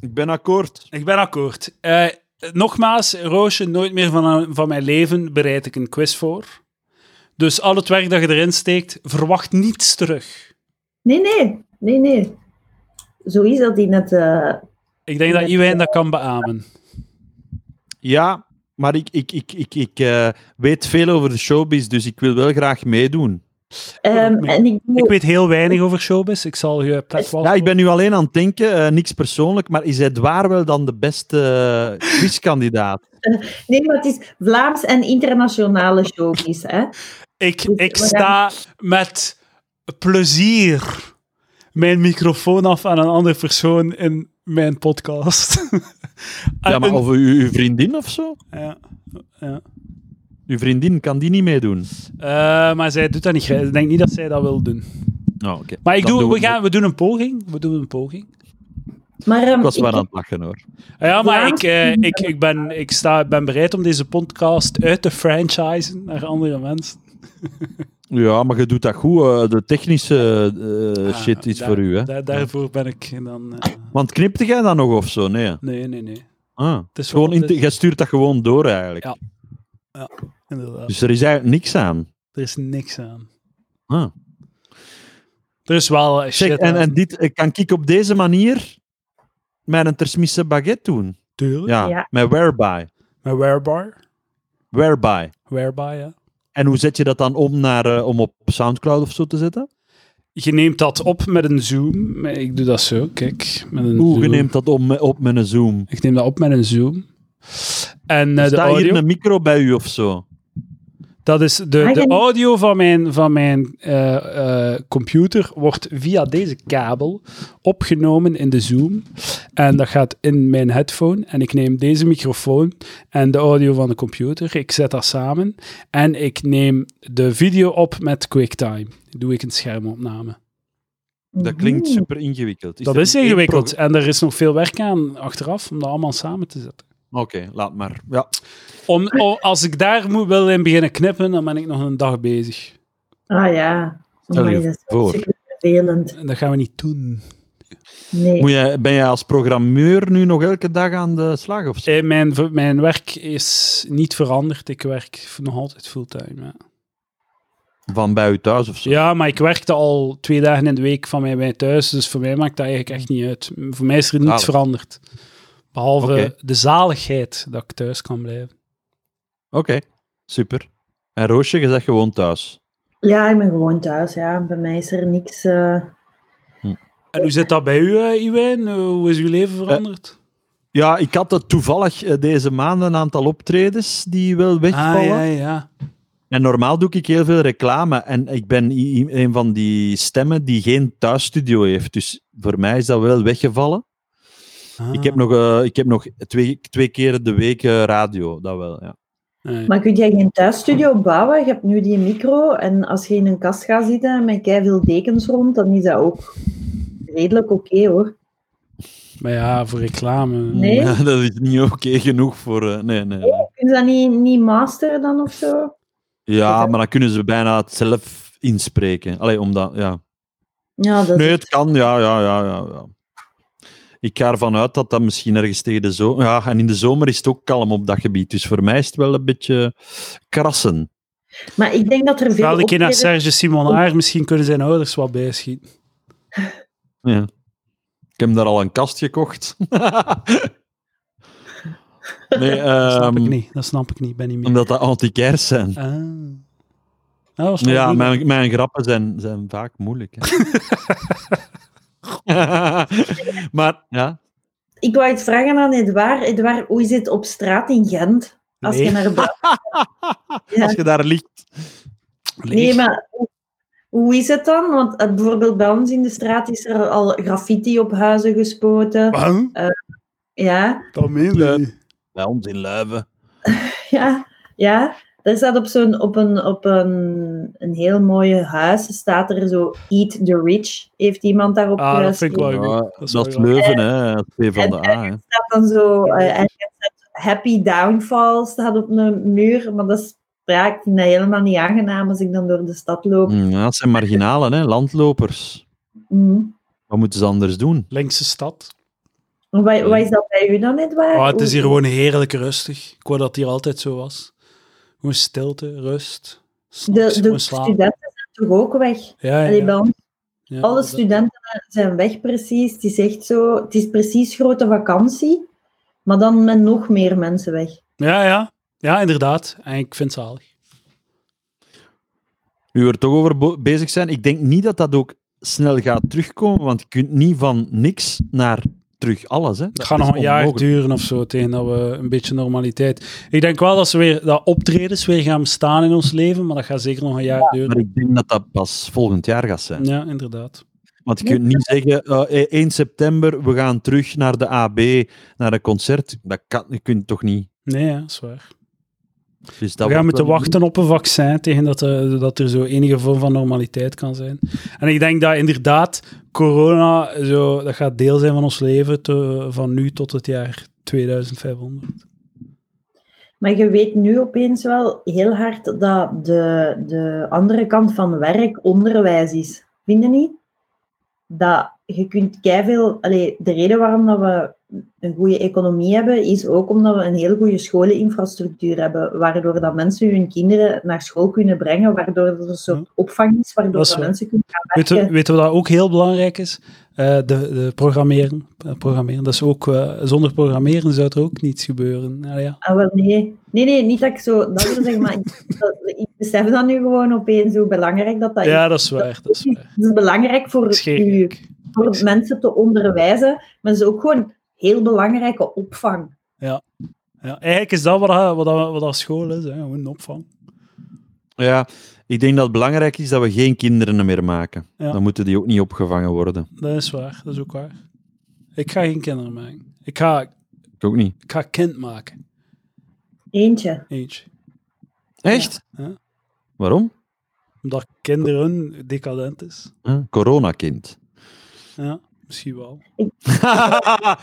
S1: Ik ben akkoord.
S2: Ik ben akkoord. Eh, nogmaals, Roosje, nooit meer van, van mijn leven bereid ik een quiz voor. Dus al het werk dat je erin steekt, verwacht niets terug.
S3: Nee, nee. Nee, nee. Zo is dat in het... eh,
S2: Ik denk dat Iwijn dat kan beamen.
S1: Ja, maar ik, ik, ik, ik, ik eh, weet veel over de showbiz, dus ik wil wel graag meedoen.
S3: ehm, en ik doe
S2: Ik weet heel weinig over showbiz. Ik zal je platform.
S1: Ja, ik ben nu alleen aan het denken, eh, niks persoonlijk, maar is Edouard wel dan de beste eh, quizkandidaat?
S3: Nee, maar het is Vlaams en internationale showbiz. Hè?
S2: Ik,
S3: Dus
S2: ik
S3: we
S2: sta met plezier mijn microfoon af aan een andere persoon in mijn podcast. <laughs>
S1: Ja, maar
S2: Een-
S1: of uw, uw vriendin of zo?
S2: Ja.
S1: Uw vriendin kan die niet meedoen.
S2: Eh, maar zij doet dat niet. Ik denk niet dat zij dat wil doen.
S1: Nou, oké.
S2: Maar ik
S1: Dan
S2: doe,
S1: doen
S2: we, gaan, we doen een poging. We doen een poging.
S3: Maar ehm,
S1: Ik was
S3: ik-
S1: wel aan het lachen hoor.
S2: Ah Ja, maar
S3: Ja.
S2: ik, eh, ik, ik, ben, ik sta, ben bereid om deze podcast uit te franchisen naar andere mensen.
S1: Ja, maar je doet dat goed. eh, de technische eh,
S2: Ah,
S1: shit is
S2: daar-
S1: voor u, hè?
S2: daar- daarvoor ben ik dan... eh,
S1: Want knipte jij dat nog of zo? Nee. hè?
S2: nee, nee, nee.
S1: Ah,
S2: Het is
S1: gewoon
S2: wel-
S1: in te- jij stuurt dat gewoon door eigenlijk.
S2: Ja. Inderdaad.
S1: Dus er is eigenlijk niks aan.
S2: Er is niks aan.
S1: Ah.
S2: Er is wel eh, shit
S1: Zeg, en,
S2: aan.
S1: en dit, eh, kan ik op deze manier mijn tersmisse baguette doen?
S2: Tuurlijk.
S1: Ja,
S3: Ja.
S1: met whereby.
S2: Maar whereby?
S1: Whereby.
S2: Whereby, ja.
S1: En hoe zet je dat dan om naar, eh, om op Soundcloud of zo te zetten?
S2: Je neemt dat op met een zoom. Maar Ik doe dat zo, kijk. Met een
S1: Hoe
S2: zoom.
S1: je neemt dat om, eh, op met een Zoom?
S2: Ik neem dat op met een zoom. En eh, de
S1: Staat
S2: audio,
S1: hier een micro bij u of zo?
S2: dat is de,
S3: Ah,
S2: de
S3: ja.
S2: audio van mijn, van mijn eh, eh, computer wordt via deze kabel opgenomen in de Zoom. En dat gaat in mijn headphone. En ik neem deze microfoon en de audio van de computer. Ik zet dat samen. En ik neem de video op met QuickTime. Doe ik een schermopname.
S1: Dat klinkt
S3: Mhm.
S1: super ingewikkeld.
S2: dat
S1: er
S2: is
S1: niet één
S2: ingewikkeld. En er is nog veel werk aan achteraf om dat allemaal samen te zetten.
S1: pro- Oké, laat maar. Ja.
S2: Om, om- als ik daar moet, wil in beginnen knippen, dan ben ik nog een dag bezig.
S3: Ah ja.
S1: Stel je
S3: Amai, dat is
S1: voor.
S3: super vervelend.
S2: En dat gaan we niet doen.
S3: Nee.
S1: Eh. Moet jij, ben jij als programmeur nu nog elke dag aan de slag of zo?
S2: Eh, mijn, v- mijn werk is niet veranderd. Ik werk v- nog altijd fulltime. Ja.
S1: Van bij u thuis of zo?
S2: ja, maar ik werkte al twee dagen in de week van mij bij thuis. Dus voor mij maakt dat eigenlijk echt niet uit. M- Voor mij is er niets
S1: Zalig.
S2: veranderd. Behalve
S1: Oké.
S2: de zaligheid dat ik thuis kan blijven.
S1: Oké, super. En Roosje, je zegt gewoon thuis.
S3: Ja, ik ben gewoon thuis. Ja. Bij mij is er niks. eh,
S2: En hoe zit dat bij u, eh, Iwijn? Eh, hoe is uw leven
S1: Eh,
S2: veranderd?
S1: Ja, ik had dat toevallig eh, deze maand een aantal optredens die wel wegvallen.
S2: ah, ja, ja.
S1: En normaal doe ik heel veel reclame. En ik ben i- i- een van die stemmen die geen thuisstudio heeft. Dus voor mij is dat wel weggevallen.
S2: Ah.
S1: Ik heb nog, eh, ik heb nog twee, twee keer de week eh, radio. Dat wel, ja.
S2: Nee.
S3: Maar kun jij geen thuisstudio bouwen? Je hebt nu die micro en als je in een kast gaat zitten met veel dekens rond, dan is dat ook redelijk oké hoor.
S2: Maar ja, voor reclame.
S3: Nee?
S1: Ja, <laughs> dat is niet oké genoeg voor... eh, nee, nee, nee.
S3: Kun je dat niet, niet masteren dan of zo?
S1: Ja, maar dan kunnen ze bijna het zelf inspreken. Allee, omdat... Ja.
S3: Ja, dat
S1: Nee,
S3: is
S1: het kan. Ja, ja, ja, ja, ja. Ik ga ervan uit dat dat misschien ergens tegen de zomer... Ja, en in de zomer is het ook kalm op dat gebied. Dus voor mij is het wel een beetje krassen.
S3: Maar ik denk dat er veel
S2: Wel een keer naar
S3: optredens-
S2: Serge Simonaar, misschien kunnen zijn ouders wat bijschieten.
S1: Ja. Ik heb daar al een kast gekocht. <laughs> nee,
S2: Dat snap ik
S1: ehm,
S2: niet, dat snap ik niet, ben niet meer.
S1: omdat dat antiquairs zijn.
S2: Ah. Ah, was dat
S1: Ja,
S2: niet?
S1: mijn, mijn grappen zijn, zijn vaak moeilijk. Hè. <laughs> maar ja,
S3: Ik wou iets vragen aan Edouard. Edouard, hoe is het op straat in Gent? Als
S2: Nee.
S3: je naar buiten... Ja.
S1: als je daar ligt,
S3: Nee, maar hoe- hoe is het dan? Want eh, bijvoorbeeld bij ons in de straat is er al graffiti op huizen gespoten.
S2: Huh?
S3: Ja, <laughs>
S2: Dat meen
S1: je
S2: niet.
S1: bij ons in Leuven.
S3: ja, ja. Er staat op, zo'n, op, een, op een, een heel mooi huis, staat er zo Eat the Rich, heeft iemand daarop
S2: Ah, dat vind ik wel
S3: geschreven.
S2: goed.
S1: Ja,
S2: dat is
S1: Dat is
S2: wel grappig.
S1: Leuven, hè? P van de A. Hè.
S3: staat dan zo, eh, en je hebt Happy Downfall staat op een muur, maar dat is, ja, ik vind dat helemaal niet aangenaam als ik dan door de stad loop.
S1: Mm, Ja, dat zijn marginalen, hè? landlopers.
S3: Mhm.
S2: Mm.
S1: Wat moeten ze anders doen?
S2: Linkse stad.
S3: Mm. Wat, wat is dat bij u dan, Edouard?
S2: Ah, Mm. het is
S3: Hoe-
S2: hier gewoon heerlijk rustig. Ik wou dat het hier altijd zo was. Gewoon stilte, rust. S'nachts
S3: De, de
S2: gewoon slapen.
S3: studenten zijn toch ook weg?
S2: Ja,
S3: Allee,
S2: ja,
S3: bij ons,
S2: ja.
S3: alle
S2: Dat-
S3: studenten zijn weg precies. Het is echt zo, het is precies grote vakantie, maar dan met nog meer mensen weg.
S2: Ja, ja. Ja, inderdaad. En ik vind het zalig.
S1: Nu we er toch over bo- bezig zijn, ik denk niet dat dat ook snel gaat terugkomen, want je kunt niet van niks naar terug alles. Hè.
S2: Het gaat nog een jaar duren of zo, tegen dat we een beetje normaliteit... Ik denk wel dat, ze weer, dat optredens weer gaan bestaan in ons leven, maar dat gaat zeker nog een jaar
S1: Maar
S2: duren.
S1: ik denk dat dat pas volgend jaar gaat zijn.
S2: Ja, inderdaad.
S1: Want je kunt niet zeggen, eh, eh, 1 september, we gaan terug naar de AB, naar een concert. Dat kan, je kunt toch niet.
S2: Nee, ja, dat is waar.
S1: Dus dat
S2: we
S1: wordt
S2: gaan moeten
S1: wel-
S2: wachten op een vaccin tegen dat, eh, dat er zo enige vorm van normaliteit kan zijn. En ik denk dat inderdaad corona, zo, dat gaat deel zijn van ons leven te- van nu tot het jaar 2500.
S3: Maar je weet nu opeens wel heel hard dat de, de andere kant van werk onderwijs is. Vind je niet? Dat je kunt keiveel... Allee, de reden waarom dat we een goede economie hebben, is ook omdat we een heel goede scholeninfrastructuur hebben, waardoor dat mensen hun kinderen naar school kunnen brengen, waardoor er een soort opvang is, waardoor
S2: Hm. Dat is
S3: dat
S2: waar.
S3: mensen kunnen gaan
S2: Weet je,
S3: werken.
S2: weet je wat ook heel belangrijk is? Eh, de, de programmeren. Eh, programmeren. Dat is ook, eh, zonder programmeren zou er ook niets gebeuren. Nou ja.
S3: Ah, wel, nee. nee, nee, niet dat ik zo... Dat wil zeggen, maar ik, dat- ik besef dat nu gewoon opeens hoe belangrijk dat dat
S2: ja,
S3: is.
S2: Ah, dat is waar. Dat is waar.
S3: Het is belangrijk voor je
S2: Scherijk.
S3: voor mensen te onderwijzen, maar het is ook gewoon heel belangrijke opvang.
S2: Ja, eigenlijk is dat wat, dat- wat, dat- wat dat school is. Hè. Gewoon een opvang.
S1: Ja, ik denk dat het belangrijk is dat we geen kinderen meer maken.
S2: Ja.
S1: Dan moeten die ook niet opgevangen worden.
S2: Dat is waar. Dat is ook waar. Ik ga geen kinderen maken. Ik ga,
S1: Ik ook niet.
S2: ik ga kind maken.
S3: Eentje.
S2: Eentje.
S1: Echt?
S2: Ja.
S1: Waarom?
S2: Omdat kinderen decadent is.
S1: Huh? <laughs> Coronakind.
S2: Ja, misschien wel.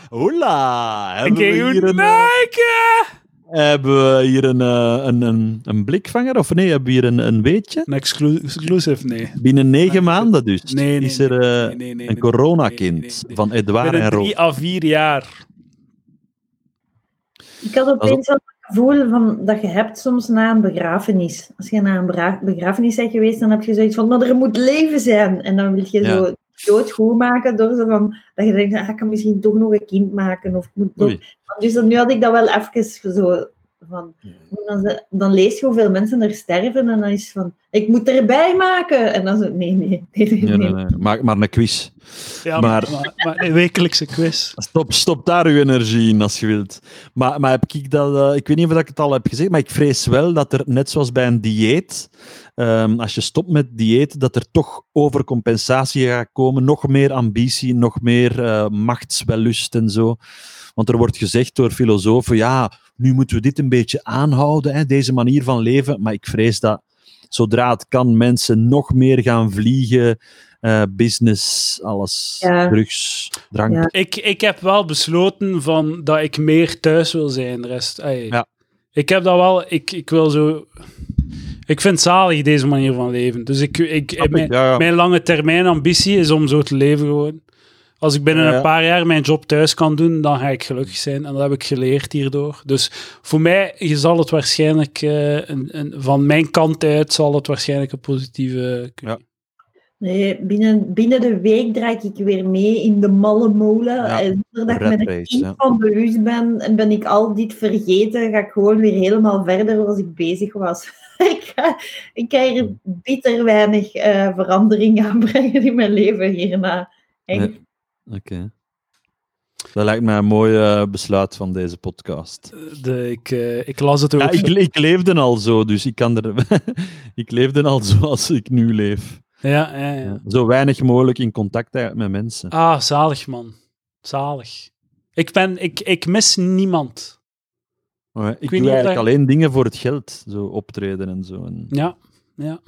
S1: Hola!
S2: Ik
S1: Hebben we,
S2: kijk hoe
S1: hier een, eh,
S2: Nike!
S1: hebben we hier een, eh, een, een, een blikvanger? Of nee, hebben we hier een, een weetje?
S2: Een exclu- exclusive, nee.
S1: Binnen negen
S2: Nee,
S1: maanden dus
S2: nee, nee,
S1: is er
S2: nee,
S1: eh,
S2: nee, nee, nee,
S1: een
S2: nee,
S1: coronakind
S2: nee, nee, nee.
S1: van Edouard en
S2: Binnen
S1: Roos.
S2: drie à vier jaar.
S3: Ik had opeens wel het gevoel van, dat je hebt soms na een begrafenis. Als je na een bra- begrafenis bent geweest, dan heb je zoiets van, maar er moet leven zijn. En dan wil je
S1: Ja.
S3: zo doodgoed maken door zo van, dat je denkt, ah, ik kan misschien toch nog een kind maken. Of ik moet nog-
S1: Oei.
S3: Dus dan, nu had ik dat wel even zo van... Dan, ze- dan lees je hoeveel mensen er sterven en dan is het van, ik moet erbij maken. En dan zo, nee, nee, nee, nee,
S1: Ja,
S3: nee.
S1: nee, nee. Maak maar een quiz.
S2: Ja,
S1: Maar-
S2: maar, maar, een wekelijkse quiz.
S1: Stop, stop daar uw energie in als je wilt. Maar, maar heb ik dat. eh, ik weet niet of ik het al heb gezegd, maar ik vrees wel dat er, net zoals bij een dieet, ehm, als je stopt met dieet, dat er toch overcompensatie gaat komen. Nog meer ambitie, nog meer eh machtswellust en zo. Want er wordt gezegd door filosofen: ja, nu moeten we dit een beetje aanhouden, hè, deze manier van leven. Maar ik vrees dat zodra het kan, mensen nog meer gaan vliegen. eh, business, alles,
S3: Ja.
S1: drugs, drank.
S3: Ja.
S2: Ik, ik heb wel besloten van dat ik meer thuis wil zijn. De rest. Ey.
S1: Ja.
S2: Ik heb dat wel. Ik, ik wil zo. Ik vind het zalig deze manier van leven. Dus ik, ik,
S1: Snap ik,
S2: mijn,
S1: ja, ja.
S2: mijn lange termijn ambitie is om zo te leven gewoon. Als ik binnen
S1: Ja, ja.
S2: een paar jaar mijn job thuis kan doen, dan ga ik gelukkig zijn. En dat heb ik geleerd hierdoor. Dus voor mij je zal het waarschijnlijk, eh, een, een- van mijn kant uit, zal het waarschijnlijk een positieve... eh,
S1: Ja.
S3: Nee, binnen, binnen de week draai ik weer mee in de malle molen.
S1: Ja,
S3: en zonder dat
S1: rat
S3: ik me er
S1: race,
S3: iets
S1: ja.
S3: van bewust ben, en ben ik al dit vergeten, ga ik gewoon weer helemaal verder zoals ik bezig was. <laughs> ik, ga, ik ga hier bitter weinig eh, verandering aan brengen in mijn leven hierna. Echt.
S1: Nee. Oké. Dat lijkt mij een mooi eh, besluit van deze podcast.
S2: De, ik, eh, ik las het ook.
S1: Ja, ik, ik leefde al zo, dus ik kan er. <laughs> ik leefde al zoals ik nu leef.
S2: ja, ja, ja.
S1: Zo weinig mogelijk in contact eigenlijk met mensen.
S2: Ah, zalig man. Zalig. Ik, ben, ik, ik mis niemand.
S1: Maar ik
S2: weet
S1: doe
S2: niet of
S1: eigenlijk
S2: dat-
S1: alleen dingen voor het geld, zo optreden en zo. En-
S2: Ja, ja.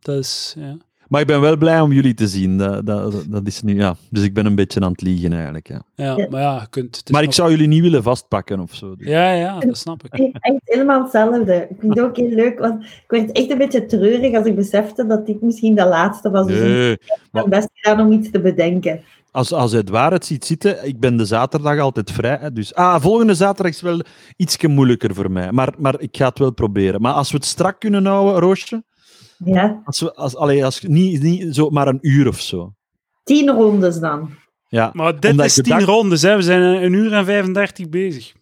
S2: Dat is, ja.
S1: Maar ik ben wel blij om jullie te zien. Dat, dat, dat is nu, ja. Dus ik ben een beetje aan het liegen eigenlijk. Ja.
S2: ja,
S3: Ja.
S2: maar ja, je kunt... het is
S1: Maar ik
S2: nog-
S1: zou jullie niet willen vastpakken of zo. Dus-
S2: Ja, ja, dat snap ik.
S3: Nee, Echt helemaal hetzelfde. Ik vind het ook heel leuk, want ik werd echt een beetje treurig als ik besefte dat dit misschien de laatste was. Dus ik heb
S1: Nee.
S3: mijn best gedaan om iets te bedenken.
S1: Als, als het waar het ziet zitten, ik ben de zaterdag altijd vrij. hè, Dus, ah, volgende zaterdag is wel iets moeilijker voor mij. Maar, maar ik ga het wel proberen. Maar als we het strak kunnen houden, Roosje.
S3: Ja.
S1: Als we, als, allee, als, niet, niet zo, maar een uur of zo.
S3: Tien rondes dan.
S1: Ja,
S2: Maar dit
S1: Omdat
S2: is
S1: ik de
S2: tien
S1: dag-
S2: rondes, hè. We zijn een, een uur en 35 bezig.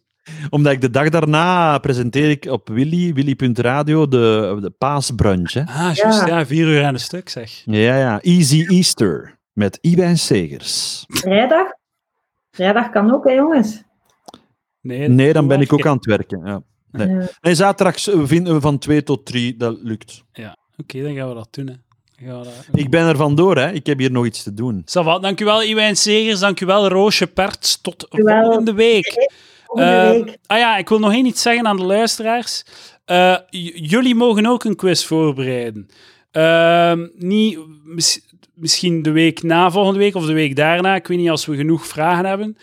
S1: omdat ik de dag daarna presenteer ik op Willy, Willy.radio, de, de paasbrunch. Hè.
S2: Ah, juist, ja. Vier uur aan een stuk, zeg.
S1: Ja, ja. Easy Easter met Iwijn Segers.
S3: Vrijdag? Vrijdag kan ook, hè, jongens.
S2: Nee,
S1: Nee, dan ben ik ook
S2: Oké.
S1: aan het werken. Ja. Nee.
S3: Ja.
S1: Nee, zaterdag z- vinden we van 2 tot 3, dat lukt.
S2: Oké, dan gaan we dat doen, hè. Dan gaan we dat...
S1: Ik ben er vandoor, hè. ik heb hier nog iets te doen.
S2: Ça va. Dankjewel, Iwijn Segers. Dankjewel, Roosje Perts. Tot
S3: Dankjewel.
S2: volgende week.
S3: Volgende
S2: Eh,
S3: week.
S2: Ah ja, ik wil nog één iets zeggen aan de luisteraars. Eh, j- jullie mogen ook een quiz voorbereiden. Ehm, niet, mis- misschien de week na volgende week of de week daarna. Ik weet niet als we genoeg vragen hebben.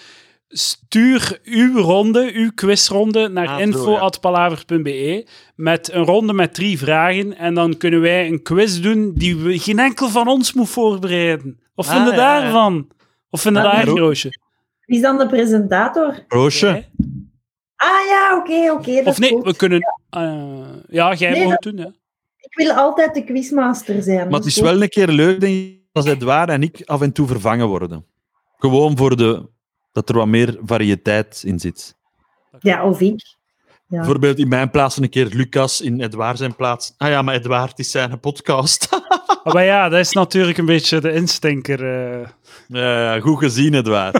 S2: Stuur uw ronde, uw quizronde, naar
S1: Ah, zo,
S2: info.palaver.be e met een ronde met drie vragen. En dan kunnen wij een quiz doen die we, geen enkel van ons moet voorbereiden. Of
S1: Ah,
S2: vinden
S1: ja, ja.
S2: daarvan? Of vinden
S1: Ja,
S2: daar,
S1: maar ook-
S2: Roosje?
S3: Wie is dan de presentator?
S1: Roosje,
S3: Ah ja, oké, oké. dat
S2: Of
S3: is
S2: nee,
S3: goed.
S2: we kunnen... eh, ja, jij
S3: Nee,
S2: mag het doen, hè.
S3: Ik wil altijd de quizmaster zijn. dus
S1: maar het
S3: dat
S1: is wel een keer leuk denk ik, als Edouard en ik af en toe vervangen worden. Gewoon voor de, dat er wat meer variëteit in zit.
S3: Ja, of ik. Ja.
S1: Bijvoorbeeld in mijn plaats een keer Lucas, in Edouard zijn plaats. Ah ja, maar Edouard het is zijn podcast. <laughs>
S2: Ah, Maar ja, dat is natuurlijk een beetje de instinker. eh.
S1: Ja, ja, goed gezien, Edouard.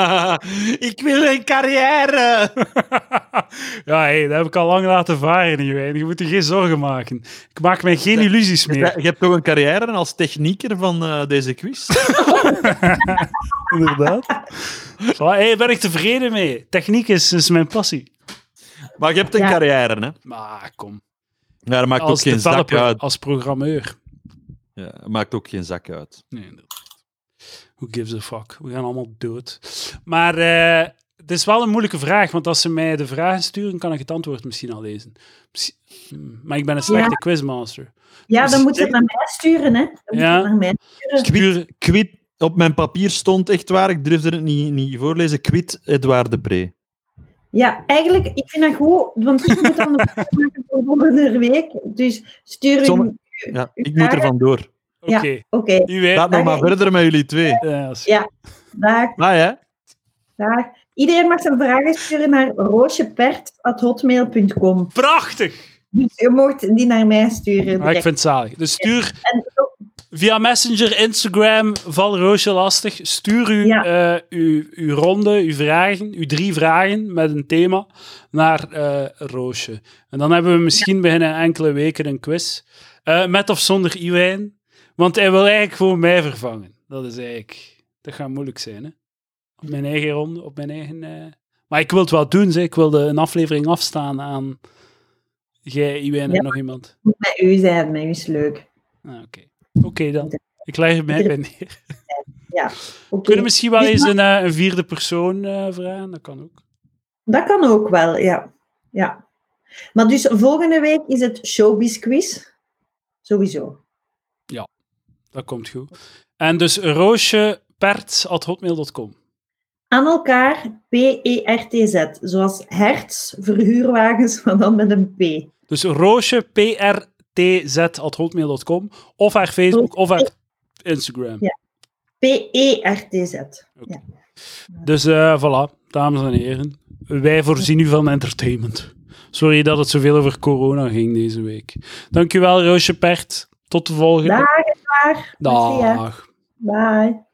S1: <laughs> ik wil een carrière.
S2: ja, hey, dat heb ik al lang laten varen, Johan. Je moet je geen zorgen maken. Ik maak mij geen illusies meer.
S1: Je hebt toch een carrière als technieker van eh, deze quiz?
S2: Inderdaad. Voilà, hey, ben ik tevreden mee. Techniek is, is mijn passie.
S1: maar je hebt een
S3: Ja.
S1: carrière, hè?
S2: Maar kom.
S1: Ja, dat maakt
S2: Als
S1: ook geen zak
S2: developer,
S1: uit.
S2: als programmeur.
S1: Ja, dat maakt ook geen zak uit.
S2: Nee, inderdaad. Who gives a fuck? We gaan allemaal dood. Maar eh, het is wel een moeilijke vraag, want als ze mij de vragen sturen, kan ik het antwoord misschien al lezen. Misschien- Hmm, Maar ik ben een slechte quizmaster.
S3: ja, dan
S2: Dus-
S3: moet je het naar mij sturen, hè. Dan moet je
S2: Ja.
S3: het naar mij.
S2: Stuur,
S1: Quit, op mijn papier stond echt waar, ik durfde het niet, niet voorlezen. Quit Edouard de Pre.
S3: Ja, eigenlijk, ik vind dat goed, want ik moet dan de vraag <laughs> maken voor volgende week. Dus stuur uw-
S1: Sommige- Ja, ik moet er vandoor.
S2: Oké,
S3: Ja. Oké,
S2: u weet. Eh,
S1: Laat nog maar verder met jullie twee.
S2: Ja, dat is-
S3: Ja. dag.
S1: Ah ja?
S3: Dag. Iedereen mag zijn vragen sturen naar roosjepert.hotmail.com.
S2: Prachtig!
S3: Dus je mocht die naar mij sturen.
S2: Ah, ik vind het zalig. Dus stuur via Messenger, Instagram, val Roosje lastig. Stuur uw,
S3: Ja.
S2: eh, uw, uw ronde, uw vragen, uw drie vragen met een thema naar eh, Roosje. En dan hebben we misschien binnen enkele weken een quiz. Eh, met of zonder Iwijn. Want hij wil eigenlijk gewoon mij vervangen. Dat is eigenlijk... Dat gaat moeilijk zijn, hè? Op mijn eigen ronde, op mijn eigen... eh, Maar ik wil het wel doen, zeg. ik wilde een aflevering afstaan aan jij, Iwijn
S3: Ja.
S2: en nog iemand.
S3: Met u zijn, met u is leuk.
S2: Ah, Oké, Oké dan. Ik leg er mij bij neer.
S3: Oké.
S2: We kunnen misschien wel
S3: Dus
S2: eens een, eh, een vierde persoon eh, vragen, dat kan ook.
S3: Dat kan ook wel, ja. ja. Maar dus volgende week is het showbiz quiz. Sowieso.
S2: Dat komt goed. En dus roosjepert.hotmail.com.
S3: Aan elkaar E P-E-R-T-Z. Zoals hertz, verhuurwagens, <laughs> maar dan met een P.
S2: Dus roosjeprtz.hotmail.com of haar Facebook of haar Instagram.
S3: Ja. E P-E-R-T-Z.
S2: Dus eh, voilà, dames en heren. Wij voorzien u van entertainment. Sorry dat het zoveel over corona ging deze week. Dankjewel, Roosje Pert. Tot de volgende.
S3: Dag, Edouard. Merci, hè.
S2: Dag.
S3: Bye.